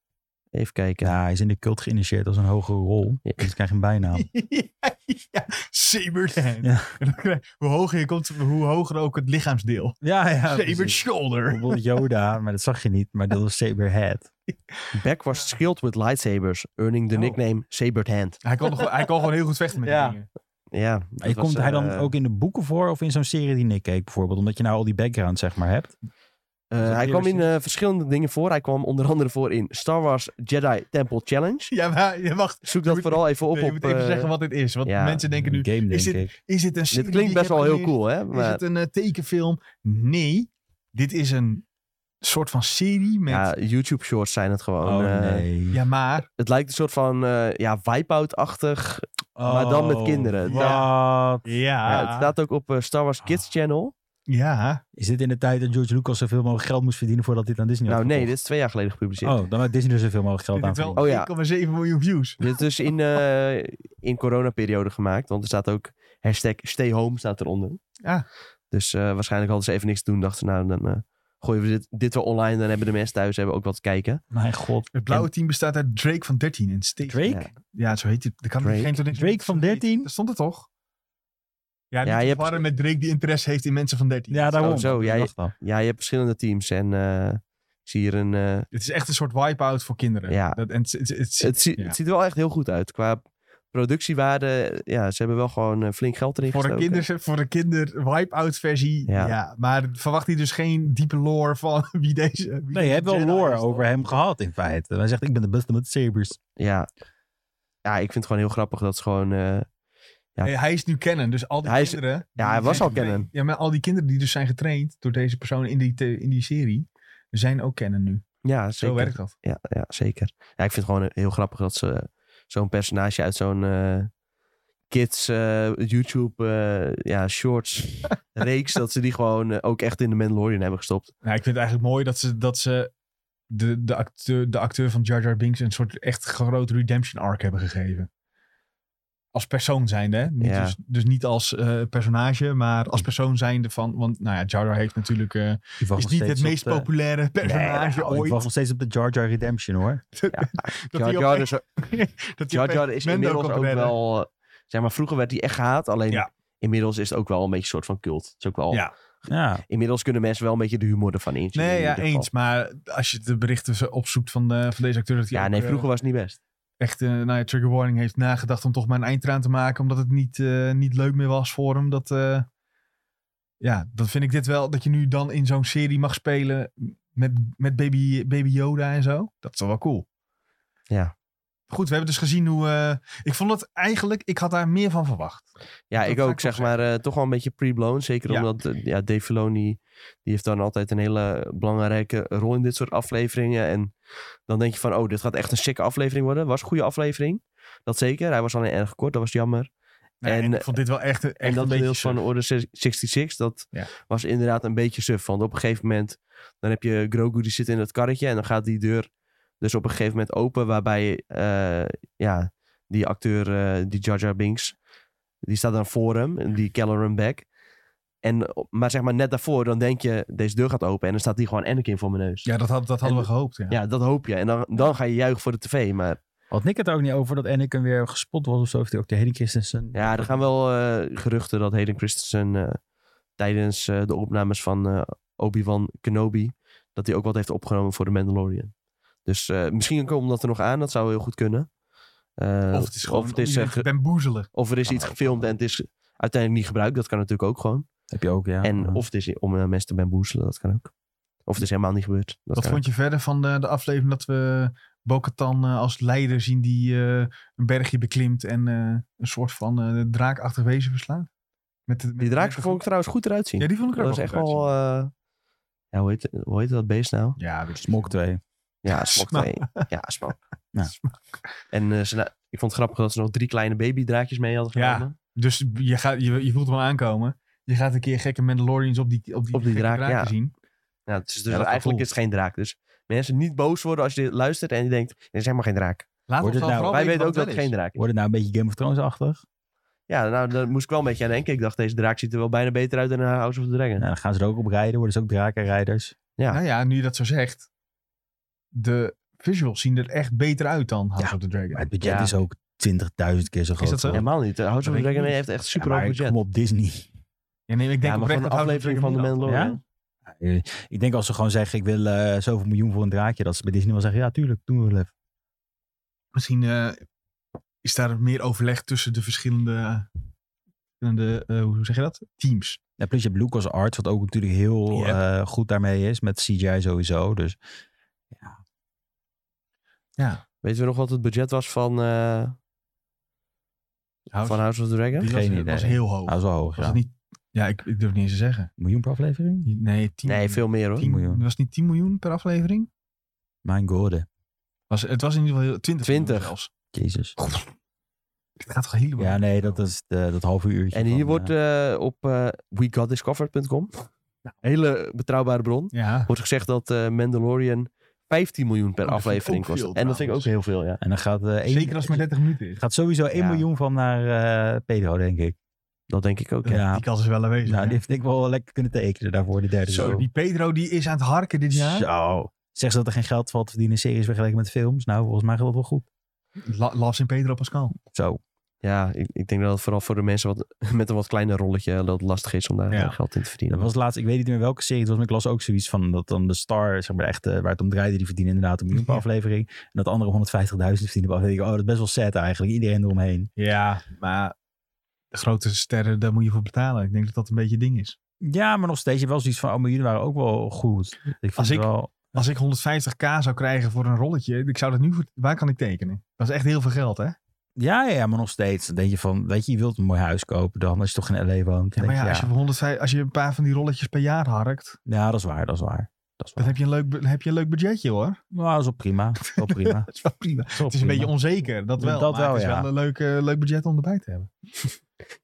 S2: even kijken.
S3: Ja, hij is in de cult geïnitieerd als een hogere rol.
S2: Ja.
S3: Dus hij krijgt een bijnaam.
S1: ja, ja, sabered hand.
S3: Ja.
S1: En dan krijg je- hoe hoger je komt, hoe hoger ook het lichaamsdeel.
S3: Ja, ja.
S1: sabered
S3: precies.
S1: shoulder.
S3: Bijvoorbeeld Yoda, maar dat zag je niet. Maar dat was Saberhead.
S2: Back was schild with lightsabers, earning the
S1: Oh.
S2: nickname Sabered Hand.
S1: Hij kan, nog, hij kan gewoon heel goed vechten met
S2: Ja.
S1: die dingen.
S2: Ja, dat
S3: Maar
S2: was,
S3: komt hij dan
S2: eh,
S3: ook in de boeken voor of in zo'n serie die Nick keek bijvoorbeeld? Omdat je nou al die background zeg maar hebt.
S2: eh,
S3: dat
S2: hij kwam in
S3: eerder
S2: eh, verschillende dingen voor. Hij kwam onder andere voor in Star Wars Jedi Temple Challenge.
S1: Ja, maar je wacht.
S2: Zoek
S1: Je
S2: dat
S1: moet-
S2: vooral even op.
S1: Nee, je moet
S2: op
S1: even
S2: eh,
S1: zeggen wat dit is. Want
S2: ja,
S1: mensen denken nu,
S3: Een game
S1: is
S3: denk ik.
S1: is dit een serie
S2: dit
S1: die ik
S2: klinkt best
S1: heb
S2: wel heel
S1: geleerd?
S2: cool, hè?
S1: Is
S2: Maar
S1: het een eh, tekenfilm? Nee. Dit is een soort van serie met...
S2: ja, YouTube shorts zijn het gewoon.
S3: Oh
S2: eh,
S3: nee.
S1: Ja, maar
S2: Het lijkt een soort van eh ja, wipeout-achtig. maar dan met
S3: Oh,
S2: kinderen.
S3: Wat? Ah.
S1: ja.
S2: Ja, het staat ook op eh, Star Wars Kids Channel.
S1: Ja.
S3: Is dit in de tijd dat George Lucas zoveel mogelijk geld moest verdienen voordat dit aan Disney
S2: nou
S3: werd
S2: nee, dit
S3: verkocht?
S2: is twee jaar geleden gepubliceerd.
S3: Oh, dan had Disney er zoveel mogelijk geld
S1: Dit
S3: aan
S1: heeft wel
S3: verdiend.
S2: Oh ja.
S1: 1,7 miljoen views.
S2: Dit is in, eh in coronaperiode gemaakt. Want er staat ook hashtag stay home staat eronder.
S3: Ah.
S1: Ja.
S2: Dus eh, waarschijnlijk hadden ze even niks te doen. Dachten ze, nou dan eh, gooien we dit, dit wel online. Dan hebben de mensen thuis hebben ook wat te kijken.
S1: Oh,
S3: Mijn god.
S1: Het blauwe team bestaat uit Drake van 13 en Steve.
S3: Drake?
S1: Ja, zo heet hij. Dat kan
S2: Drake?
S1: geen toneel-
S3: Drake van 13?
S1: Dat stond er toch? Ja,
S2: Ja, je
S1: je hebt... met Drake die interesse heeft in mensen van 13.
S3: Ja, daarom.
S2: Oh, zo,
S3: Ik
S2: ja, je-
S3: dacht al.
S2: Ja, je hebt verschillende teams. En eh, ik zie hier een... eh,
S1: Het is echt een soort wipe-out voor kinderen.
S2: Ja.
S1: Dat, en het, het, het-
S2: het, zie-
S1: ja.
S2: het ziet er wel echt heel goed uit. Qua productiewaarde. Ja, ze hebben wel gewoon eh, flink geld erin
S1: voor, een
S2: gestoken.
S1: kinder, voor een kinder wipe-out versie. Ja.
S2: Ja.
S1: Maar verwacht hij dus geen diepe lore van wie deze... wie
S3: Nee, je
S1: deze
S3: hebt wel
S1: Jedi
S3: lore
S1: is, toch?
S3: over hem gehad in feite. Hij zegt, ik ben de beste met sabers.
S2: Ja. Ja, ik vind het gewoon heel grappig dat ze gewoon... eh, Ja.
S1: Eh, hij is nu kennen, dus al die
S2: Hij is-
S1: kinderen... die
S2: ja, hij was
S1: zijn
S2: al kennen.
S1: getraind- Ja, maar al die kinderen die dus zijn getraind door deze persoon in die, te- in die serie, zijn ook kennen nu.
S2: Ja,
S1: Zo
S2: zeker.
S1: werkt dat.
S2: Ja, eh, ja zeker. Ja, ik vind het gewoon heel grappig dat ze zo'n personage uit zo'n eh, kids eh, YouTube eh, ja, shorts reeks. dat ze die gewoon eh, ook echt in de Mandalorian hebben gestopt.
S1: Nou, ik vind het eigenlijk mooi dat ze, dat ze de, de, acteur, de acteur van Jar Jar Binks een soort echt groot redemption arc hebben gegeven. Als persoon zijnde, hè? Niet
S2: Ja.
S1: dus, dus niet als eh, personage, maar als persoon zijnde van... Want nou ja, Jar Jar heeft natuurlijk... eh,
S3: Ik wacht
S1: is
S3: nog
S1: niet
S3: steeds
S1: het
S3: op
S1: meest
S3: de-
S1: populaire personage
S3: Nee, nou, ik
S1: ooit.
S3: wacht nog steeds op de Jar Jar Redemption hoor.
S1: dat
S2: Jar
S1: die
S2: Jar
S1: opeens-
S2: is,
S1: dat die
S2: Jar Jar
S1: opeens
S2: is
S1: Mendo
S2: inmiddels
S1: kan
S2: ook
S1: redden.
S2: wel... eh, zeg maar, vroeger werd hij echt gehaat. Alleen
S1: Ja.
S2: inmiddels is het ook wel een beetje een soort van cult. Het is ook wel...
S1: Ja.
S3: Ja,
S2: Inmiddels kunnen mensen wel een beetje de humor ervan inzien. in
S1: Nee, ja,
S2: ieder geval.
S1: eens. Maar als je de berichten zo opzoekt van, de, van deze acteur... Dat hij
S2: Ja,
S1: ook,
S2: nee,
S1: eh,
S2: vroeger was het niet best.
S1: echt eh nou ja, trigger warning heeft nagedacht om toch maar een eindtraan te maken. Omdat het niet, eh, niet leuk meer was voor hem. Dat, eh, ja, dat vind ik dit wel. Dat je nu dan in zo'n serie mag spelen met, met baby, baby Yoda en zo. Dat is toch wel cool.
S2: Ja.
S1: Goed, we hebben dus gezien hoe... eh, ik vond het eigenlijk... Ik had daar meer van verwacht.
S2: Ja,
S1: Dat
S2: ik
S1: ga
S2: ook,
S1: ik
S2: zeg
S1: wel
S2: maar, eh, toch wel een beetje pre-blown. Zeker
S1: Ja.
S2: omdat eh, ja, Dave Filoni, die heeft dan altijd een hele belangrijke rol in dit soort afleveringen. En dan denk je van, oh, dit gaat echt een sikke aflevering worden. Was een goede aflevering, dat zeker. Hij was alleen erg kort, dat was jammer.
S1: Nou, en,
S2: En,
S1: ik vond dit wel echt, echt
S2: en dat
S1: een beetje...
S2: deel van
S1: suf.
S2: Order 66, dat
S1: Ja.
S2: was inderdaad een beetje suf. Want op een gegeven moment, dan heb je Grogu die zit in dat karretje en dan gaat die deur dus op een gegeven moment open. Waarbij, eh, ja, die acteur, eh, die Jar Jar Binks, die staat dan voor hem, en die Caloran Back. En, op- maar zeg maar net daarvoor, dan denk je, deze deur gaat open en dan staat die gewoon Anakin voor mijn neus.
S1: Ja, dat, had, dat hadden
S2: En-
S1: we gehoopt, ja.
S2: Ja, dat hoop je. En dan, dan ga je juichen voor de tv. Maar
S3: had Nick het ook niet over dat Anakin weer gespot was of zo? Of die ook de Hayden Christensen?
S2: Ja, er gaan wel eh, geruchten dat Hayden Christensen eh, tijdens eh, de opnames van eh, Obi-Wan Kenobi, dat hij ook wat heeft opgenomen voor de Mandalorian. Dus eh, misschien komt dat er nog aan, dat zou heel goed kunnen. Eh,
S1: Of het is gewoon...
S2: of het is,
S1: om je
S2: eh, ge-
S1: bamboezelen.
S2: of er is
S3: Ja,
S2: iets gefilmd en het is uiteindelijk niet gebruikt, dat kan natuurlijk ook gewoon.
S3: Heb je ook, ja.
S2: En of het is om eh, mensen te bamboezelen, dat kan ook. Of het is helemaal niet gebeurd. Dat
S1: Wat
S2: kan
S1: vond je verder van de, de aflevering dat we Bo-Katan eh, als leider zien die eh, een bergje beklimt en eh, een soort van eh, draakachtig wezen verslaat? Met de, met
S2: ook. Die draak
S1: met de-
S2: vond ik trouwens goed eruit zien.
S1: Ja, die vond ik er
S2: dat
S1: ook
S2: was
S1: wel
S2: echt
S1: goed
S2: wel... eh, ja, hoe heet, hoe heet dat beest nou?
S1: uitzien. Ja, dus, weet ik
S3: Smok 2.
S2: Ja,
S1: Smaak.
S2: smak. twee. Ja, smak.
S3: Ja.
S2: En eh, ze, nou, ik vond het grappig dat ze nog drie kleine babydraakjes mee hadden
S1: Ja.
S2: genomen.
S1: niet. Dus je, gaat, je, je voelt hem wel aankomen. Je gaat een keer gekke Mandalorians op die, op die,
S2: Op die
S1: gekke
S2: draak,
S1: draken
S2: ja.
S1: zien.
S2: Ja, het is
S1: Ja, dat is
S2: dus
S1: wel
S2: eigenlijk
S1: cool.
S2: is het geen draak. Dus mensen niet boos worden als je dit luistert en je denkt, er is helemaal geen draak.
S1: Laat ons
S3: Wordt
S1: dan
S3: het nou-
S1: vooral
S2: Wij
S1: weten
S2: weten ook
S1: Oh, wat het
S2: dat het
S1: wel
S2: geen
S1: is.
S2: draak is.
S3: Wordt het nou een beetje Game of Thrones-achtig?
S2: Ja, nou, daar moest ik wel een beetje aan denken. Ik dacht, deze draak ziet er wel bijna beter uit dan een House of the Dragon.
S3: Nou, dan gaan ze er ook op rijden. Worden ze ook drakenrijders.
S2: Ja.
S1: Nou ja, nu je dat zo zegt. De visuals zien er echt beter uit dan House
S3: Ja,
S1: of the Dragon.
S3: Maar het budget
S2: Ja.
S3: is ook 20.000 keer zo groot.
S1: dat zo?
S3: hoor.
S2: Helemaal niet. Eh, House
S1: Dat
S2: of the
S1: weet ik
S2: Dragon
S1: niet.
S2: heeft echt
S3: Ja,
S2: super
S3: maar
S2: hoog
S3: ik
S2: budget.
S3: kom op Disney.
S1: Ja, nee, ik denk
S2: ja,
S1: oprecht
S2: maar van de
S1: dat House of the
S2: aflevering van
S1: Dragon
S2: de
S1: niet had.
S2: Mandalorian.
S3: Eh, Ik denk als ze gewoon zeggen, ik wil eh, zoveel miljoen voor een draakje. Dat ze bij Disney wel zeggen, ja tuurlijk, doen we wel even.
S1: Misschien eh, is daar meer overleg tussen de verschillende, verschillende eh, hoe zeg je dat? Teams.
S3: En plus je hebt Lucas Arts, wat ook natuurlijk heel
S1: Ja.
S3: eh, goed daarmee is. Met CGI sowieso. Dus
S1: Ja.
S2: Weten we nog wat het budget was van, eh, van House of the Dragon?
S1: die was,
S3: Geen
S1: was
S3: idee.
S1: heel hoog.
S3: dat is wel hoog.
S1: was
S3: Ja.
S1: het niet, ja, ik, ik durf het niet eens te zeggen.
S3: Miljoen per aflevering?
S1: Nee, 10
S2: Nee, veel meer hoor.
S1: 10
S3: miljoen.
S1: Was het niet 10 miljoen per aflevering?
S3: Mijn god.
S1: Was, het was in ieder geval heel- 20 miljoen
S2: 20.
S1: zelfs.
S3: Jezus.
S1: Het gaat toch helemaal...
S3: Ja, nee, dat is de, dat halve uurtje.
S2: En
S3: van,
S2: hier
S3: eh,
S2: wordt eh, op eh wegotdiscovered.com, hele betrouwbare bron,
S1: Ja.
S2: wordt gezegd dat eh, Mandalorian 15 miljoen per
S1: Oh, dat vind ik
S2: aflevering
S1: ook
S2: kost.
S1: veel
S2: en dat vind ik ook heel
S1: trouwens.
S2: veel, ja.
S3: En dan gaat, eh één-
S1: Zeker als het maar 30 minuten is.
S3: gaat sowieso 1
S2: Ja.
S3: miljoen van naar eh, Pedro, denk ik.
S2: Dat denk ik ook, ja.
S3: Ja.
S1: Die kans is wel aanwezig.
S3: Nou, die
S1: ja.
S3: heeft denk ik wel lekker kunnen tekenen daarvoor, die derde
S1: Zo,
S3: seizoen.
S1: die Pedro die is aan het harken dit jaar.
S3: Zo. Zeg ze dat er geen geld valt te verdienen in series vergeleken met films? Nou, volgens mij gaat dat wel goed.
S1: La, Las in Pedro Pascal.
S3: Zo.
S2: Ja, ik, ik denk dat het vooral voor de mensen wat, met een wat kleiner rolletje eh, dat het lastig is om daar
S1: Ja.
S2: eh, geld in te verdienen.
S3: Dat was laatst, ik weet niet meer welke serie het was, maar ik las ook zoiets van dat dan de star, zeg maar echt, eh, waar het om draaide, die verdienen inderdaad een miljoen per
S1: Ja.
S3: aflevering. En dat andere 150.000 verdienen per aflevering. Oh, dat is best wel sad eigenlijk. Iedereen eromheen.
S1: Ja, maar de grote sterren, daar moet je voor betalen. Ik denk dat dat een beetje het ding is.
S3: Ja, maar nog steeds. Je hebt wel zoiets van, oh, maar jullie waren ook wel goed. Ik vind
S1: Als
S3: het
S1: ik-
S3: wel...
S1: Als ik 150k zou krijgen voor een rolletje, ik zou dat nu voor... Waar kan ik tekenen? Dat is echt heel veel geld, hè?
S3: Ja, ja, ja, maar nog steeds. Dan denk je van, weet je, je wilt een mooi huis kopen dan, als je toch in L.A. woont. Dan
S1: Ja, maar
S3: denk
S1: ja,
S3: je,
S1: als je, voor 150, als je een paar van die rolletjes per jaar harkt,
S3: ja, dat is waar, dat is waar. Dat is
S1: Dan
S3: wel,
S1: heb je een leuk, bu- dan heb je een leuk budgetje hoor.
S3: nou, dat is wel prima. Wel prima.
S1: Dat is wel prima.
S3: Dat wel
S1: Het is een
S3: prima.
S1: beetje onzeker, dat wel.
S3: Dat
S1: maar
S3: wel,
S1: het is
S3: ja.
S1: wel een leuk, eh, leuk budget om erbij te hebben.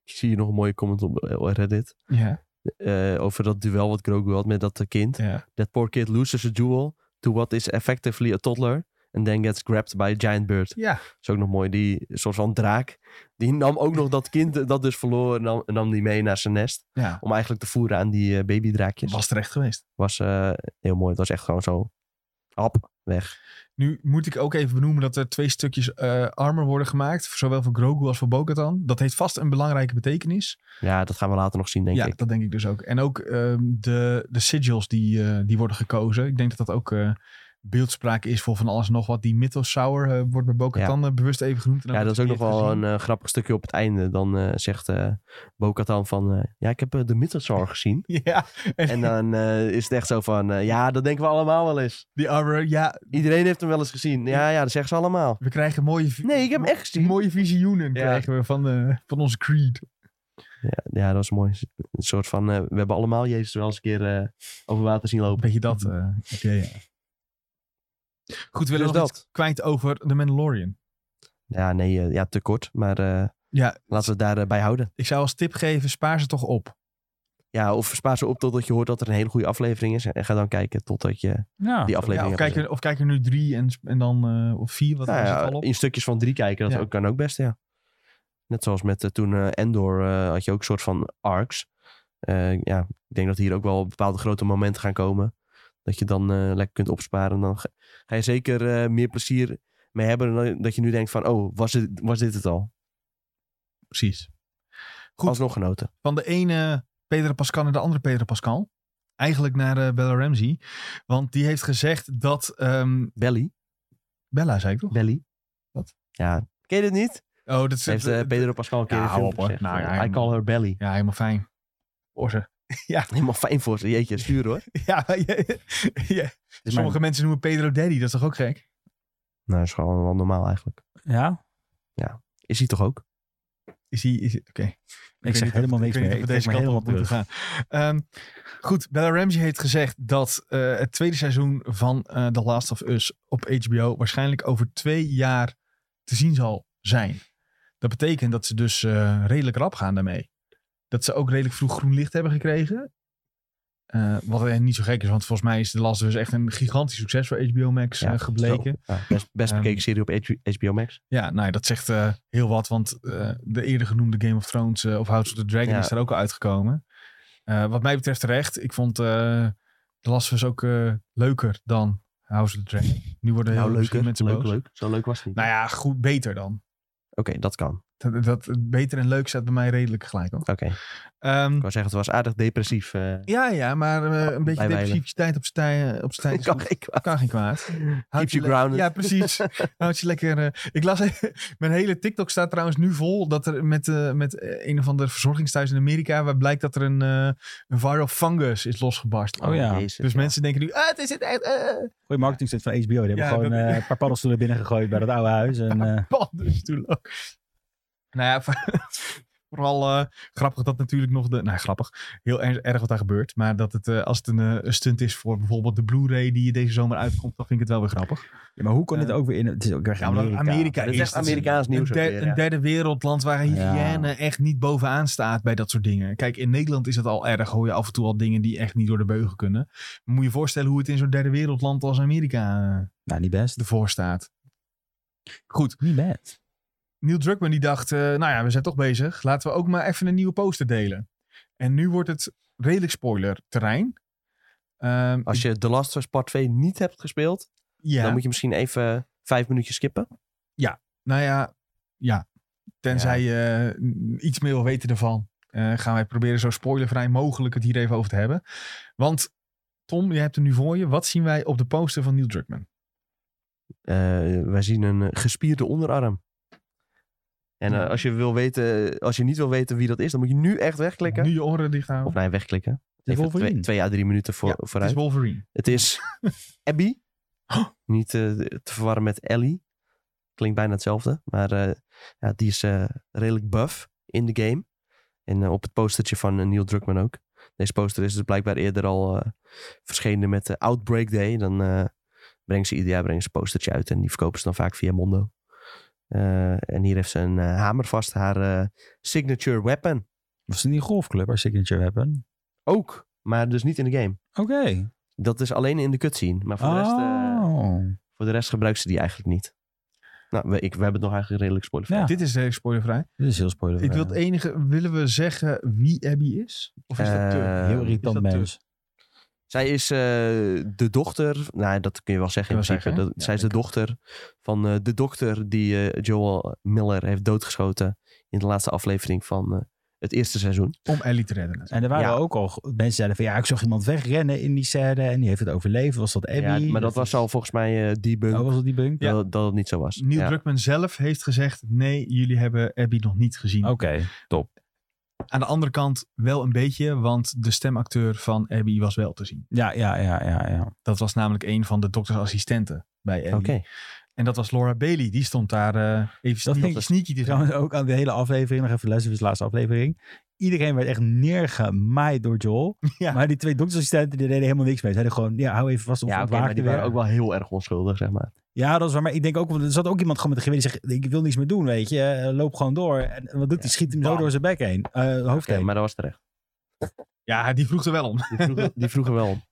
S2: Ik zie hier nog een mooie comment op eh, Reddit.
S1: Ja.
S2: eh, over dat duel wat Grogu had met dat eh, kind.
S1: ja.
S2: That poor kid loses a duel to what is effectively a toddler. And then gets grabbed by a giant bird.
S1: ja.
S2: Dat is ook nog mooi. Die soort van draak. Die nam ook nog dat kind eh, dat dus verloor. en Nam, nam die mee naar zijn nest.
S1: ja.
S2: Om eigenlijk te voeren aan die eh, babydraakjes.
S1: Was terecht geweest.
S2: Was eh, heel mooi. Het was echt gewoon zo. Hap, weg.
S1: Nu moet ik ook even benoemen dat er twee stukjes eh, armor worden gemaakt. Zowel voor Grogu als voor Bo-Katan. Dat heeft vast een belangrijke betekenis.
S2: Ja, dat gaan we later nog zien, denk
S1: ja,
S2: ik.
S1: dat denk ik dus ook. En ook ehm, de, de sigils die, eh, die worden gekozen. Ik denk dat dat ook eh, beeldspraak is voor van alles en nog wat. Die Mythosaur eh, wordt bij Bo-Katan eh, bewust even genoemd. En
S2: Ja, dat is ook nog wel
S1: gezien.
S2: een eh, grappig stukje op het einde. Dan eh, zegt eh Bo-Katan van... eh, ja, ik heb eh, de Mythosaur gezien.
S1: Ja, en,
S2: eh, En dan eh, is het echt zo van... eh, ja, dat denken we allemaal wel eens.
S1: die armor, ja,
S2: Iedereen heeft hem wel eens gezien. Ja, ja, dat zeggen ze allemaal.
S1: we krijgen mooie, vi-
S2: Nee, ik heb hem echt gezien.
S1: mooie visioenen
S2: Ja.
S1: krijgen we van, eh, van onze creed.
S2: Ja, ja, dat was mooi. Een soort van... eh, we hebben allemaal Jezus wel eens een keer eh, over water zien lopen.
S1: Beetje dat eh idee, ja. Goed, willen we
S2: Mm-hmm. Dus
S1: nog
S2: dat.
S1: iets kwijt over The Mandalorian?
S2: Ja, nee, eh, ja, te kort. Maar eh,
S1: Ja,
S2: laten we het daarbij bij houden.
S1: ik zou als tip geven, spaar ze toch op.
S2: Ja, of spaar ze op totdat je hoort dat er een hele goede aflevering is. En ga dan kijken totdat je
S3: Ja.
S2: die aflevering
S1: Ah, Ja, of,
S2: hebt
S1: kijk
S2: gezien.
S1: er, of kijk er nu drie en, en dan eh, of vier, wat
S2: Nou
S1: was het
S2: ja,
S1: al op?
S2: in stukjes van drie kijken, dat
S1: Ja.
S2: ook, kan ook best, ja. Net zoals met eh, toen eh, Endor eh, had je ook een soort van arcs. Eh, ja, ik denk dat hier ook wel bepaalde grote momenten gaan komen. Dat je dan eh, lekker kunt opsparen. En dan ga, ga je zeker eh, meer plezier mee hebben dan dat je nu denkt van... Oh, was dit, was dit het al?
S1: Precies. Goed.
S2: Alsnog genoten.
S1: van de ene Pedro Pascal naar de andere Pedro Pascal. Eigenlijk naar eh, Bella Ramsey. Want die heeft gezegd dat... ehm,
S2: Belly.
S1: Bella, zei ik toch?
S2: Belly.
S1: Wat?
S2: Ja. Ken je dit niet?
S1: Oh, dat is...
S2: Heeft eh, Pedro Pascal een keer
S1: Ja,
S2: in een
S1: hou
S2: film
S1: op, hoor.
S2: gezegd.
S1: Nou,
S2: eh,
S1: ja,
S2: I call her belly.
S1: Ja, helemaal fijn. Orze.
S2: Helemaal fijn voor ze. Jeetje, stuur hoor.
S1: Ja, je- je- sommige mensen noemen Pedro Daddy. Dat is toch ook gek?
S2: Nou, is gewoon wel normaal eigenlijk.
S3: Ja?
S2: Is hij toch ook?
S1: Is hij... Is hij- Oké.
S3: Ik zeg
S1: weet niet of-
S3: helemaal niks
S1: weet
S3: meer.
S1: niet
S3: Ik
S1: of we
S3: trek me
S1: deze kant
S3: helemaal
S1: op moeten
S3: terug.
S1: gaan. Ehm, goed, Bella Ramsey heeft gezegd dat eh, het tweede seizoen van eh, The Last of Us op HBO waarschijnlijk over twee jaar te zien zal zijn. Dat betekent dat ze dus eh, redelijk rap gaan daarmee. Dat ze ook redelijk vroeg groen licht hebben gekregen. Eh, wat eh, niet zo gek is, want volgens mij is The Last of Us echt een gigantisch succes voor HBO Max eh, gebleken.
S2: zo. Ja, best best
S1: Ehm,
S2: bekeken serie op H- HBO Max.
S1: Ja, nou ja, dat zegt eh, heel wat, want eh, de eerder genoemde Game of Thrones eh, of House of the Dragon
S2: Ja.
S1: is daar ook al uitgekomen. Eh, wat mij betreft terecht. Ik vond eh The Last of Us ook eh, leuker dan House of the Dragon. Nu worden heel
S2: Nou,
S1: veel
S2: leuker.
S1: mensen
S2: leuk,
S1: boos.
S2: leuk. Zo leuk was het niet.
S1: Nou ja, goed, beter dan.
S2: Oké, dat kan.
S1: Dat, dat, beter en leuk staat bij mij redelijk gelijk. Hoor.
S2: Oké.
S1: Ehm,
S2: Ik wou zeggen, het was aardig depressief. eh.
S1: ja, ja, maar eh, een beetje
S2: Bijwijlen.
S1: depressiviteit op z'n tij- op z'n tijd
S2: ik
S1: is
S2: kan
S1: goed.
S2: geen kwaad.
S1: kan geen kwaad.
S2: Keep
S1: Houd
S2: you
S1: le-
S2: grounded.
S1: Ja, precies. Houd je lekker. eh, ik las mijn hele TikTok staat trouwens nu vol dat er met, eh, met eh, een of ander verzorgingsthuis in Amerika waar blijkt dat er een, eh, een viral fungus is losgebarst.
S3: Oh ja.
S2: Jezus,
S1: Dus
S2: ja.
S1: mensen denken nu, ah, het is het echt. eh,
S3: Goeie marketing van HBO. Die hebben
S1: Ja,
S3: gewoon
S1: dat-
S3: eh, een paar paddenstoelen binnen gegooid bij dat oude huis. En, eh,
S1: paddenstoel ook. Nou ja, voor- vooral eh, grappig dat natuurlijk nog de... Nou, grappig. Heel erg, erg wat daar gebeurt. Maar dat het, eh, als het een, eh, een stunt is voor bijvoorbeeld de Blu-ray die deze zomer uitkomt, dan vind ik het wel weer grappig.
S3: ja, maar hoe kon
S1: Eh,
S3: dit ook weer in... Het is ook echt
S1: Ja, maar
S3: Amerika.
S1: Amerika
S2: Dat is echt
S1: dat
S2: Amerikaans
S1: een,
S2: nieuws. ook
S1: der-
S2: weer,
S1: een
S2: ja.
S1: derde wereldland waar hygiëne
S3: Ja.
S1: echt niet bovenaan staat bij dat soort dingen. Kijk, in Nederland is dat al erg. Hoor je af en toe al dingen die echt niet door de beugel kunnen. Maar moet je je voorstellen hoe het in zo'n derde wereldland als Amerika eh,
S3: Nou, niet best.
S1: ervoor staat. Goed,
S3: Niet best.
S1: Neil Druckmann die dacht, eh, nou ja, we zijn toch bezig. Laten we ook maar even een nieuwe poster delen. En nu wordt het redelijk spoiler terrein.
S2: Als je The Last of Us Part 2 niet hebt gespeeld,
S1: ja,
S2: dan moet je misschien even vijf minuutjes skippen.
S1: nou ja, ja. Tenzij je eh, iets meer wil weten ervan, eh, gaan wij proberen zo spoilervrij mogelijk het hier even over te hebben. Want Tom, je hebt hem nu voor je. Wat zien wij op de poster van Neil Druckmann?
S2: Eh, wij zien een eh, gespierde onderarm. En eh,
S1: Ja.
S2: als, je wil weten, eh, als je niet wil weten wie dat is, dan moet je nu echt wegklikken.
S1: Nu je oren dicht houden.
S2: Of nee, wegklikken.
S3: is
S2: Even
S3: Wolverine.
S2: twee, twee à drie minuten voor,
S1: Ja, het
S2: vooruit.
S1: is Wolverine.
S2: Het is Abby. Niet eh, te verwarren met Ellie. Klinkt bijna hetzelfde. Maar eh, ja, die is eh, redelijk buff in de game. En eh, op het postertje van eh, Neil Druckmann ook. Deze poster is dus blijkbaar eerder al eh, verschenen met de Outbreak Day. Dan eh, brengen ze ieder jaar brengen ze een postertje uit. En die verkopen ze dan vaak via Mondo. Eh, en hier heeft ze een eh, hamer vast. Haar eh, signature weapon.
S3: Was het niet een golfclub waar Signature Weapon?
S2: Ook. Maar dus niet in de game.
S3: Oké.
S2: Dat is alleen in de cutscene. Maar voor, de, rest, eh,
S3: Oh.
S2: voor de rest gebruikt ze die eigenlijk niet. Nou, we, ik, we hebben het nog eigenlijk redelijk spoiler.
S3: Ja.
S1: Dit is heel spoilervrij.
S3: Dit is heel spoiler.
S1: Ik wil het enige, willen we zeggen wie Abby is? Of is dat te?
S2: Eh,
S3: heel
S1: is
S3: irritant
S1: dat dus- te-
S3: mens.
S2: Zij is eh, de dochter, nou dat kun je wel zeggen in
S1: Kun je wel
S2: principe.
S1: zeggen,
S2: Dat-
S1: ja,
S2: zij is de dochter van eh, de dokter die eh, Joel Miller heeft doodgeschoten in de laatste aflevering van eh, het eerste seizoen.
S1: Om Ellie te redden. natuurlijk.
S3: En er waren
S2: Ja.
S3: ook al mensen zeiden van ja, ik zag iemand wegrennen in die scène en die heeft het overleefd. Was dat Abby?
S2: Ja, maar dat was al volgens mij eh debunk
S3: Oh, was dat die bunk?
S1: Ja.
S2: dat, dat het niet zo was.
S1: Neil
S2: Ja.
S1: Druckmann zelf heeft gezegd, nee, jullie hebben Abby nog niet gezien.
S3: Oké.
S1: Aan de andere kant wel een beetje, want de stemacteur van Abby was wel te zien.
S3: Ja, ja, ja, ja, ja.
S1: Dat was namelijk een van de doktersassistenten bij Abby.
S2: Oké.
S1: En dat was Laura Bailey. Die stond daar eh, even
S3: Dat
S1: sneaky,
S3: was-
S1: sneaky te zijn.
S3: Trouwens ook aan de hele aflevering, nog even luisteren, dus de laatste aflevering. Iedereen werd echt neergemaaid door Joel.
S1: Ja.
S3: Maar die twee doktersassistenten die deden helemaal niks mee. Zeiden gewoon, ja, hou even vast of
S2: Ja, oké, maar die waren ook wel heel erg onschuldig, zeg maar.
S3: Ja, dat is waar. Maar ik denk ook, want er zat ook iemand gewoon met een geweer die zegt, ik wil niets meer doen, weet je. Eh, Loop gewoon door. En wat doet hij? Schiet hem zo
S1: bam.
S3: door zijn bek heen. Eh hoofd
S2: Oké,
S3: heen.
S2: maar dat was terecht.
S1: Ja, die vroeg er wel om.
S2: Die vroegen, die vroegen wel om.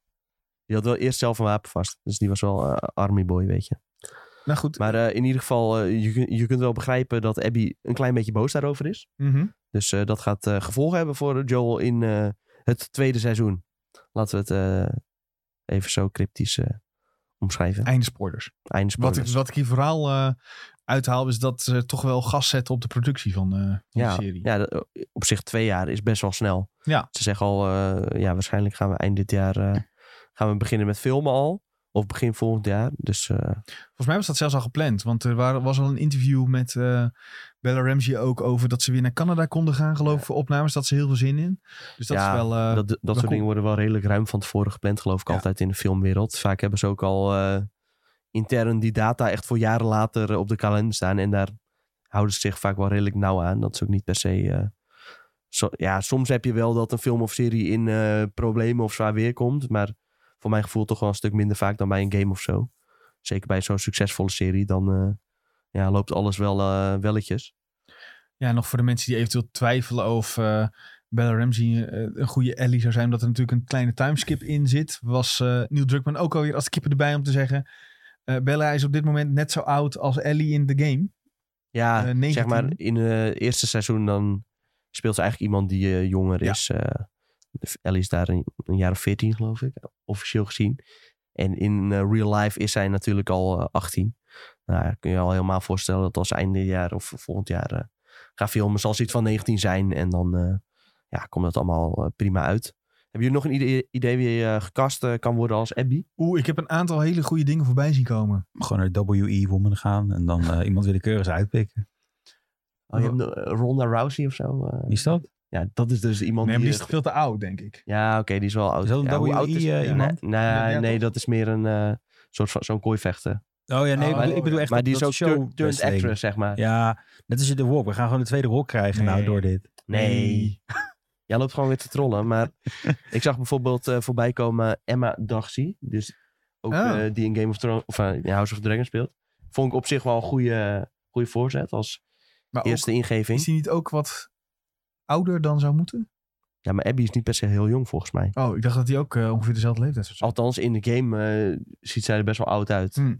S2: Die had wel eerst zelf een wapen vast. Dus die was wel eh, army boy, weet je.
S1: Nou goed.
S2: Maar eh, in ieder geval, eh, je, kun- je kunt wel begrijpen dat Abby een klein beetje boos daarover is.
S1: Mhm.
S2: Dus eh, dat gaat eh, gevolgen hebben voor Joel in eh, het tweede seizoen. Laten we het eh, even zo cryptisch eh, omschrijven.
S1: Einde spoilers.
S2: Einde
S1: Wat ik,
S2: spoilers.
S1: wat ik hier vooral eh, uithaal is dat ze toch wel gas zetten op de productie van, eh, van
S2: ja,
S1: de serie.
S2: ja, dat- eh, op zich twee jaar is best wel snel.
S1: Ja.
S2: Ze zeggen al, eh, ja, waarschijnlijk gaan we eind dit jaar eh, gaan we beginnen met filmen al. Of begin volgend jaar. Dus eh,
S1: Volgens mij was dat zelfs al gepland. Want er waren, was al een interview met eh, Bella Ramsey ook over dat ze weer naar Canada konden gaan geloof ik voor opnames. Dat ze heel veel zin in. Dus dat
S2: Ja,
S1: is wel... eh,
S2: dat, dat soort
S1: cool.
S2: dingen worden wel redelijk ruim van tevoren gepland, geloof ik,
S1: Ja.
S2: altijd in de filmwereld. Vaak hebben ze ook al eh, intern die data echt voor jaren later eh, op de kalender staan. En daar houden ze zich vaak wel redelijk nauw aan. Dat is ook niet per se. eh, zo, ja, soms heb je wel dat een film of serie in eh, problemen of zwaar weer komt. Maar voor mijn gevoel toch wel een stuk minder vaak dan bij een game of zo. Zeker bij zo'n succesvolle serie, dan eh, ja, loopt alles wel eh, welletjes.
S1: Ja, nog voor de mensen die eventueel twijfelen of eh, Bella Ramsey eh, een goede Ellie zou zijn, omdat er natuurlijk een kleine timeskip in zit, was eh Neil Druckmann ook alweer als keeper erbij om te zeggen. eh, Bella is op dit moment net zo oud als Ellie in de game.
S2: Ja,
S1: Eh,
S2: zeg
S1: 19.
S2: maar, in het eerste seizoen dan speelt ze eigenlijk iemand die eh, jonger
S1: Ja.
S2: is. eh Ellie is daar een, een jaar of 14, geloof ik, officieel gezien. En in eh, real life is zij natuurlijk al eh, 18. Nou, kun je je al helemaal voorstellen dat als einde jaar of volgend jaar eh gaan filmen, zal ze iets van 19 zijn. En dan eh, ja, komt dat allemaal eh, prima uit. Hebben jullie nog een idee, idee wie eh, gecast eh, kan worden als Abby?
S1: Oeh, ik heb een aantal hele goede dingen voorbij zien komen.
S3: Gewoon naar WE Woman gaan en dan eh, iemand willekeurigs uitpikken.
S2: Oh, je hebt, eh, Ronda Rousey of zo? eh.
S3: Wie is dat?
S2: ja, dat is dus iemand
S1: Nee, maar die
S2: die...
S1: is toch veel te oud, denk ik.
S2: Ja, oké, die is wel oud.
S3: Is dat een
S2: ja, hoe
S3: WWE,
S2: oud is
S3: eh,
S2: Nee,
S3: iemand?
S2: Nee,
S1: Ja, ja,
S2: nee,
S1: toch?
S2: dat is meer een eh, soort van zo'n kooivechter.
S3: Oh ja, nee,
S1: Oh,
S3: ik bedoel- ik bedoel echt
S2: maar die is
S3: dat
S2: ook
S3: show
S2: show turned actress, zeg maar.
S3: Ja, net als je de walk. We gaan gewoon de tweede rol krijgen nou
S1: Nee.
S3: door dit.
S2: Nee. Jij loopt gewoon weer te trollen. Maar ik zag bijvoorbeeld eh, voorbij komen Emma Darcy. Dus ook
S3: Ah.
S1: Oh.
S2: eh, die in Game of Thrones, of eh, in House of Dragon speelt. Vond ik op zich wel een goede, goede voorzet als
S1: Maar ook,
S2: eerste ingeving.
S1: is die niet ook wat ouder dan zou moeten?
S2: Ja, maar Abby is niet per se heel jong volgens mij.
S1: Oh, ik dacht dat die ook eh, ongeveer dezelfde leeftijd zou zijn.
S2: Althans, in de game eh, ziet zij er best wel oud uit.
S1: Hm.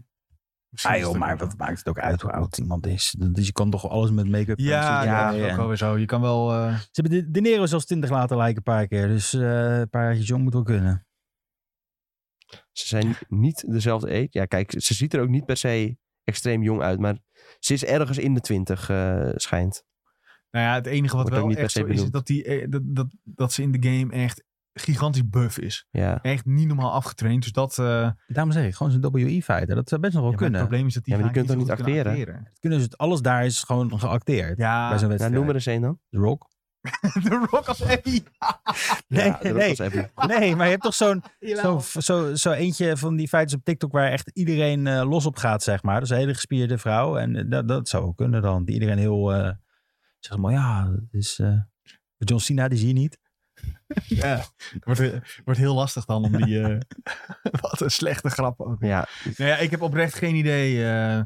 S1: Misschien
S3: Ah
S1: is
S3: joh,
S1: het
S3: maar
S1: ook wel
S3: wat maakt het ook uit hoe oud iemand is? Dus je kan toch alles met make-up.
S1: zo. Ja,
S3: en-
S1: ja, dat is
S3: en-
S1: ook alweer zo. Je kan wel... eh,
S3: Ze hebben de, de Nero zelfs 20 laten lijken een paar keer. Dus eh, een paar jaartjes jong moet wel kunnen.
S2: Ze zijn niet dezelfde eet. Ja, kijk, ze ziet er ook niet per se extreem jong uit. Maar ze is ergens in de twintig, eh, schijnt.
S1: Nou ja, het enige wat
S2: Wordt ook
S1: wel
S2: niet per
S1: echt
S2: se
S1: zo is, is
S2: benoemd.
S1: dat, die, eh, dat, dat, dat ze in de game echt gigantisch buff is.
S2: Ja.
S1: Echt niet normaal afgetraind. Dus dat, eh,
S3: Daarom zeg ik, gewoon zo'n WI-fighter. Dat zou best nog wel
S1: ja, maar
S3: kunnen.
S1: het probleem is dat die
S2: Ja, maar die
S1: vaak
S2: kunt
S1: zo
S2: toch
S1: goed
S2: niet
S1: kunnen
S3: Kunnen ze het, alles daar is gewoon geacteerd.
S1: Ja,
S3: bij
S2: Nou,
S3: zo'n wedstrijd.
S1: eh,
S2: noem er eens één dan.
S3: The Rock.
S1: de Rock als Abby.
S3: Nee,
S2: Ja, dat
S3: nee.
S2: was even-
S3: Nee, maar je hebt toch zo'n zo,
S1: Jawel.
S3: zo, zo eentje van die feitjes op TikTok waar echt iedereen eh, los op gaat, zeg maar. Dus een hele gespierde vrouw. En eh, dat, dat zou wel kunnen dan. Die iedereen heel, eh, zeg maar, ja, dat is... eh, John Cena, die zie je niet.
S1: Ja, wordt, eh, wordt heel lastig dan om die... eh, wat een slechte grap ook.
S2: Ja,
S1: Nou ja, ik heb oprecht geen idee eh,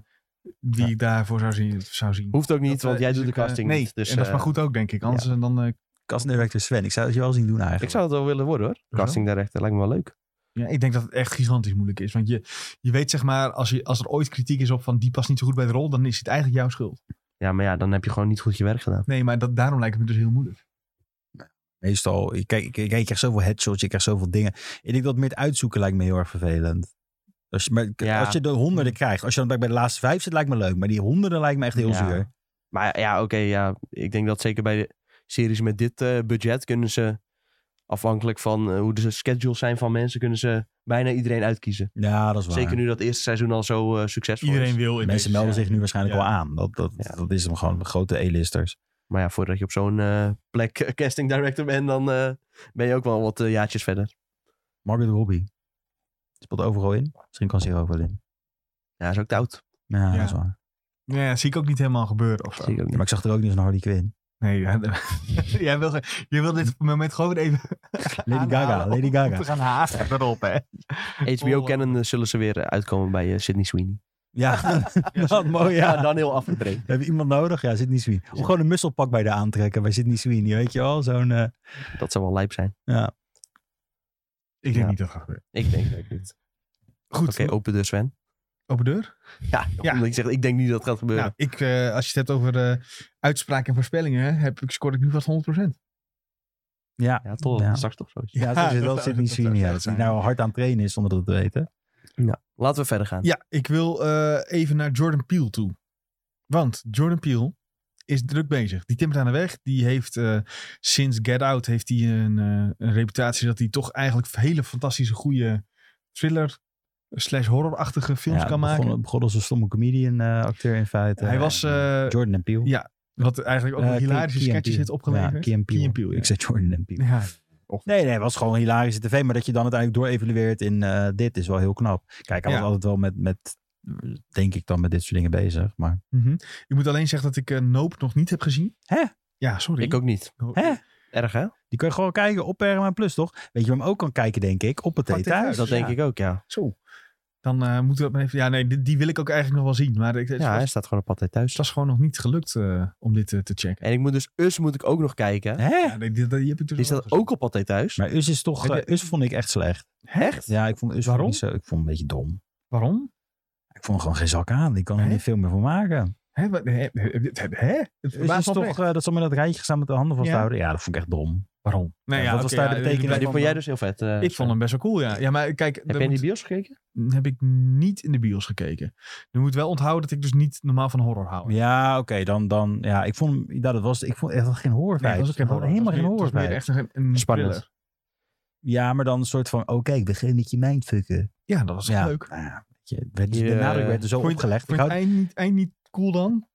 S1: wie ik daarvoor zou zien. Zou zien.
S2: hoeft ook niet,
S1: Dat,
S2: want
S1: eh,
S2: jij
S1: is
S2: doet de
S1: ook, eh,
S2: casting
S1: nee,
S2: niet. Dus,
S1: en dat is
S2: eh,
S1: maar goed ook, denk ik. Anders dan... eh,
S3: Kastdirector dus Sven, ik zou het je wel zien doen eigenlijk.
S2: Ik zou dat wel willen worden hoor.
S1: Hoezo?
S2: Casting director lijkt me wel leuk.
S1: Ja, ik denk dat het echt gigantisch moeilijk is. Want je, je weet zeg maar, als, je, als er ooit kritiek is op van die past niet zo goed bij de rol, dan is het eigenlijk jouw schuld.
S2: Ja, maar ja, dan heb je gewoon niet goed je werk gedaan.
S1: Nee, maar dat, daarom lijkt het me dus heel moeilijk.
S3: Meestal, je, kijk, je, je krijgt zoveel headshots, je krijgt zoveel dingen. Ik denk dat met uitzoeken lijkt me heel erg vervelend. Als je, maar,
S2: Ja. Hm.
S3: als je de honderden krijgt, als je dan bij de laatste vijf zit, lijkt me leuk. Maar die honderden lijkt me echt heel
S2: Ja.
S3: zuur.
S2: Maar ja, oké, ja. Ik denk dat zeker bij de series met dit eh, budget kunnen ze, afhankelijk van eh, hoe de schedules zijn van mensen, kunnen ze bijna iedereen uitkiezen.
S3: Ja, dat is waar.
S2: Zeker nu dat eerste seizoen al zo eh, succesvol is.
S1: Iedereen wil in
S3: Mensen melden zich nu waarschijnlijk
S1: Ja.
S3: al aan. Dat, dat,
S2: Ja.
S3: dat is hem gewoon, de grote E-listers.
S2: Maar ja, voordat je op zo'n eh, plek eh, casting director bent, dan eh, ben je ook wel wat eh, jaartjes verder.
S3: Margaret Robbie. Speelt overal in. Misschien kan ze hier ook wel in.
S2: Ja, is ook te oud.
S3: Ja,
S1: Ja.
S3: dat is waar.
S1: Ja, dat zie ik ook niet helemaal gebeuren of zo.
S2: Zie ik ook
S3: Ja,
S2: niet.
S3: maar ik zag er ook niet van Harley Quinn.
S1: Nee, ja, jij wil, je wil dit moment gewoon even
S3: Lady
S2: nou,
S3: Gaga, Lady Gaga.
S1: gaan haasten erop, hè.
S2: HBO kennende zullen ze weer uitkomen bij eh, Sydney Sweeney.
S3: Ja, dat mooi. Ja.
S2: Ja, dan heel afgebreken.
S3: We hebben iemand nodig. Ja, Sidney Sweeney. Of gewoon een musselpak bij de aantrekken bij Sidney Sweeney. Weet je wel, zo'n... eh,
S2: Dat zou wel lijp zijn.
S3: ja.
S1: Ik denk
S2: Ja.
S1: niet dat gaat gebeuren.
S2: Ik denk dat niet.
S1: Goed,
S2: Oké, open deur Sven.
S1: open deur.
S2: Ja,
S1: Ja.
S2: omdat ik zeg, ik denk niet dat het gaat gebeuren.
S1: Nou, ik, eh, als je het hebt over eh, uitspraken en voorspellingen, heb ik, scoor ik nu vast 100%.
S3: Ja.
S2: ja, toch.
S3: Ja.
S2: Straks toch zo.
S3: Ja, zo zit wel
S1: dat-
S3: Sidney
S1: dat-
S3: Sweeney.
S1: dat-
S3: Ja,
S1: dat-
S3: dat hij nou hard aan het trainen is zonder dat te weten.
S2: Laten we verder gaan.
S1: Ja, ik wil eh, even naar Jordan Peele toe. Want Jordan Peele is druk bezig. Die timmert aan de weg. Die heeft eh, sinds Get Out heeft hij een, eh, een reputatie dat hij toch eigenlijk hele fantastische goede thriller slash horrorachtige films
S3: Ja,
S1: kan
S3: begon,
S1: maken.
S3: begon als een stomme comedian eh, acteur in feite.
S1: Hij was, eh,
S3: Jordan en Peele.
S1: ja, Wat eigenlijk ook
S3: Eh,
S1: een
S3: Key-
S1: hilarische
S3: Key and
S1: sketches
S3: Peele.
S1: heeft opgeleverd.
S3: Ja, Key and Peele.
S1: Key and Peele, ja.
S3: Ik zei Jordan en Peele.
S1: Ja,
S3: Nee, nee, het was gewoon hilarische tv. Maar dat je dan uiteindelijk doorevalueert in eh, dit is wel heel knap. Kijk, hij
S1: Ja.
S3: was altijd wel met, met, denk ik dan, met dit soort dingen bezig. Maar
S1: mhm. Ik moet alleen zeggen dat ik eh, Nope nog niet heb gezien.
S3: Hè?
S1: Ja, sorry.
S2: Ik ook niet.
S3: hè?
S2: Erg hè?
S3: Die kun je gewoon kijken op Paramount Plus, toch? Weet je waar je hem ook kan kijken, denk ik? Op het
S1: Pak dit
S3: thuis.
S1: uit.
S2: Dus Dat denk
S1: Ja.
S2: ik ook, ja.
S1: Zo. Dan eh, moeten we dat maar even... Ja, nee, die, die wil ik ook eigenlijk nog wel zien. Maar ik, het
S2: Ja,
S1: was-
S2: hij staat gewoon op altijd
S1: Het
S2: thuis.
S1: was gewoon nog niet gelukt eh, om dit eh, te checken.
S2: En ik moet dus Us moet ik ook nog kijken.
S3: Hè?
S1: Ja, die, die, die heb ik dus
S2: Die
S1: al
S2: staat
S1: gezien.
S2: ook op altijd thuis.
S3: Maar Us is toch...
S1: Heb je-
S3: eh, Us vond ik echt slecht.
S2: Echt?
S3: Ja, ik vond Us vond ik
S1: Waarom?
S3: niet zo... Ik vond hem een beetje dom.
S1: Waarom?
S3: Ik vond er gewoon geen zak aan. Ik kan er
S1: Hè?
S3: niet veel meer van maken.
S1: Hè? Wat- hè? Hè? Hè? Het
S3: Us is
S1: verbaast me
S3: toch
S1: oprecht.
S3: eh, dat ze me dat rijtje samen met de handen vasthouden? Ja. dat vond ik echt dom.
S1: Waarom? Nou
S3: Ja,
S1: ja,
S3: wat was
S1: oké,
S3: daar de
S1: ja,
S3: betekenis
S2: Ja,
S1: ik-
S2: die
S3: van-
S2: vond jij dus heel vet. eh,
S1: Ik vond hem best wel cool, ja. Ja, maar kijk,
S2: Heb
S1: er
S2: jij in die
S1: moet-
S2: bios gekeken?
S1: heb ik niet in de bios gekeken. Je moet wel onthouden dat ik dus niet normaal van horror hou.
S3: Ja, oké, dan, dan... Ja, ik vond hem... Ja, dat was... Ik vond echt dat geen horror.
S1: Nee, dat was ook geen horror.
S3: Helemaal
S1: Het
S3: geen
S1: was meer-
S3: horror.
S1: het was meer echt een, een
S2: Spannend.
S1: thriller.
S3: Ja, maar dan een soort van... oh, Oké, ik begin met je mindfucken.
S1: Ja, dat was
S3: ja.
S1: leuk.
S3: Nou ja, weet je, werd-
S2: Je-
S3: de nadruk werd er zo
S1: Vond je-
S3: opgelegd.
S1: Vond
S3: Ik
S1: je
S3: hou...
S1: het eind niet, eind niet cool dan?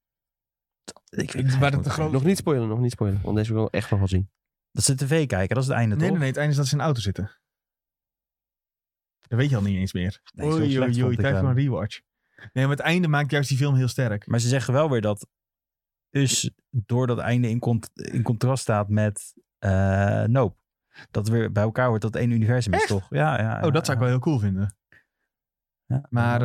S3: Ik,
S1: Ik- waar het te groot-
S2: Nog niet spoilen, nog niet spoilen. Want deze wil ik echt nog wel zien.
S3: Dat ze tv kijken, dat is het einde,
S1: Nee, nee,
S3: toch?
S1: nee. Het einde is dat ze in de auto zitten. Dat weet je al niet eens meer.
S3: Nee, zo slecht vond ik
S1: tijd
S3: hem.
S1: voor een rewatch. Nee, maar het einde maakt juist die film heel sterk.
S3: Maar ze zeggen wel weer dat dus door dat einde in, cont- in contrast staat met eh Nope. Dat weer bij elkaar wordt dat één universum is,
S1: Echt?
S3: toch? Ja, ja.
S1: Oh, dat zou ik wel heel cool vinden.
S3: wel.
S1: Maar,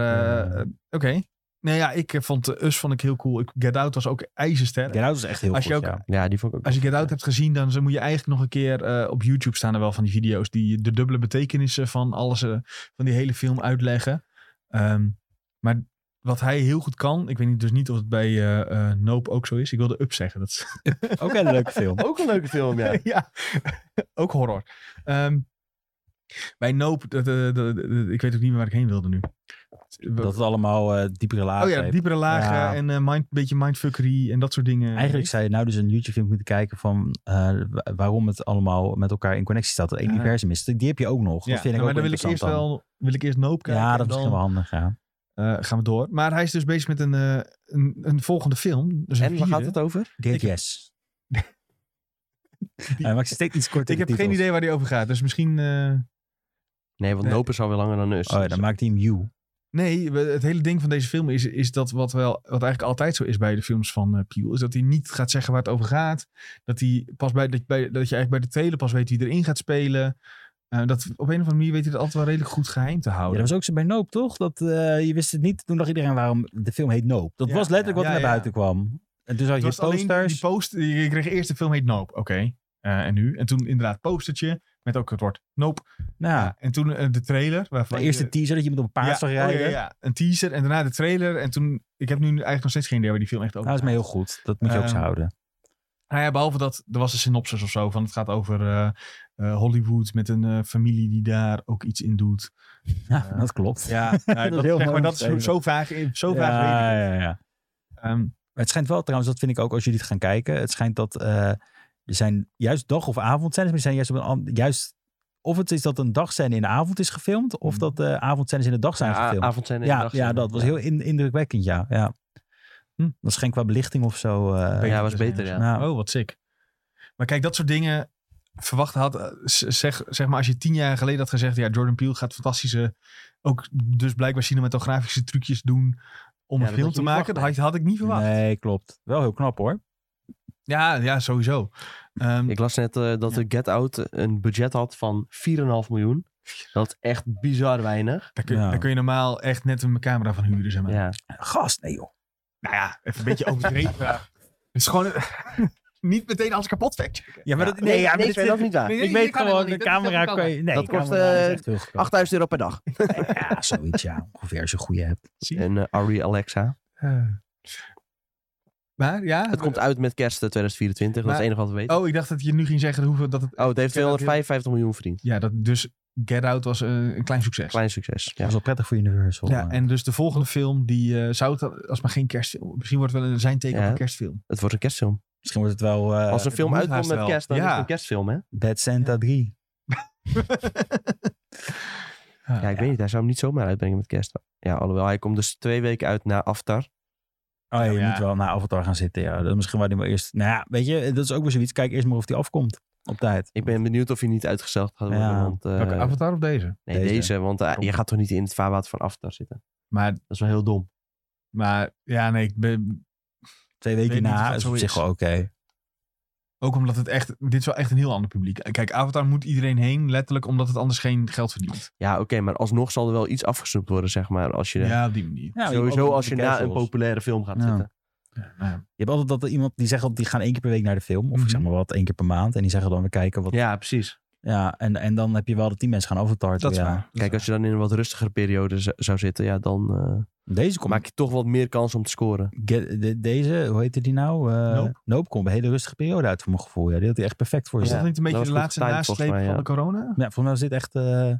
S1: eh, oké. Nee, ja, ik eh, vond eh, Us vond ik heel cool. Ik, Get Out was ook ijzersterk.
S3: Get Out is echt heel
S1: Als
S3: goed,
S1: je ook-
S3: ja.
S2: Ja, die vond ik ook.
S1: Als je Get Out hebt gezien, dan zo moet je eigenlijk nog een keer... eh, op YouTube staan er wel van die video's die de dubbele betekenissen van alles... eh, van die hele film uitleggen. Ehm, maar wat hij heel goed kan... Ik weet niet, dus niet of het bij eh, eh, Nope ook zo is. Ik wilde Up zeggen. Dat is-
S3: Ook een leuke film.
S2: Ook een leuke film, ja.
S1: ja, ook horror. Ehm, bij Nope, dat, eh, dat- dat- dat- ik weet ook niet meer waar ik heen wilde nu.
S3: Dat het allemaal eh, diepere lagen
S1: Oh ja,
S3: heeft.
S1: diepere lagen
S3: Ja.
S1: en een mind, beetje mindfuckery en dat soort dingen.
S3: Eigenlijk zou je nou dus een YouTube-film moeten kijken van eh, wa- waarom het allemaal met elkaar in connectie staat. Dat één
S1: Ja.
S3: universum is. Die heb je ook
S1: Ja,
S3: nog.
S1: Nou,
S3: Dat vind ik
S1: maar
S3: ook
S1: dan wil ik eerst
S3: interessant
S1: wel wil ik eerst Nope
S3: dan.
S1: kijken.
S3: Ja,
S1: en
S3: dat is misschien wel
S1: dan,
S3: handig, ja.
S1: eh, gaan we door. Maar hij is dus bezig met een, eh, een, een volgende film. Dus een
S2: En waar gaat
S1: vierde.
S2: het over?
S3: Dit
S1: Ik-
S3: yes. Hij maakt steeds iets korter
S1: Ik heb
S3: de
S1: geen
S3: titels.
S1: idee waar die over gaat. Dus misschien... eh,
S2: Nee, want
S1: Nee.
S2: Nope is alweer langer dan Us.
S3: Oh ja, dan Oh maakt hij hem You.
S1: Nee, we- het hele ding van deze film is, is dat wat, wel, wat eigenlijk altijd zo is bij de films van eh Piel. Is dat hij niet gaat zeggen waar het over gaat. Dat, hij pas bij, dat, bij, dat je eigenlijk bij de trailer pas weet wie erin gaat spelen. Eh, dat, op een of andere manier weet hij dat altijd wel redelijk goed geheim te
S3: Ja,
S1: houden.
S3: dat was ook zo bij Nope, toch? Dat, eh, je wist het niet. Toen dacht iedereen waarom de film heet Nope. Dat
S1: Ja,
S3: was letterlijk
S1: ja.
S3: wat er
S1: Ja,
S3: naar
S1: ja.
S3: buiten kwam. En toen zag je
S1: Het was alleen die
S3: posters.
S1: poster. Je kreeg eerst de film heet Nope. Oké. Eh, en nu? En toen inderdaad postertje met ook het woord Nope.
S3: Nou,
S1: En toen eh, de trailer. Waarvan
S3: de eerste
S1: je-
S3: teaser dat je met op een paard zag
S1: oh
S3: rijden.
S1: ja, ja. Een teaser en daarna de trailer. En toen, ik heb nu eigenlijk nog steeds geen idee waar die film echt over
S3: Nou, dat is me heel goed. Dat moet je ook
S1: Ehm,
S3: zo houden.
S1: Nou ja, behalve dat er was een synopsis of zo van het gaat over eh, eh, Hollywood met een eh, familie die daar ook iets in doet.
S3: Ja,
S1: eh,
S3: dat klopt.
S1: Ja,
S3: is
S1: dat,
S3: heel
S1: zeg
S3: mooi
S1: maar, dat is zo,
S3: omschreven.
S1: zo vaag, zo vaag weet ik
S3: ja,
S1: het.
S3: ja, ja.
S1: Ehm,
S3: Maar het schijnt wel trouwens, dat vind ik ook als jullie het gaan kijken. Het schijnt dat eh, er zijn juist dag of avond zijn, maar zijn juist op een an- juist of het is dat een dagscène in de avond is gefilmd, of
S1: Hmm.
S3: dat de avondscènes in de dag zijn
S2: Ja,
S3: gefilmd.
S2: avond zijn en
S3: Mm. ja,
S2: dag
S3: ja,
S2: zijn.
S3: dat was
S2: Ja.
S3: heel in- indrukwekkend, ja. ja.
S1: Hm.
S3: Dat is geen qua belichting of zo. eh,
S1: Beter
S2: Ja, was
S1: te zijn
S2: beter,
S1: of
S2: ja.
S1: zo.
S3: nou,
S1: Oh, wat sick. Maar kijk, dat soort dingen verwacht had. eh, z- Zeg, zeg maar, als je tien jaar geleden had gezegd, ja, Jordan Peele gaat fantastische, ook dus blijkbaar cinematografische trucjes doen om
S2: Ja,
S1: een
S2: dat
S1: film
S2: had je
S1: te
S2: niet
S1: maken. Dat had,
S2: verwacht,
S1: had ik niet verwacht.
S3: nee, klopt. Wel heel knap hoor.
S1: Ja, ja, sowieso. Ehm,
S2: Ik las net eh, dat
S1: Ja.
S2: de Get Out een budget had van 4,5 miljoen. Dat is echt bizar weinig.
S1: daar, kun,
S3: Ja.
S1: daar kun je normaal echt net een camera van huren, zeg maar.
S2: Ja.
S3: Gast, nee joh.
S1: Nou ja, even een beetje overdreven. vraag. Het is gewoon niet meteen alles kapot factchecken.
S3: Ja, maar dat, nee,
S2: Nee,
S3: ja, maar
S2: nee,
S3: dit-
S2: nee, dat is niet waar.
S1: Nee,
S3: ik
S1: nee,
S3: weet
S1: dat kan helemaal
S3: gewoon,
S1: niet.
S3: de
S1: Dat is
S3: camera
S1: helemaal
S3: kan je... Nee,
S2: Dat kost,
S3: camera is
S2: eh,
S3: echt heel goedkoop.
S2: 8000 euro per dag.
S3: Ja, zoiets ja. Ongeveer als je een goede hebt.
S1: Zie je?
S2: En eh, Ari Alexa.
S1: Eh, maar ja,
S2: Het komt uit met kerst eh, 2024. dat
S1: Maar-
S2: is het enige wat we weten.
S1: Oh, ik dacht dat je nu ging zeggen hoeveel dat het.
S2: Oh, het heeft
S1: Get Out
S2: 255 miljoen verdiend.
S1: Ja, dat dus Get Out was eh, een klein succes.
S2: Klein succes.
S3: Dat
S2: Ja.
S3: is wel prettig voor Universal.
S1: Ja,
S3: eh.
S1: en dus de volgende film die eh, zou het als maar geen kerstfilm. Misschien wordt het wel een zijn teken
S2: Ja.
S1: op een kerstfilm.
S2: Het wordt een kerstfilm.
S3: Misschien wordt het wel eh,
S2: Als een film
S1: moet
S2: uitkomt
S1: haast
S2: met
S1: wel.
S2: kerst, dan
S1: Ja.
S2: is het een kerstfilm, hè?
S3: Bad Santa 3.
S1: Ah,
S2: Ja, ik weet niet. Hij zou hem niet zomaar uitbrengen met kerst. Ja, alhoewel. Hij komt dus twee weken uit na Aftar.
S3: Oh ja, je
S1: Ja.
S3: moet wel naar Avatar gaan zitten. Ja. Dat is misschien waar die maar eerst... Nou ja, weet je, dat is ook weer zoiets. Kijk eerst maar of die afkomt op tijd.
S2: Ik ben benieuwd of hij niet uitgesteld gaat worden.
S3: Ja.
S2: Want, eh,
S1: Welke avatar of deze?
S2: nee,
S3: Deze.
S2: deze. Want eh, je gaat toch niet in het vaarwater van Aftar zitten?
S1: Maar,
S2: Dat is wel heel dom.
S1: maar ja, nee, ik ben,
S3: Twee
S1: Weet
S3: weken
S1: niet of
S3: na
S1: dat
S3: is
S1: zo
S3: op zich
S1: is.
S3: wel oké.
S1: ook omdat het echt, dit is wel echt een heel ander publiek. Kijk, Avatar moet iedereen heen, letterlijk, omdat het anders geen geld verdient.
S2: Ja, oké, maar alsnog zal er wel iets afgesnoept worden, zeg maar. Als je,
S1: Ja, op die manier.
S3: Ja,
S2: sowieso
S3: ook
S2: als je
S3: de
S2: na
S3: cancels.
S2: een populaire film gaat
S3: Ja.
S2: zitten.
S1: nou
S3: Je hebt altijd dat er iemand die zegt, dat die gaan één keer per week naar de film. Of ik
S1: Mhm.
S3: zeg maar wat, één keer per maand. En die zeggen dan, we kijken wat... Ja,
S2: Ja, precies.
S3: en, en dan heb je wel dat die mensen gaan Avatar.
S1: Dat is
S3: ja.
S1: waar.
S2: Kijk, als je dan in een wat rustigere periode z- zou zitten, ja, dan eh,
S3: Deze komt...
S2: maak je toch wat meer kans om te scoren.
S3: Get- de- deze, hoe heette die nou? Eh
S1: Nope.
S3: komt een hele rustige periode uit voor mijn gevoel. Ja, die had hij echt perfect voor
S1: Was
S3: je.
S1: dat
S3: Ja.
S2: Ja.
S1: niet een beetje
S2: dat
S1: de
S2: was goed
S1: laatste
S2: getimed, volgens
S1: nasleep
S2: mij,
S1: van
S2: ja.
S1: de corona? Ik
S3: volgens mij is dit echt... eh,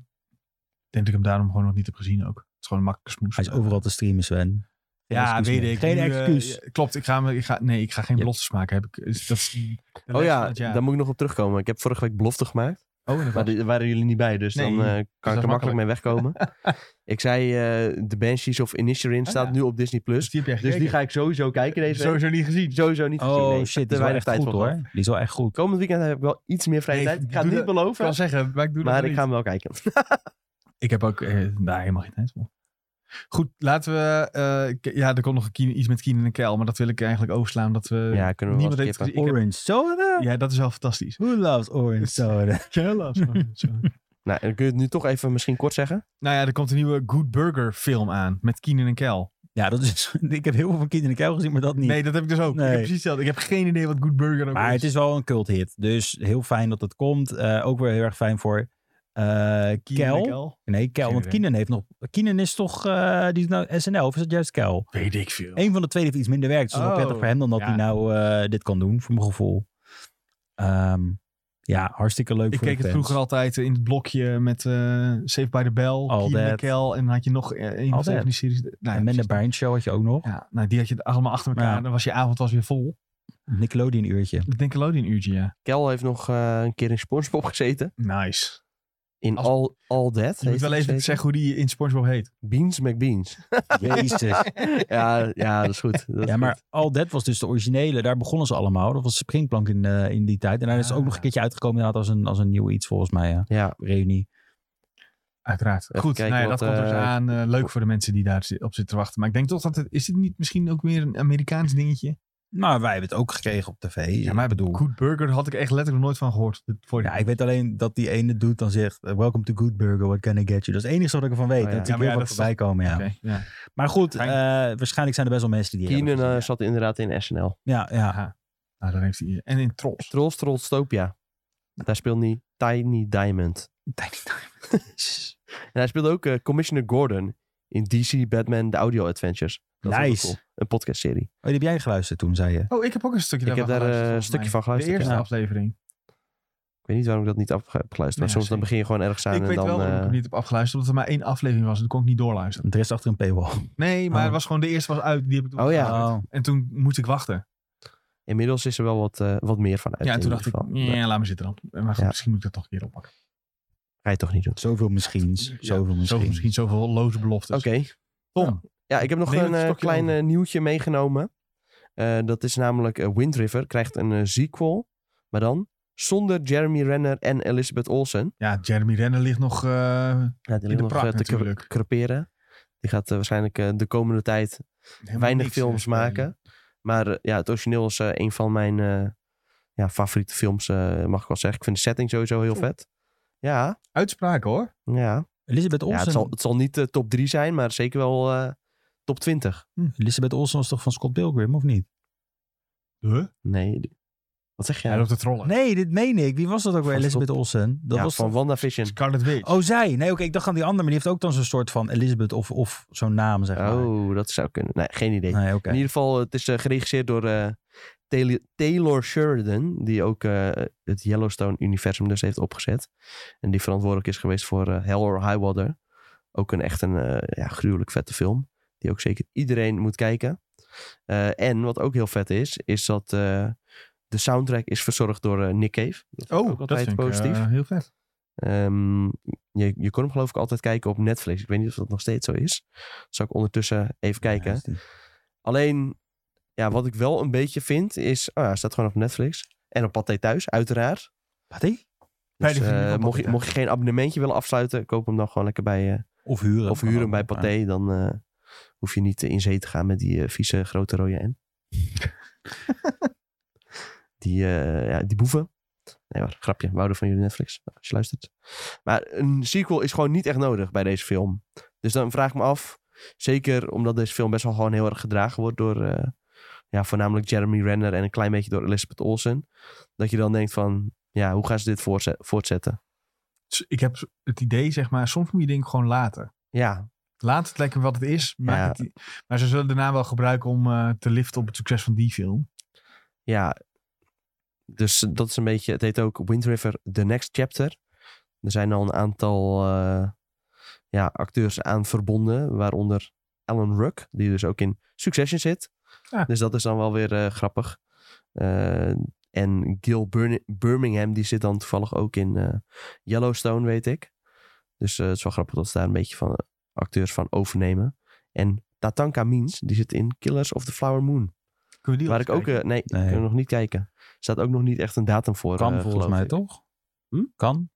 S1: denk dat ik hem daarom gewoon nog niet heb gezien ook. Het is gewoon een makkelijke smoes.
S3: hij is overal te streamen, Sven. Geen
S1: Ja,
S3: excuus
S1: weet
S3: meer.
S1: ik.
S3: Geen
S1: Nu, eh,
S3: excuus.
S1: ja, klopt, ik ga, me- ik ga, nee, ik ga geen
S2: Ja.
S1: beloftes maken. Heb ik, is- dat is de
S2: Oh
S1: les van
S2: ja,
S1: het jaar.
S2: daar moet ik nog op terugkomen. Ik heb vorige week belofte gemaakt,
S1: Oh, en dat
S2: maar
S1: was-
S2: daar waren jullie niet bij. Dus
S1: Nee,
S2: dan eh, kan ik
S1: dat
S2: er makkelijk
S1: makkelijk.
S2: mee wegkomen. ik zei, eh The Banshees of Inisherin
S1: Ah,
S2: staat
S1: ja.
S2: nu op Disney+.
S1: dus
S2: Plus,
S1: die heb jij
S2: dus
S1: gekeken.
S2: die ga ik sowieso kijken deze week.
S1: Sowieso niet gezien.
S2: Sowieso niet gezien. nee.
S3: Oh
S2: Ik heb
S3: shit,
S2: er
S3: die is wel
S2: weinig
S3: echt
S2: tijd
S3: goed
S2: voor
S3: hoor.
S2: gehad.
S3: Die is wel echt goed.
S2: Komend weekend heb ik wel iets meer vrije
S1: Nee,
S2: tijd. Ik ga
S1: doe
S2: het niet
S1: dat- Ik
S2: beloven,
S1: kan zeggen, maar ik doe dat
S2: maar ik
S1: niet.
S2: ga hem wel kijken.
S1: Ik heb ook eh, daar helemaal geen tijd voor. Goed, laten we... eh, k- ja, er komt nog een Keen- iets met Keen en Kel, maar dat wil ik eigenlijk overslaan. omdat we
S2: Ja, kunnen we
S1: niemand
S2: wel
S1: heeft
S2: skippen.
S1: gezien. Ik
S3: Orange soda?
S1: heb- Ja, dat is wel fantastisch.
S3: Who loves orange soda?
S2: Nou, dan kun je het nu toch even misschien kort zeggen.
S1: Nou ja, er komt een nieuwe Good Burger film aan met Keenan en Kel.
S3: Ja, dat is, ik heb heel veel van Kind in de Kuil gezien, maar dat niet.
S1: Nee, dat heb ik dus ook.
S3: Nee.
S1: Ik heb precies hetzelfde. Ik heb geen idee wat Good Burger ook
S3: maar
S1: is.
S3: het is wel een cult hit. Dus heel fijn dat het komt. Eh, ook weer heel erg fijn voor eh
S1: Keenan en
S3: Kel. Nee, Kel.
S1: Geen
S3: Want
S1: idee.
S3: Keenan heeft nog... Keenan is toch... eh, die is nou SNL of is dat juist Kel?
S1: Weet ik veel.
S3: Eén van de twee heeft iets minder werkt. Dus het is wel
S1: Oh,
S3: prettig voor hem dan dat
S1: ja.
S3: hij nou eh, dit kan doen, voor mijn gevoel. Ehm, ja, hartstikke leuk
S1: Ik
S3: voor
S1: keek
S3: de
S1: het
S3: fans.
S1: vroeger altijd eh, in het blokje met eh Save by the Bell,
S3: All
S1: Keenan en
S3: That.
S1: Kel. En dan had je nog eh, een
S3: All
S1: of twee
S3: That.
S1: van die series. Nou, ja,
S3: En Men in
S1: precies.
S3: Barnes Show had je ook nog.
S1: Ja, nou, die had je allemaal achter elkaar.
S3: Ja.
S1: Dan was je avond was weer vol.
S3: Nickelodeon uurtje.
S1: Ik denk een uurtje, ja.
S2: Kel heeft nog eh, een keer in SpongeBob gezeten.
S1: Nice.
S2: In
S1: Als-
S2: All, All That.
S1: Je moet
S2: heeft
S1: wel
S2: hij
S1: even
S2: gezeten.
S1: zeggen hoe die in Spongebob heet.
S2: Beans McBeans.
S3: Jezus.
S2: ja, ja, dat is goed. Dat is
S3: Ja, maar
S2: goed.
S3: All That was dus de originele. Daar begonnen ze allemaal. Dat was de springplank in, eh, in die tijd. En daar is het ook nog een
S1: Ah.
S3: keertje uitgekomen inderdaad als een, als een nieuw iets volgens mij. Ja.
S2: Ja,
S3: Reunie.
S1: Uiteraard.
S2: Even
S1: Goed,
S2: kijken
S1: nou ja, dat
S2: wat,
S1: komt er eens
S2: eh,
S1: aan. Eh, leuk voor de mensen die daar zi- op zitten te wachten. Maar ik denk toch dat het... Is dit niet misschien ook meer een Amerikaans dingetje?
S3: Maar wij hebben het ook gekregen op tv.
S1: Ja, maar
S3: ik bedoel...
S1: Good Burger had ik echt letterlijk nog nooit van gehoord. Dit- Voor
S3: Ja, ik weet alleen dat die ene doet dan zegt... eh, Welcome to Good Burger, what can I get you? Dat is het enige wat ik ervan weet.
S2: Oh ja.
S3: Dat
S1: Ja,
S3: ik
S1: maar ja,
S3: heel wat
S1: dat is
S3: voorbij komen, ja.
S1: Oké, ja.
S3: Maar goed,
S1: Fijn.
S3: eh, waarschijnlijk zijn er best wel mensen die... die
S2: Keenan
S3: hebben
S2: eh,
S3: gezien,
S2: zat inderdaad in SNL.
S3: ja. ja, ja.
S1: Aha. Nou, dan heeft hij... En in Trolls.
S2: Trolls, Trollstopia. Daar speelde hij Tiny Diamond. En hij speelde ook eh, Commissioner Gordon in DC Batman The Audio Adventures. Dat vond ik
S3: Nice.
S2: cool. Een podcastserie.
S3: Oh, die heb jij geluisterd toen, zei je.
S1: Oh, ik heb ook een stukje
S2: Ik heb
S1: daarvan
S2: daar eh, een
S1: geluisterd, volgens mij.
S2: stukje van geluisterd.
S1: De eerste
S2: ja.
S1: aflevering.
S2: Ik weet niet waarom ik dat niet af heb geluisterd.
S1: Ja,
S2: Maar soms dan
S1: zeker.
S2: begin je gewoon ergens aan
S1: ik
S2: en
S1: weet
S2: dan...
S1: wel waarom ik
S2: eh,
S1: hem niet heb afgeluisterd. Omdat er maar één aflevering was en toen kon ik niet doorluisteren.
S3: De rest achter een paywall.
S1: Nee, maar
S3: Oh.
S1: het was gewoon de eerste was uit. Die heb ik toen
S2: Oh ja.
S1: afgeluisterd.
S3: Oh.
S1: En toen moest ik wachten.
S2: Inmiddels is er wel wat, eh, wat meer van uit.
S1: ja, en
S2: in
S1: toen dacht
S2: ieder
S1: ik, mm,
S2: geval.
S1: ja, laat me zitten dan. Maar goed,
S2: Ja.
S1: misschien moet ik dat toch een keer oppakken.
S2: Ga je toch niet doen.
S3: Zoveel misschien's.
S1: Ja,
S3: Zoveel misschien.
S1: Zoveel, misschien zoveel loze beloftes.
S2: Oké. Nou.
S1: Tom,
S2: Ja, ik heb nog
S1: Neem het
S2: een eh,
S1: stokje
S2: klein
S1: over.
S2: eh, nieuwtje meegenomen. Eh, dat is namelijk eh, Wind River krijgt een eh, sequel. Maar dan zonder Jeremy Renner en Elizabeth Olsen.
S1: ja, Jeremy Renner ligt nog... eh,
S2: Ja, die
S1: In
S2: ligt
S1: de
S2: nog
S1: prak
S2: eh, te kra-
S1: natuurlijk.
S2: creperen. Die gaat eh, waarschijnlijk eh, de komende tijd
S1: helemaal
S2: weinig
S1: niks,
S2: films
S1: eh,
S2: maken. Maar eh, ja, het origineel is eh, een van mijn eh, ja, favoriete films, eh, mag ik wel zeggen. Ik vind de setting sowieso heel vet. Ja,
S1: Uitspraken hoor.
S2: ja.
S3: Elizabeth
S2: ja
S3: Olsen.
S2: het, zal, het zal niet de top 3 zijn, maar zeker wel eh, top 20.
S3: Elizabeth Olsen was toch van Scott Pilgrim, of niet?
S1: Huh?
S2: Nee. die- Wat zeg
S1: Hij
S2: jij?
S1: loopt te trollen.
S3: Nee, dit meen ik. Wie was dat ook weer?
S2: Van
S3: Elizabeth Olsen. Dat
S2: ja,
S3: was
S2: van
S3: toch-
S2: WandaVision.
S1: Scarlet Witch.
S3: Oh, zij. Nee, oké. ik dacht aan die andere, maar die heeft ook dan zo'n soort van Elizabeth of, of zo'n naam, zeg maar.
S2: Oh, dat zou kunnen. Nee, geen idee.
S3: Nee, oké.
S2: In ieder geval, het is eh, geregisseerd door eh, Taylor- Taylor Sheridan, die ook eh, het Yellowstone-universum dus heeft opgezet. En die verantwoordelijk is geweest voor eh, Hell or High Water. Ook een echt een eh, ja, gruwelijk vette film, die ook zeker iedereen moet kijken. Eh, en wat ook heel vet is, is dat eh, de soundtrack is verzorgd door eh, Nick Cave. Dat vind ik
S1: Oh, dat vind ik eh, heel vet.
S2: Ehm, je, je kon hem geloof ik altijd kijken op Netflix. Ik weet niet of dat nog steeds zo is. Zal ik ondertussen even kijken.
S3: Ja, dat is die.
S2: Alleen, ja, wat ik wel een beetje vind is... Oh ja, hij staat gewoon op Netflix. En op Pathé Thuis, uiteraard.
S3: Patty?
S1: Bij
S2: Dus,
S1: de vrienden
S2: eh,
S1: van
S2: mocht, je,
S1: Pathé
S2: mocht je geen abonnementje willen afsluiten... koop hem dan gewoon lekker bij... eh,
S3: Of huren.
S2: of
S3: Kan
S2: huur hem
S3: ook.
S2: bij Pathé. Dan eh, hoef je niet eh, in zee te gaan met die eh, vieze grote rode N. die, eh, ja, die boeven. Nee hoor, grapje. We houden van jullie Netflix, nou, als je luistert. Maar een sequel is gewoon niet echt nodig bij deze film. Dus dan vraag ik me af, zeker omdat deze film best wel gewoon heel erg gedragen wordt door... eh, ja, voornamelijk Jeremy Renner en een klein beetje door Elizabeth Olsen. Dat je dan denkt van, ja, hoe gaan ze dit voortze- voortzetten?
S1: S- Ik heb het idee, zeg maar, soms moet je dingen gewoon laten.
S2: Ja,
S1: Laat het lekker wat het is. Maar,
S2: Ja.
S1: het, maar ze zullen daarna wel gebruiken om eh, te liften op het succes van die film.
S2: ja, dus dat is een beetje. Het heet ook Wind River The Next Chapter. Er zijn al een aantal eh, ja, acteurs aan verbonden, waaronder Alan Ruck, die dus ook in Succession zit.
S1: Ah.
S2: Dus dat is dan wel weer eh, grappig. Eh, en Gil Burn- Birmingham, die zit dan toevallig ook in eh, Yellowstone, weet ik. Dus eh, het is wel grappig dat ze daar een beetje van eh, acteurs van overnemen. En Tatanka Means, die zit in Killers of the Flower Moon.
S1: Kunnen we die
S2: Waar
S1: eens
S2: ik ook...
S1: kijken?
S2: eh, nee, ik
S3: Nee.
S2: kan nog niet kijken. Er staat ook nog niet echt een datum voor.
S3: Kan
S2: eh,
S3: volgens
S2: geloof
S3: mij
S2: ik.
S3: toch?
S2: Hm?
S3: Kan.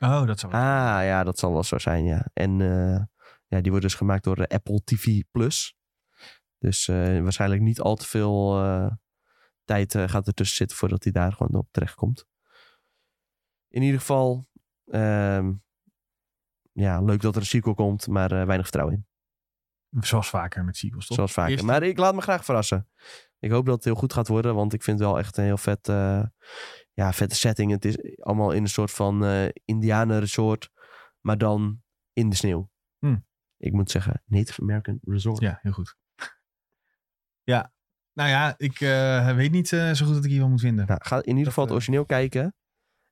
S1: Oh, dat zou wel.
S2: Ah, ja, dat zal wel zo zijn, ja. En eh, ja, die wordt dus gemaakt door eh, Apple TV+. Plus. Dus eh, waarschijnlijk niet al te veel eh, tijd eh, gaat ertussen zitten voordat hij daar gewoon op terechtkomt. In ieder geval, ehm, ja, leuk dat er een sequel komt, maar eh, weinig vertrouwen in.
S1: Zoals vaker met sequels, toch?
S2: Zoals vaker.
S1: Eerst-
S2: Maar ik laat me graag verrassen. Ik hoop dat het heel goed gaat worden, want ik vind het wel echt een heel vet, eh, ja, vette setting. Het is allemaal in een soort van eh indianenresort, maar dan in de sneeuw.
S1: Hm.
S2: Ik moet zeggen, Native American Resort.
S1: Ja, heel goed. Ja, nou ja, ik eh, weet niet eh, zo goed wat ik hiervan moet vinden.
S2: Nou, ga in ieder geval het
S1: eh,
S2: origineel kijken.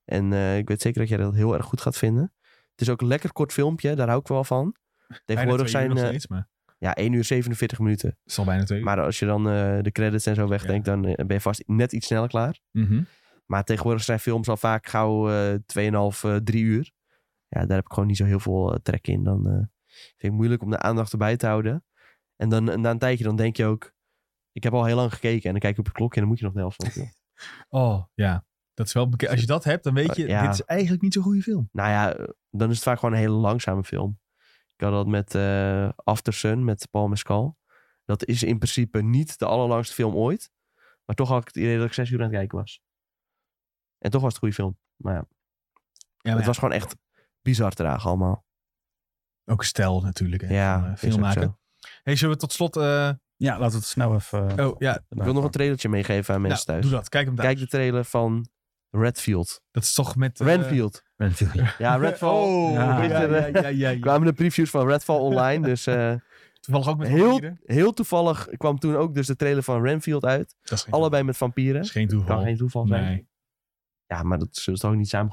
S2: En eh, ik weet zeker dat jij dat heel erg goed gaat vinden. Het is ook een lekker kort filmpje, daar hou ik wel van.
S1: Bijna
S2: Tegenwoordig
S1: twee uur
S2: zijn
S1: nog
S2: eh
S1: steeds, maar
S2: ja, 1 uur 47 minuten.
S1: het is al bijna twee uur.
S2: Maar als je dan eh, de credits en zo wegdenkt, dan eh, ben je vast net iets sneller klaar.
S1: Mhm.
S2: Maar tegenwoordig zijn films al vaak gauw eh 2,5, eh 3 uur. Ja, daar heb ik gewoon niet zo heel veel eh, trek in. Dan eh, vind ik het moeilijk om de aandacht erbij te houden. En dan eh, na een tijdje dan denk je ook... Ik heb al heel lang gekeken en dan kijk je op je klokje en dan moet je nog de helft van de film.
S1: Oh, ja. Dat is wel bekend. Als je dat hebt, dan weet je,
S2: Oh, ja.
S1: dit is eigenlijk niet zo'n goede film.
S2: Nou ja, eh, dan is het vaak gewoon een hele langzame film. Ik had dat met eh After Sun, met Paul Mescal. Dat is in principe niet de allerlangste film ooit. Maar toch had ik het idee dat ik zes uur aan het kijken was. En toch was het een goede film. Maar ja,
S1: Ja,
S2: het was gewoon echt bizar traag allemaal.
S1: ook stijl natuurlijk. Hè,
S2: Ja,
S1: van, eh,
S2: is ook
S1: filmmaker.
S2: zo.
S1: Hey, zullen we tot slot... eh,
S3: Ja, laten we het snel even... eh,
S1: oh ja,
S2: Ik wil nog een trailertje meegeven aan
S1: nou,
S2: mensen
S1: doe
S2: thuis.
S1: dat. Kijk hem daar.
S2: Kijk de trailer van Redfield.
S1: Dat is toch met... eh,
S2: Renfield.
S3: Renfield, ja.
S2: Ja, Redfall. eh,
S1: Oh, ja,
S3: Ja.
S1: ja, ja, ja, ja.
S2: kwamen de previews van Redfall online. Dus eh,
S1: Toevallig ook met
S2: Heel-
S1: vampieren.
S2: heel toevallig kwam toen ook dus de trailer van Renfield uit.
S1: Dat is geen toeval.
S2: Allebei met vampieren.
S1: Dat is geen
S2: Kan
S1: toeval.
S2: geen toeval zijn.
S1: Nee.
S2: Ja, maar dat zullen ze toch ook niet samen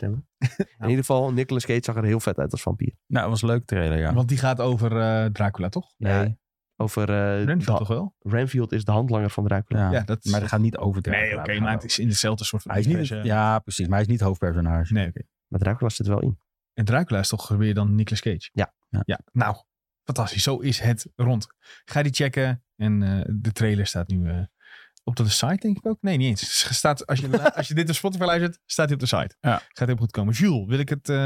S2: hebben? In ieder geval, Nicolas Cage zag er heel vet uit als vampier.
S3: Nou, het was een leuk trailer, ja.
S1: Want die gaat over eh, Dracula, toch?
S2: Ja, Over eh,
S1: Renfield
S2: da-
S1: toch wel?
S2: Renfield is de handlanger van Dracula.
S3: Ja.
S1: Ja, dat is...
S3: Maar dat gaat niet over Dracula.
S1: nee, oké,
S3: We gaan
S1: maar het
S3: over-
S1: is in hetzelfde soort van...
S3: Hij is niet...
S1: universum.
S3: Ja, precies. Maar hij is niet hoofdpersonage.
S1: Nee, oké.
S2: Maar Dracula zit er wel in.
S1: En Dracula is toch weer dan Nicolas Cage?
S2: Ja.
S3: Ja.
S1: ja. Nou, fantastisch. Zo is het rond. Ga die checken. En eh, de trailer staat nu eh, op de site, denk ik ook. Nee, niet eens. Het Staat, als, je, als je dit op Spotify luistert, staat hij op de site.
S3: Ja.
S1: Gaat heel goed komen. Jules, wil ik het eh,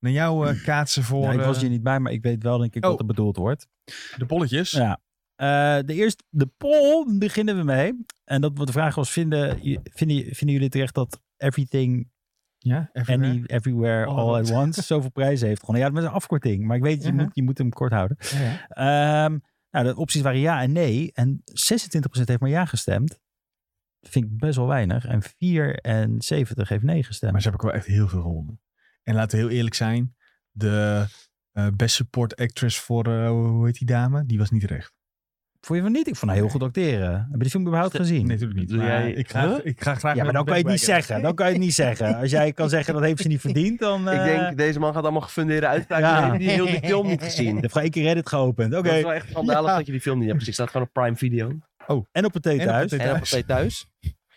S1: naar jou eh, kaatsen voor
S3: Ja, Nou, ik was
S1: eh,
S3: hier niet bij, maar ik weet wel denk ik
S1: Oh.
S3: wat er bedoeld wordt.
S1: de polletjes?
S3: Ja. Eh, de eerste, de poll, beginnen we mee. En dat, de vraag was, vinden, vinden, vinden jullie terecht dat Everything,
S1: Ja, even,
S3: Any, Everywhere,
S1: All
S3: All,
S1: at
S3: at Once zoveel prijs heeft gewonnen? Ja, dat is een afkorting, maar ik weet, je,
S1: Mhm.
S3: moet, je moet hem kort houden.
S1: eh, ja, ja.
S3: Ehm, nou, de opties waren ja en nee. En 26% heeft maar ja gestemd. Vind ik best wel weinig. En 74 heeft nee gestemd.
S1: Maar ze hebben ook wel echt heel veel gewonnen. En laten we heel eerlijk zijn. De eh, best support actress voor, eh, hoe heet die dame? Die was niet recht.
S3: Vond je van niet? Ik vond haar heel goed acteren. Heb je die film überhaupt gezien?
S1: Nee, natuurlijk niet.
S2: Doe
S1: Maar
S2: jij-
S1: ik, ga,
S2: Huh?
S1: ik ga graag
S3: ja, maar dan kan je het niet
S1: backpacken.
S3: zeggen. Dan kan je het niet zeggen. Als jij kan zeggen dat heeft ze niet verdiend, dan...
S2: Ik
S3: eh,
S2: denk, deze man gaat allemaal gefundeerde uitspraken
S3: Ja.
S2: geven die heel die film niet gezien.
S3: Ik heb gewoon één keer Reddit geopend. Oké.
S2: Dat is wel echt schandalig
S1: Ja.
S2: dat je die film niet hebt gezien. Het staat gewoon op Prime Video.
S3: En op het thee
S1: En op
S3: thuis.
S1: het
S2: En op
S1: Thuis.
S2: Partij Thuis.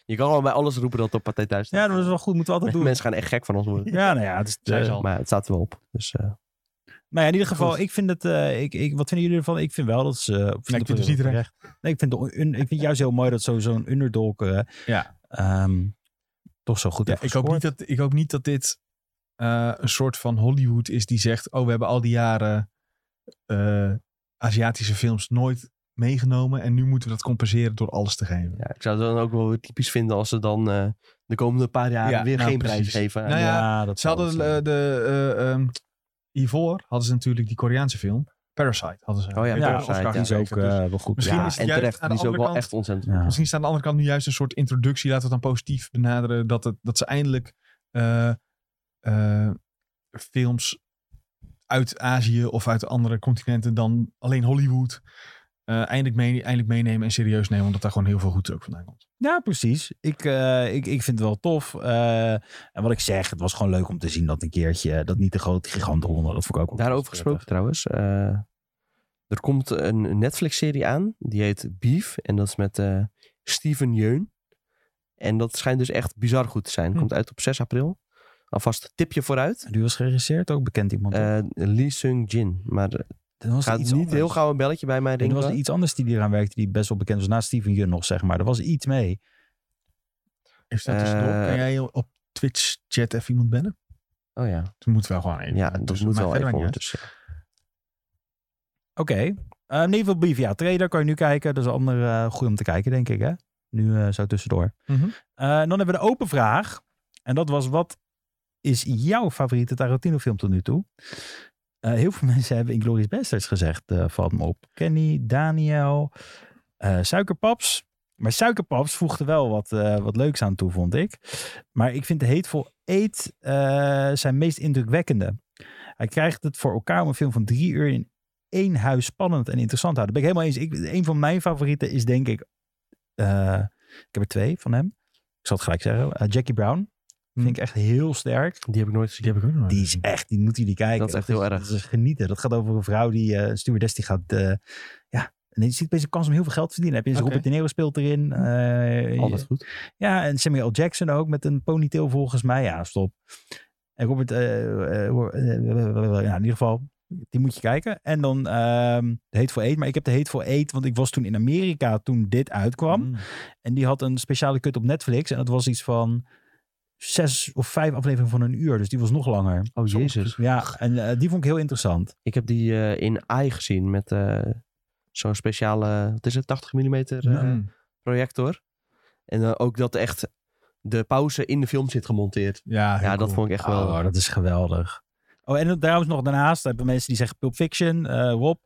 S2: Je kan gewoon bij alles roepen dat het op Partij Thuis
S3: Ja,
S2: staat.
S3: dat is wel goed. Moeten we altijd doen.
S2: Mensen gaan echt gek van ons worden.
S3: Ja, nou ja. Het is de-
S1: Zij zal-
S2: Maar het staat er wel op. Dus eh,
S3: nou ja, in ieder geval,
S1: Goed.
S3: ik vind het... eh, ik, ik, wat vinden jullie ervan? Ik vind wel dat ze... eh, vind
S1: vind
S3: dat
S1: het niet terecht.
S3: Nee, ik vind, de un- ik vind juist heel mooi dat zo- zo'n underdog eh,
S1: Ja.
S3: ehm, toch zo goed
S1: Ja,
S3: heeft
S1: ik, hoop niet
S3: gescoord.
S1: dat, ik hoop niet dat dit eh, een soort van Hollywood is die zegt: Oh, we hebben al die jaren eh, Aziatische films nooit meegenomen. En nu moeten we dat compenseren door alles te geven.
S2: ja, ik zou het dan ook wel weer typisch vinden als ze dan eh, de komende paar jaar
S1: Ja,
S2: weer
S1: nou,
S2: geen prijs
S1: precies.
S2: geven.
S1: Nou ja,
S3: dat
S1: Ze hadden
S3: zal het
S1: eh, de. eh, ehm, hiervoor hadden ze natuurlijk die Koreaanse film. Parasite hadden ze.
S2: Oh ja,
S1: Heeft
S2: Parasite,
S1: een Oscar
S2: ja.
S3: zijn. Die is ook
S1: gekregen, dus
S3: eh, wel goed.
S1: Misschien
S3: ja,
S1: is het
S2: en
S1: juist
S2: terecht,
S1: aan
S2: die
S1: de
S2: is ook
S1: andere
S2: wel
S1: kant-
S2: echt ontzettend
S3: ja.
S1: Misschien is het aan de andere kant nu juist een soort introductie. Laten we het dan positief benaderen. Dat, het, dat ze eindelijk eh, eh, films uit Azië of uit andere continenten dan alleen Hollywood eh, eindelijk, mee, eindelijk meenemen en serieus nemen. Omdat daar gewoon heel veel goed ook vandaan komt.
S3: Ja, precies. Ik, eh, ik, ik vind het wel tof. Eh, en wat ik zeg, het was gewoon leuk om te zien dat een keertje... eh, dat niet de grote giganten wonnen. Dat vond ik ook wel
S2: Daarover gesproken
S3: prettig.
S2: trouwens. eh, er komt een Netflix-serie aan. Die heet Beef. En dat is met eh, Steven Yeun. En dat schijnt dus echt bizar goed te zijn.
S1: Hm.
S2: Komt uit op 6 april. Alvast een tipje vooruit.
S3: En Die was geregisseerd, ook bekend iemand.
S2: Eh, Lee Sung-jin. Maar er
S3: dat was
S2: gaat
S3: iets
S2: niet
S3: anders.
S2: heel gauw een belletje bij mij
S3: En er
S2: ringen.
S3: was iets anders die eraan werkte die best wel bekend was. Na Steven Jun nog, zeg maar. Er was iets mee.
S1: Even staat tussendoor.
S2: Eh,
S1: kan jij op Twitch chat even iemand bellen?
S2: Oh ja.
S1: Toen moeten we gewoon even.
S2: Ja, dat
S1: dus
S2: moet
S1: maakt
S2: wel
S1: verder
S2: even
S1: maar niet
S2: ondertussen.
S3: Oké. Eh, in ieder geval Beef, ja. Trailer kan je nu kijken. Dat is een andere eh, goed om te kijken, denk ik, hè? Nu eh, zo tussendoor.
S1: uit. Mhm.
S3: Eh, en dan hebben we de open vraag. En dat was, wat is jouw favoriete Tarantino film tot nu toe? Eh, heel veel mensen hebben Inglourious Basterds gezegd, eh, valt me op. Kenny, Daniel, eh, Suikerpaps. Maar Suikerpaps voegde wel wat, eh, wat leuks aan toe, vond ik. Maar ik vind de Hateful Eight eh, zijn meest indrukwekkende. Hij krijgt het voor elkaar om een film van drie uur in één huis spannend en interessant te houden. Ben ik helemaal eens. Ik, een van mijn favorieten is denk ik... eh, ik heb er twee van hem. Ik zal het gelijk zeggen. Eh, Jackie Brown. Vind
S2: Hm.
S3: ik echt heel sterk.
S2: Die heb ik nooit gezien.
S1: Die heb ik ook nog.
S3: Die is echt, die moeten jullie kijken.
S2: Dat is echt heel erg.
S3: Dat is genieten. Dat gaat over een vrouw die, eh, een stewardess, die gaat, eh, ja, en je ziet opeens een kans om heel veel geld te verdienen. Heb je eens
S1: Oké.
S3: Robert De Niro speelt erin. eh,
S2: Altijd goed.
S3: ja, en Samuel L. Jackson ook met een ponytail volgens mij. Ja, stop. En Robert, eh, eh, eh, ja, in ieder geval, die moet je kijken. En dan ehm de Hateful Eight. Maar ik heb de Hateful Eight, want ik was toen in Amerika toen dit uitkwam.
S1: Mm.
S3: En die had een speciale kut op Netflix. En dat was iets van zes of vijf afleveringen van een uur. Dus die was nog langer.
S2: Oh jezus.
S3: Ja, en eh, die vond ik heel interessant.
S2: Ik heb die eh, in AI gezien met eh, zo'n speciale, wat is het, 80 mm
S1: Mm.
S2: projector. En dan ook dat echt de pauze in de film zit gemonteerd.
S1: Ja, heel
S2: Ja, dat
S1: cool.
S2: vond ik echt wel.
S3: Oh, dat is geweldig. Oh, en trouwens nog daarnaast hebben mensen die zeggen Pulp Fiction, eh Rob.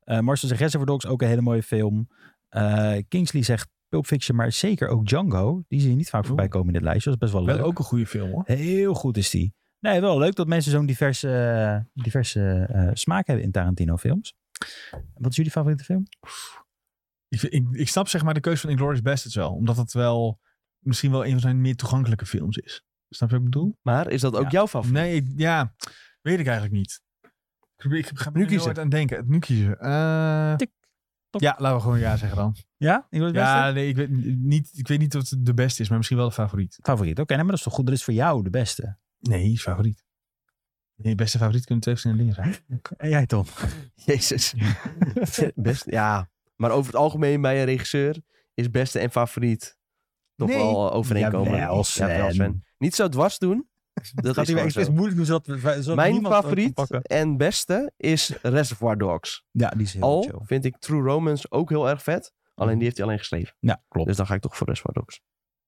S3: eh Marcel zegt Reservoir Dogs, ook een hele mooie film. Eh, Kingsley zegt Pulp Fiction, maar zeker ook Django. Die zie je niet vaak voorbij komen in dit lijstje. Dat is best wel leuk.
S1: Wel ook een goede film hoor.
S3: Heel goed is die. Nee, wel leuk dat mensen zo'n diverse, eh, diverse eh, smaak hebben in Tarantino-films. Wat is jullie favoriete film?
S1: Ik, vind- ik, ik snap zeg maar de keuze van Inglourious Basterds wel. Omdat het wel misschien wel een van zijn meer toegankelijke films is. Snap je wat ik bedoel?
S2: Maar is dat ook
S3: Ja.
S2: jouw favoriet?
S1: Nee, ik- ja. Weet ik eigenlijk niet. Ik, ik ga er
S2: Nu
S1: heel
S2: kiezen.
S1: hard aan denken. Nu kiezen. Eh,
S3: Tik, tok.
S1: ja, laten we gewoon ja zeggen dan.
S3: Ja? Ik wil het beste?
S1: Ja, nee, ik weet niet, ik weet niet of het de beste is, maar misschien wel de favoriet.
S3: Favoriet. Oké, nee, maar dat is toch goed. Dat is voor jou de beste.
S1: Nee, favoriet. Nee, beste favoriet kunnen twee verschillende dingen zijn.
S3: En jij, Tom?
S2: Jezus. Best, ja. Maar over het algemeen bij een regisseur is beste en favoriet toch
S1: Nee.
S2: wel eh, overeenkomen.
S3: Jawel, Sven.
S2: Niet zo dwars doen. Dat
S3: Gaat
S2: is
S3: hij weer
S2: gewoon
S3: expres
S2: zo.
S3: moeilijk doen, zodat, we- zodat
S2: Mijn
S3: niemand het
S2: favoriet
S3: kan pakken.
S2: en beste is Reservoir Dogs.
S3: Ja, die is heel chill. Mm.
S2: Al vind ik True Romance ook heel erg vet. Alleen die heeft hij alleen geschreven.
S3: Ja, klopt.
S2: Dus dan ga ik toch voor Reservoir Dogs.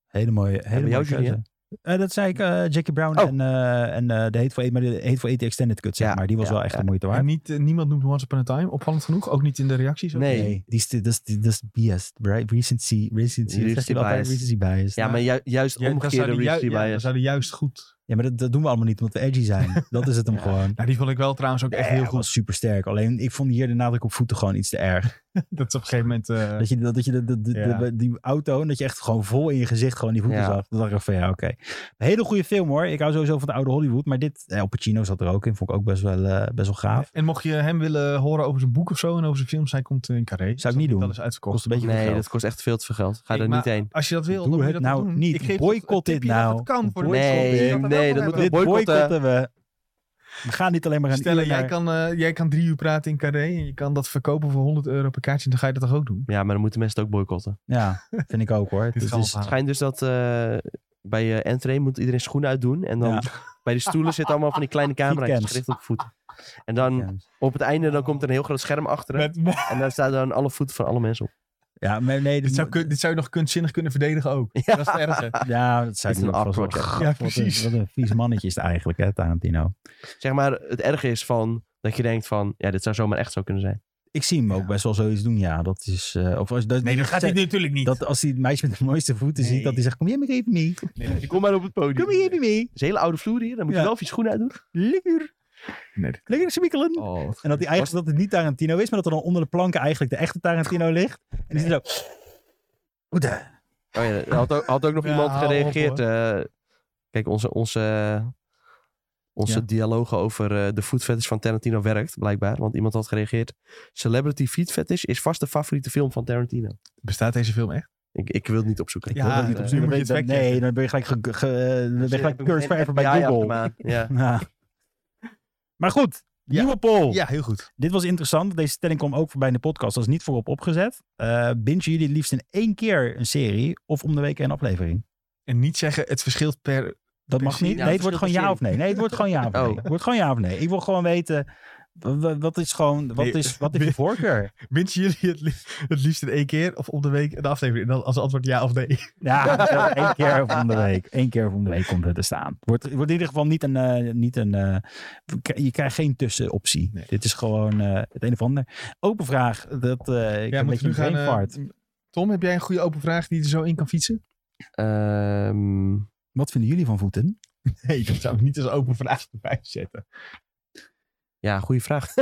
S3: Hele mooie, hele
S2: bij jou,
S3: mooie keuze.
S2: Julien?
S3: Eh, dat zei ik, eh, Jackie Brown
S2: Oh.
S3: en, eh, en eh, de Hateful Eight, maar de Hateful Eight Extended Cut, zeg
S2: Ja,
S3: maar. Die was
S2: ja,
S3: wel echt
S2: ja.
S3: de moeite
S1: En
S3: waard.
S1: niet, eh, niemand noemt Once Upon a Time, opvallend genoeg. Ook niet in de reacties. ook
S2: Nee.
S3: die is, dat is, dat is BS. right? Recency, recency, dat zegt hij wel altijd,
S2: bias.
S3: recency bias.
S2: Ja, maar ju- juist
S1: Ja, dan
S2: omgekeerde
S1: zouden ju-
S2: recency
S1: ja, dan
S2: bias.
S1: zouden juist goed.
S3: Ja, maar dat, dat doen we allemaal niet, omdat we edgy zijn. Dat is het hem
S2: Ja.
S3: gewoon.
S1: Nou, die vond ik wel trouwens ook echt heel goed.
S3: Super sterk. Alleen ik vond hier de nadruk op voeten gewoon iets te erg.
S1: Dat is op een gegeven moment... eh,
S3: Dat je, dat, dat je de, de, de-
S1: Ja.
S3: de- die auto, en dat je echt gewoon vol in je gezicht gewoon die voeten
S2: Ja.
S3: zag. Dat dacht ik van ja, oké. Een Hele goede film hoor. Ik hou sowieso van de oude Hollywood. Maar dit, eh, Al Pacino zat er ook in. Vond ik ook best wel, eh, best wel gaaf.
S1: En mocht je hem willen horen over zijn boek of zo en over zijn films, hij komt eh, in Carré. Dus
S3: niet
S1: dat-
S3: doen.
S1: Dat is uitverkocht.
S3: Kost een beetje
S2: Nee,
S3: veel
S2: dat
S3: geld.
S2: kost echt veel te veel geld. Ga
S1: Ik-
S2: er
S1: maar-
S2: niet heen.
S1: als je dat wil,
S3: Doe
S1: dan moet je
S3: het
S1: dat
S3: nou
S1: doen.
S3: niet.
S1: Ik geef
S3: Boycott
S1: een
S3: dit
S1: tipje dat
S3: nou.
S1: het kan voor de
S3: Nee,
S1: mensen die er wel van
S2: nee, dat
S1: hebben.
S2: moet-
S3: Dit
S2: boycotten.
S3: boycotten we. We gaan niet alleen maar aan
S1: Stellen, jij kan, eh, jij kan drie uur praten in Carré en je kan dat verkopen voor 100 euro per kaartje. Dan ga je dat toch ook doen?
S2: Ja, maar dan moeten mensen het ook
S3: Ah.
S2: boycotten.
S3: Ja, vind ik ook hoor.
S1: Dit
S3: Het
S1: gaan we
S3: is-
S1: verhalen.
S2: Het schijnt dus dat eh, bij je entree moet iedereen schoenen uitdoen. En dan
S3: Ja.
S2: bij de stoelen zitten allemaal van die kleine camera's
S3: Voetcams.
S2: gericht op voeten. En dan
S3: Ja.
S2: op het einde dan komt er een heel groot scherm achteren.
S1: Met- met-
S2: En daar staan dan alle voeten van alle mensen op.
S3: Ja, maar nee.
S1: dit,
S3: dat
S1: zou,
S3: moet-
S1: kun- dit zou je nog kunstzinnig kunnen verdedigen ook. Dat is het ergste.
S3: Ja, dat zei
S2: Dit
S3: ik
S2: is
S3: nu
S2: een art
S3: ook vast wel.
S2: project.
S3: Gaf,
S1: Ja,
S3: wat een-
S1: precies.
S3: Wat een vies mannetje is het eigenlijk, hè, Tarantino.
S2: Zeg maar, het erge is van dat je denkt van, ja, dit zou zomaar echt zo kunnen zijn.
S3: Ik zie hem
S1: Ja.
S3: ook best wel zoiets doen, ja. Dat is, eh, of als, dat,
S1: Nee, dat gaat dit natuurlijk niet.
S3: Dat als hij het meisje met de mooiste voeten
S1: Nee.
S3: ziet, dat hij zegt, kom hier maar even mee.
S1: nee,
S2: Kom maar op het podium.
S3: Kom hier even mee.
S2: Het is een hele oude vloer hier. Dan moet je
S3: Ja.
S2: wel even je schoenen uitdoen.
S3: Lekker.
S1: Nee, dat-
S3: Lekker smikkelen.
S2: Oh,
S3: En dat hij eigenlijk dat het niet Tarantino is, maar dat er dan onder de planken eigenlijk de echte Tarantino ligt. En die zit zo... Oeh,
S2: Oh ja, er had ook, had ook nog
S1: Ja,
S2: iemand
S1: hou op,
S2: gereageerd. eh, kijk, onze, onze, onze
S3: Ja.
S2: dialogen over eh, de food fetish van Tarantino werkt, blijkbaar. Want iemand had gereageerd. Celebrity food fetish is vast de favoriete film van Tarantino.
S1: Bestaat deze film echt?
S2: Ik, ik wil het niet opzoeken.
S1: Ja,
S2: ik wil het
S1: dat
S2: niet
S1: is nu
S2: opzoeken.
S3: Dan
S1: moet
S3: ben
S1: je
S3: je-
S1: het
S3: dan-
S1: factchecken.
S3: nee, dan ben je gelijk, ge, ge- eh, dan eh, ben je gelijk cursed forever bij
S2: Ja,
S3: Google.
S2: maar- Ja.
S3: Ja. Maar goed, nieuwe poll.
S1: Ja, heel goed.
S3: Dit was interessant. Deze stelling kwam ook voorbij in de podcast. Dat is niet voorop opgezet. Eh bingen jullie het liefst in één keer een serie of om de week een aflevering?
S1: En niet zeggen het verschilt per...
S3: Dat mag
S1: Precies.
S3: niet.
S2: Ja, het
S3: Nee, het wordt gewoon ja
S2: verschilt
S3: of nee. Nee, het wordt gewoon ja of nee.
S2: Oh.
S3: Het wordt gewoon ja of nee. Ik wil gewoon weten, w- w- wat is gewoon, wat
S1: Nee.
S3: is, wat is je voorkeur?
S1: Wensen jullie het, li- het liefst in één keer of op de week een aflevering? En dan als antwoord ja of nee.
S3: Ja, wel één keer of om de week. Eén keer of om de week komt het te staan. Wordt, wordt in ieder geval niet een. eh, niet een eh, k- je krijgt geen tussenoptie.
S1: Nee.
S3: Dit is gewoon eh, het een of ander. Open vraag. Dat,
S1: ja,
S3: eh ik heb een
S1: moeten
S3: beetje
S1: we
S3: een
S1: nu gaan... eh,
S3: brainfart.
S1: Tom, heb jij een goede open vraag die je er zo in kan fietsen?
S2: Ehm,
S3: Wat vinden jullie van voeten?
S1: Nee, dat zou ik niet als open vraag erbij zetten.
S2: ja, goede vraag.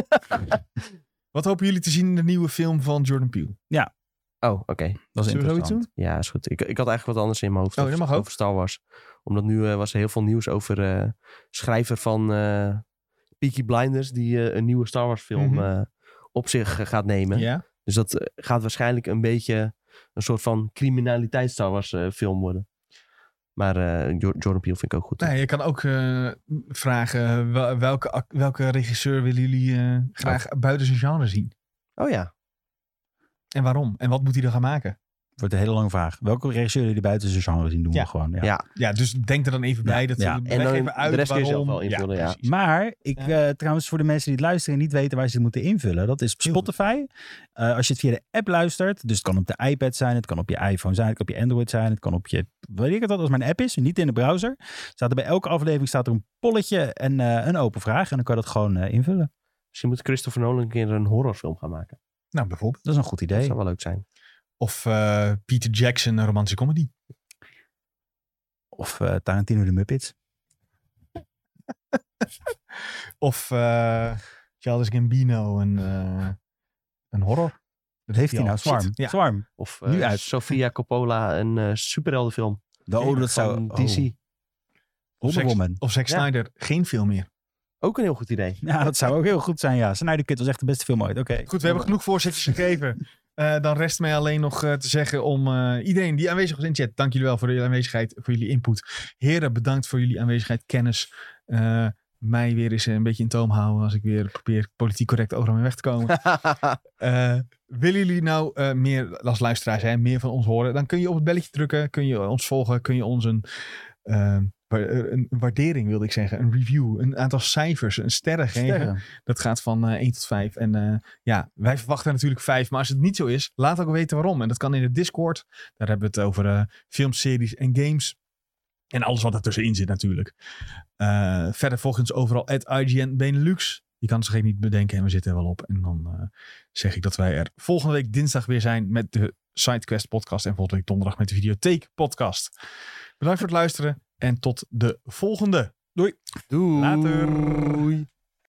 S1: Wat hopen jullie te zien in de nieuwe film van Jordan Peele?
S2: Oh, oké.
S3: Dat is
S1: Zullen we zoiets
S3: interessant.
S1: doen?
S2: Ja, is goed. Ik, ik had eigenlijk wat anders in mijn hoofd
S1: Oh,
S2: over,
S1: dat mag ook.
S2: over Star Wars. Omdat nu eh, was er heel veel nieuws over eh, schrijver van eh Peaky Blinders... die eh, een nieuwe Star Wars film
S1: Mhm.
S2: eh, op zich eh, gaat nemen.
S1: Ja.
S2: Dus dat eh, gaat waarschijnlijk een beetje een soort van criminaliteits Star Wars eh, film worden. Maar eh, Jo- Jordan Peele vind ik ook goed.
S1: Nou, je kan ook eh, vragen eh, wel- welke, ac- welke regisseur willen jullie eh, graag buiten zijn genre zien?
S2: Oh ja.
S1: En waarom? En wat moet hij dan gaan maken?
S3: Wordt een hele lange vraag. Welke regisseur jullie buiten zijn genre zien, doen
S1: Ja.
S3: we gewoon. Ja.
S2: Ja.
S1: Ja, dus denk er dan even bij. Dat
S3: ja.
S1: we
S2: En
S1: leg
S2: dan
S1: even uit
S2: de rest kun je
S1: waarom.
S2: zelf wel invullen, ja.
S1: precies.
S3: Maar ik,
S1: Ja.
S3: eh, trouwens, voor de mensen die het luisteren en niet weten waar ze het moeten invullen, dat is op
S1: Heel goed.
S3: Spotify. Eh, als je het via de app luistert, dus het kan op de iPad zijn, het kan op je iPhone zijn, het kan op je Android zijn, het kan op je, weet ik het wat, als mijn app is, niet in de browser. Staat er bij elke aflevering staat er een polletje en eh, een open vraag en dan kan je dat gewoon eh, invullen.
S2: Misschien moet Christopher Nolan een keer een horrorfilm gaan maken.
S1: Nou, bijvoorbeeld.
S3: Dat is een goed
S2: Dat
S3: idee.
S2: zou wel leuk zijn.
S1: Of eh, Peter Jackson, een romantische comedy.
S3: Of eh, Tarantino de Muppets.
S1: Of eh Charles Gambino, een, eh, een horror.
S3: Dat heeft hij
S1: Ja,
S3: nou,
S1: shit.
S3: Swarm.
S1: Ja.
S3: Swarm.
S2: Of
S3: Nu
S2: eh
S3: uit.
S2: Sofia Coppola, een eh, superheldenfilm.
S3: De oh, dat zou...
S2: van
S3: oh,
S2: DC.
S3: Wonder
S1: Sex-
S3: Woman.
S1: Of Zack
S2: Ja.
S1: Snyder, geen film meer.
S2: Ook een heel goed idee.
S3: Ja, dat zou ook heel goed zijn, ja. Snyder Kid was echt de beste film ooit. Oké.
S1: Goed, we hebben genoeg voorzetjes gegeven. Eh, dan rest mij alleen nog eh, te zeggen om eh, iedereen die aanwezig was in chat. Dank jullie wel voor jullie aanwezigheid, voor jullie input. Heren, bedankt voor jullie aanwezigheid, kennis. Eh, mij weer eens een beetje in toom houden als ik weer probeer politiek correct overal mee weg te komen. Eh, willen jullie nou eh, meer als luisteraars hè, meer van ons horen? Dan kun je op het belletje drukken, kun je ons volgen, kun je ons een, eh, wa- eh, een waardering, wilde ik zeggen, een review, een aantal cijfers, een sterren geven.
S3: Sterren.
S1: Dat gaat van eh 1 tot 5. En eh, ja, wij verwachten natuurlijk 5. Maar als het niet zo is, laat ook weten waarom. En dat kan in de Discord. Daar hebben we het over eh, films, series en games. En alles wat ertussenin zit natuurlijk. Eh, verder volg ons overal at IGN Benelux. Je kan het zich niet bedenken en we zitten er wel op. En dan eh, zeg ik dat wij er volgende week dinsdag weer zijn met de SideQuest podcast. En volgende week donderdag met de Videotheek podcast. Bedankt voor het luisteren en tot de volgende.
S2: Doei.
S1: Later.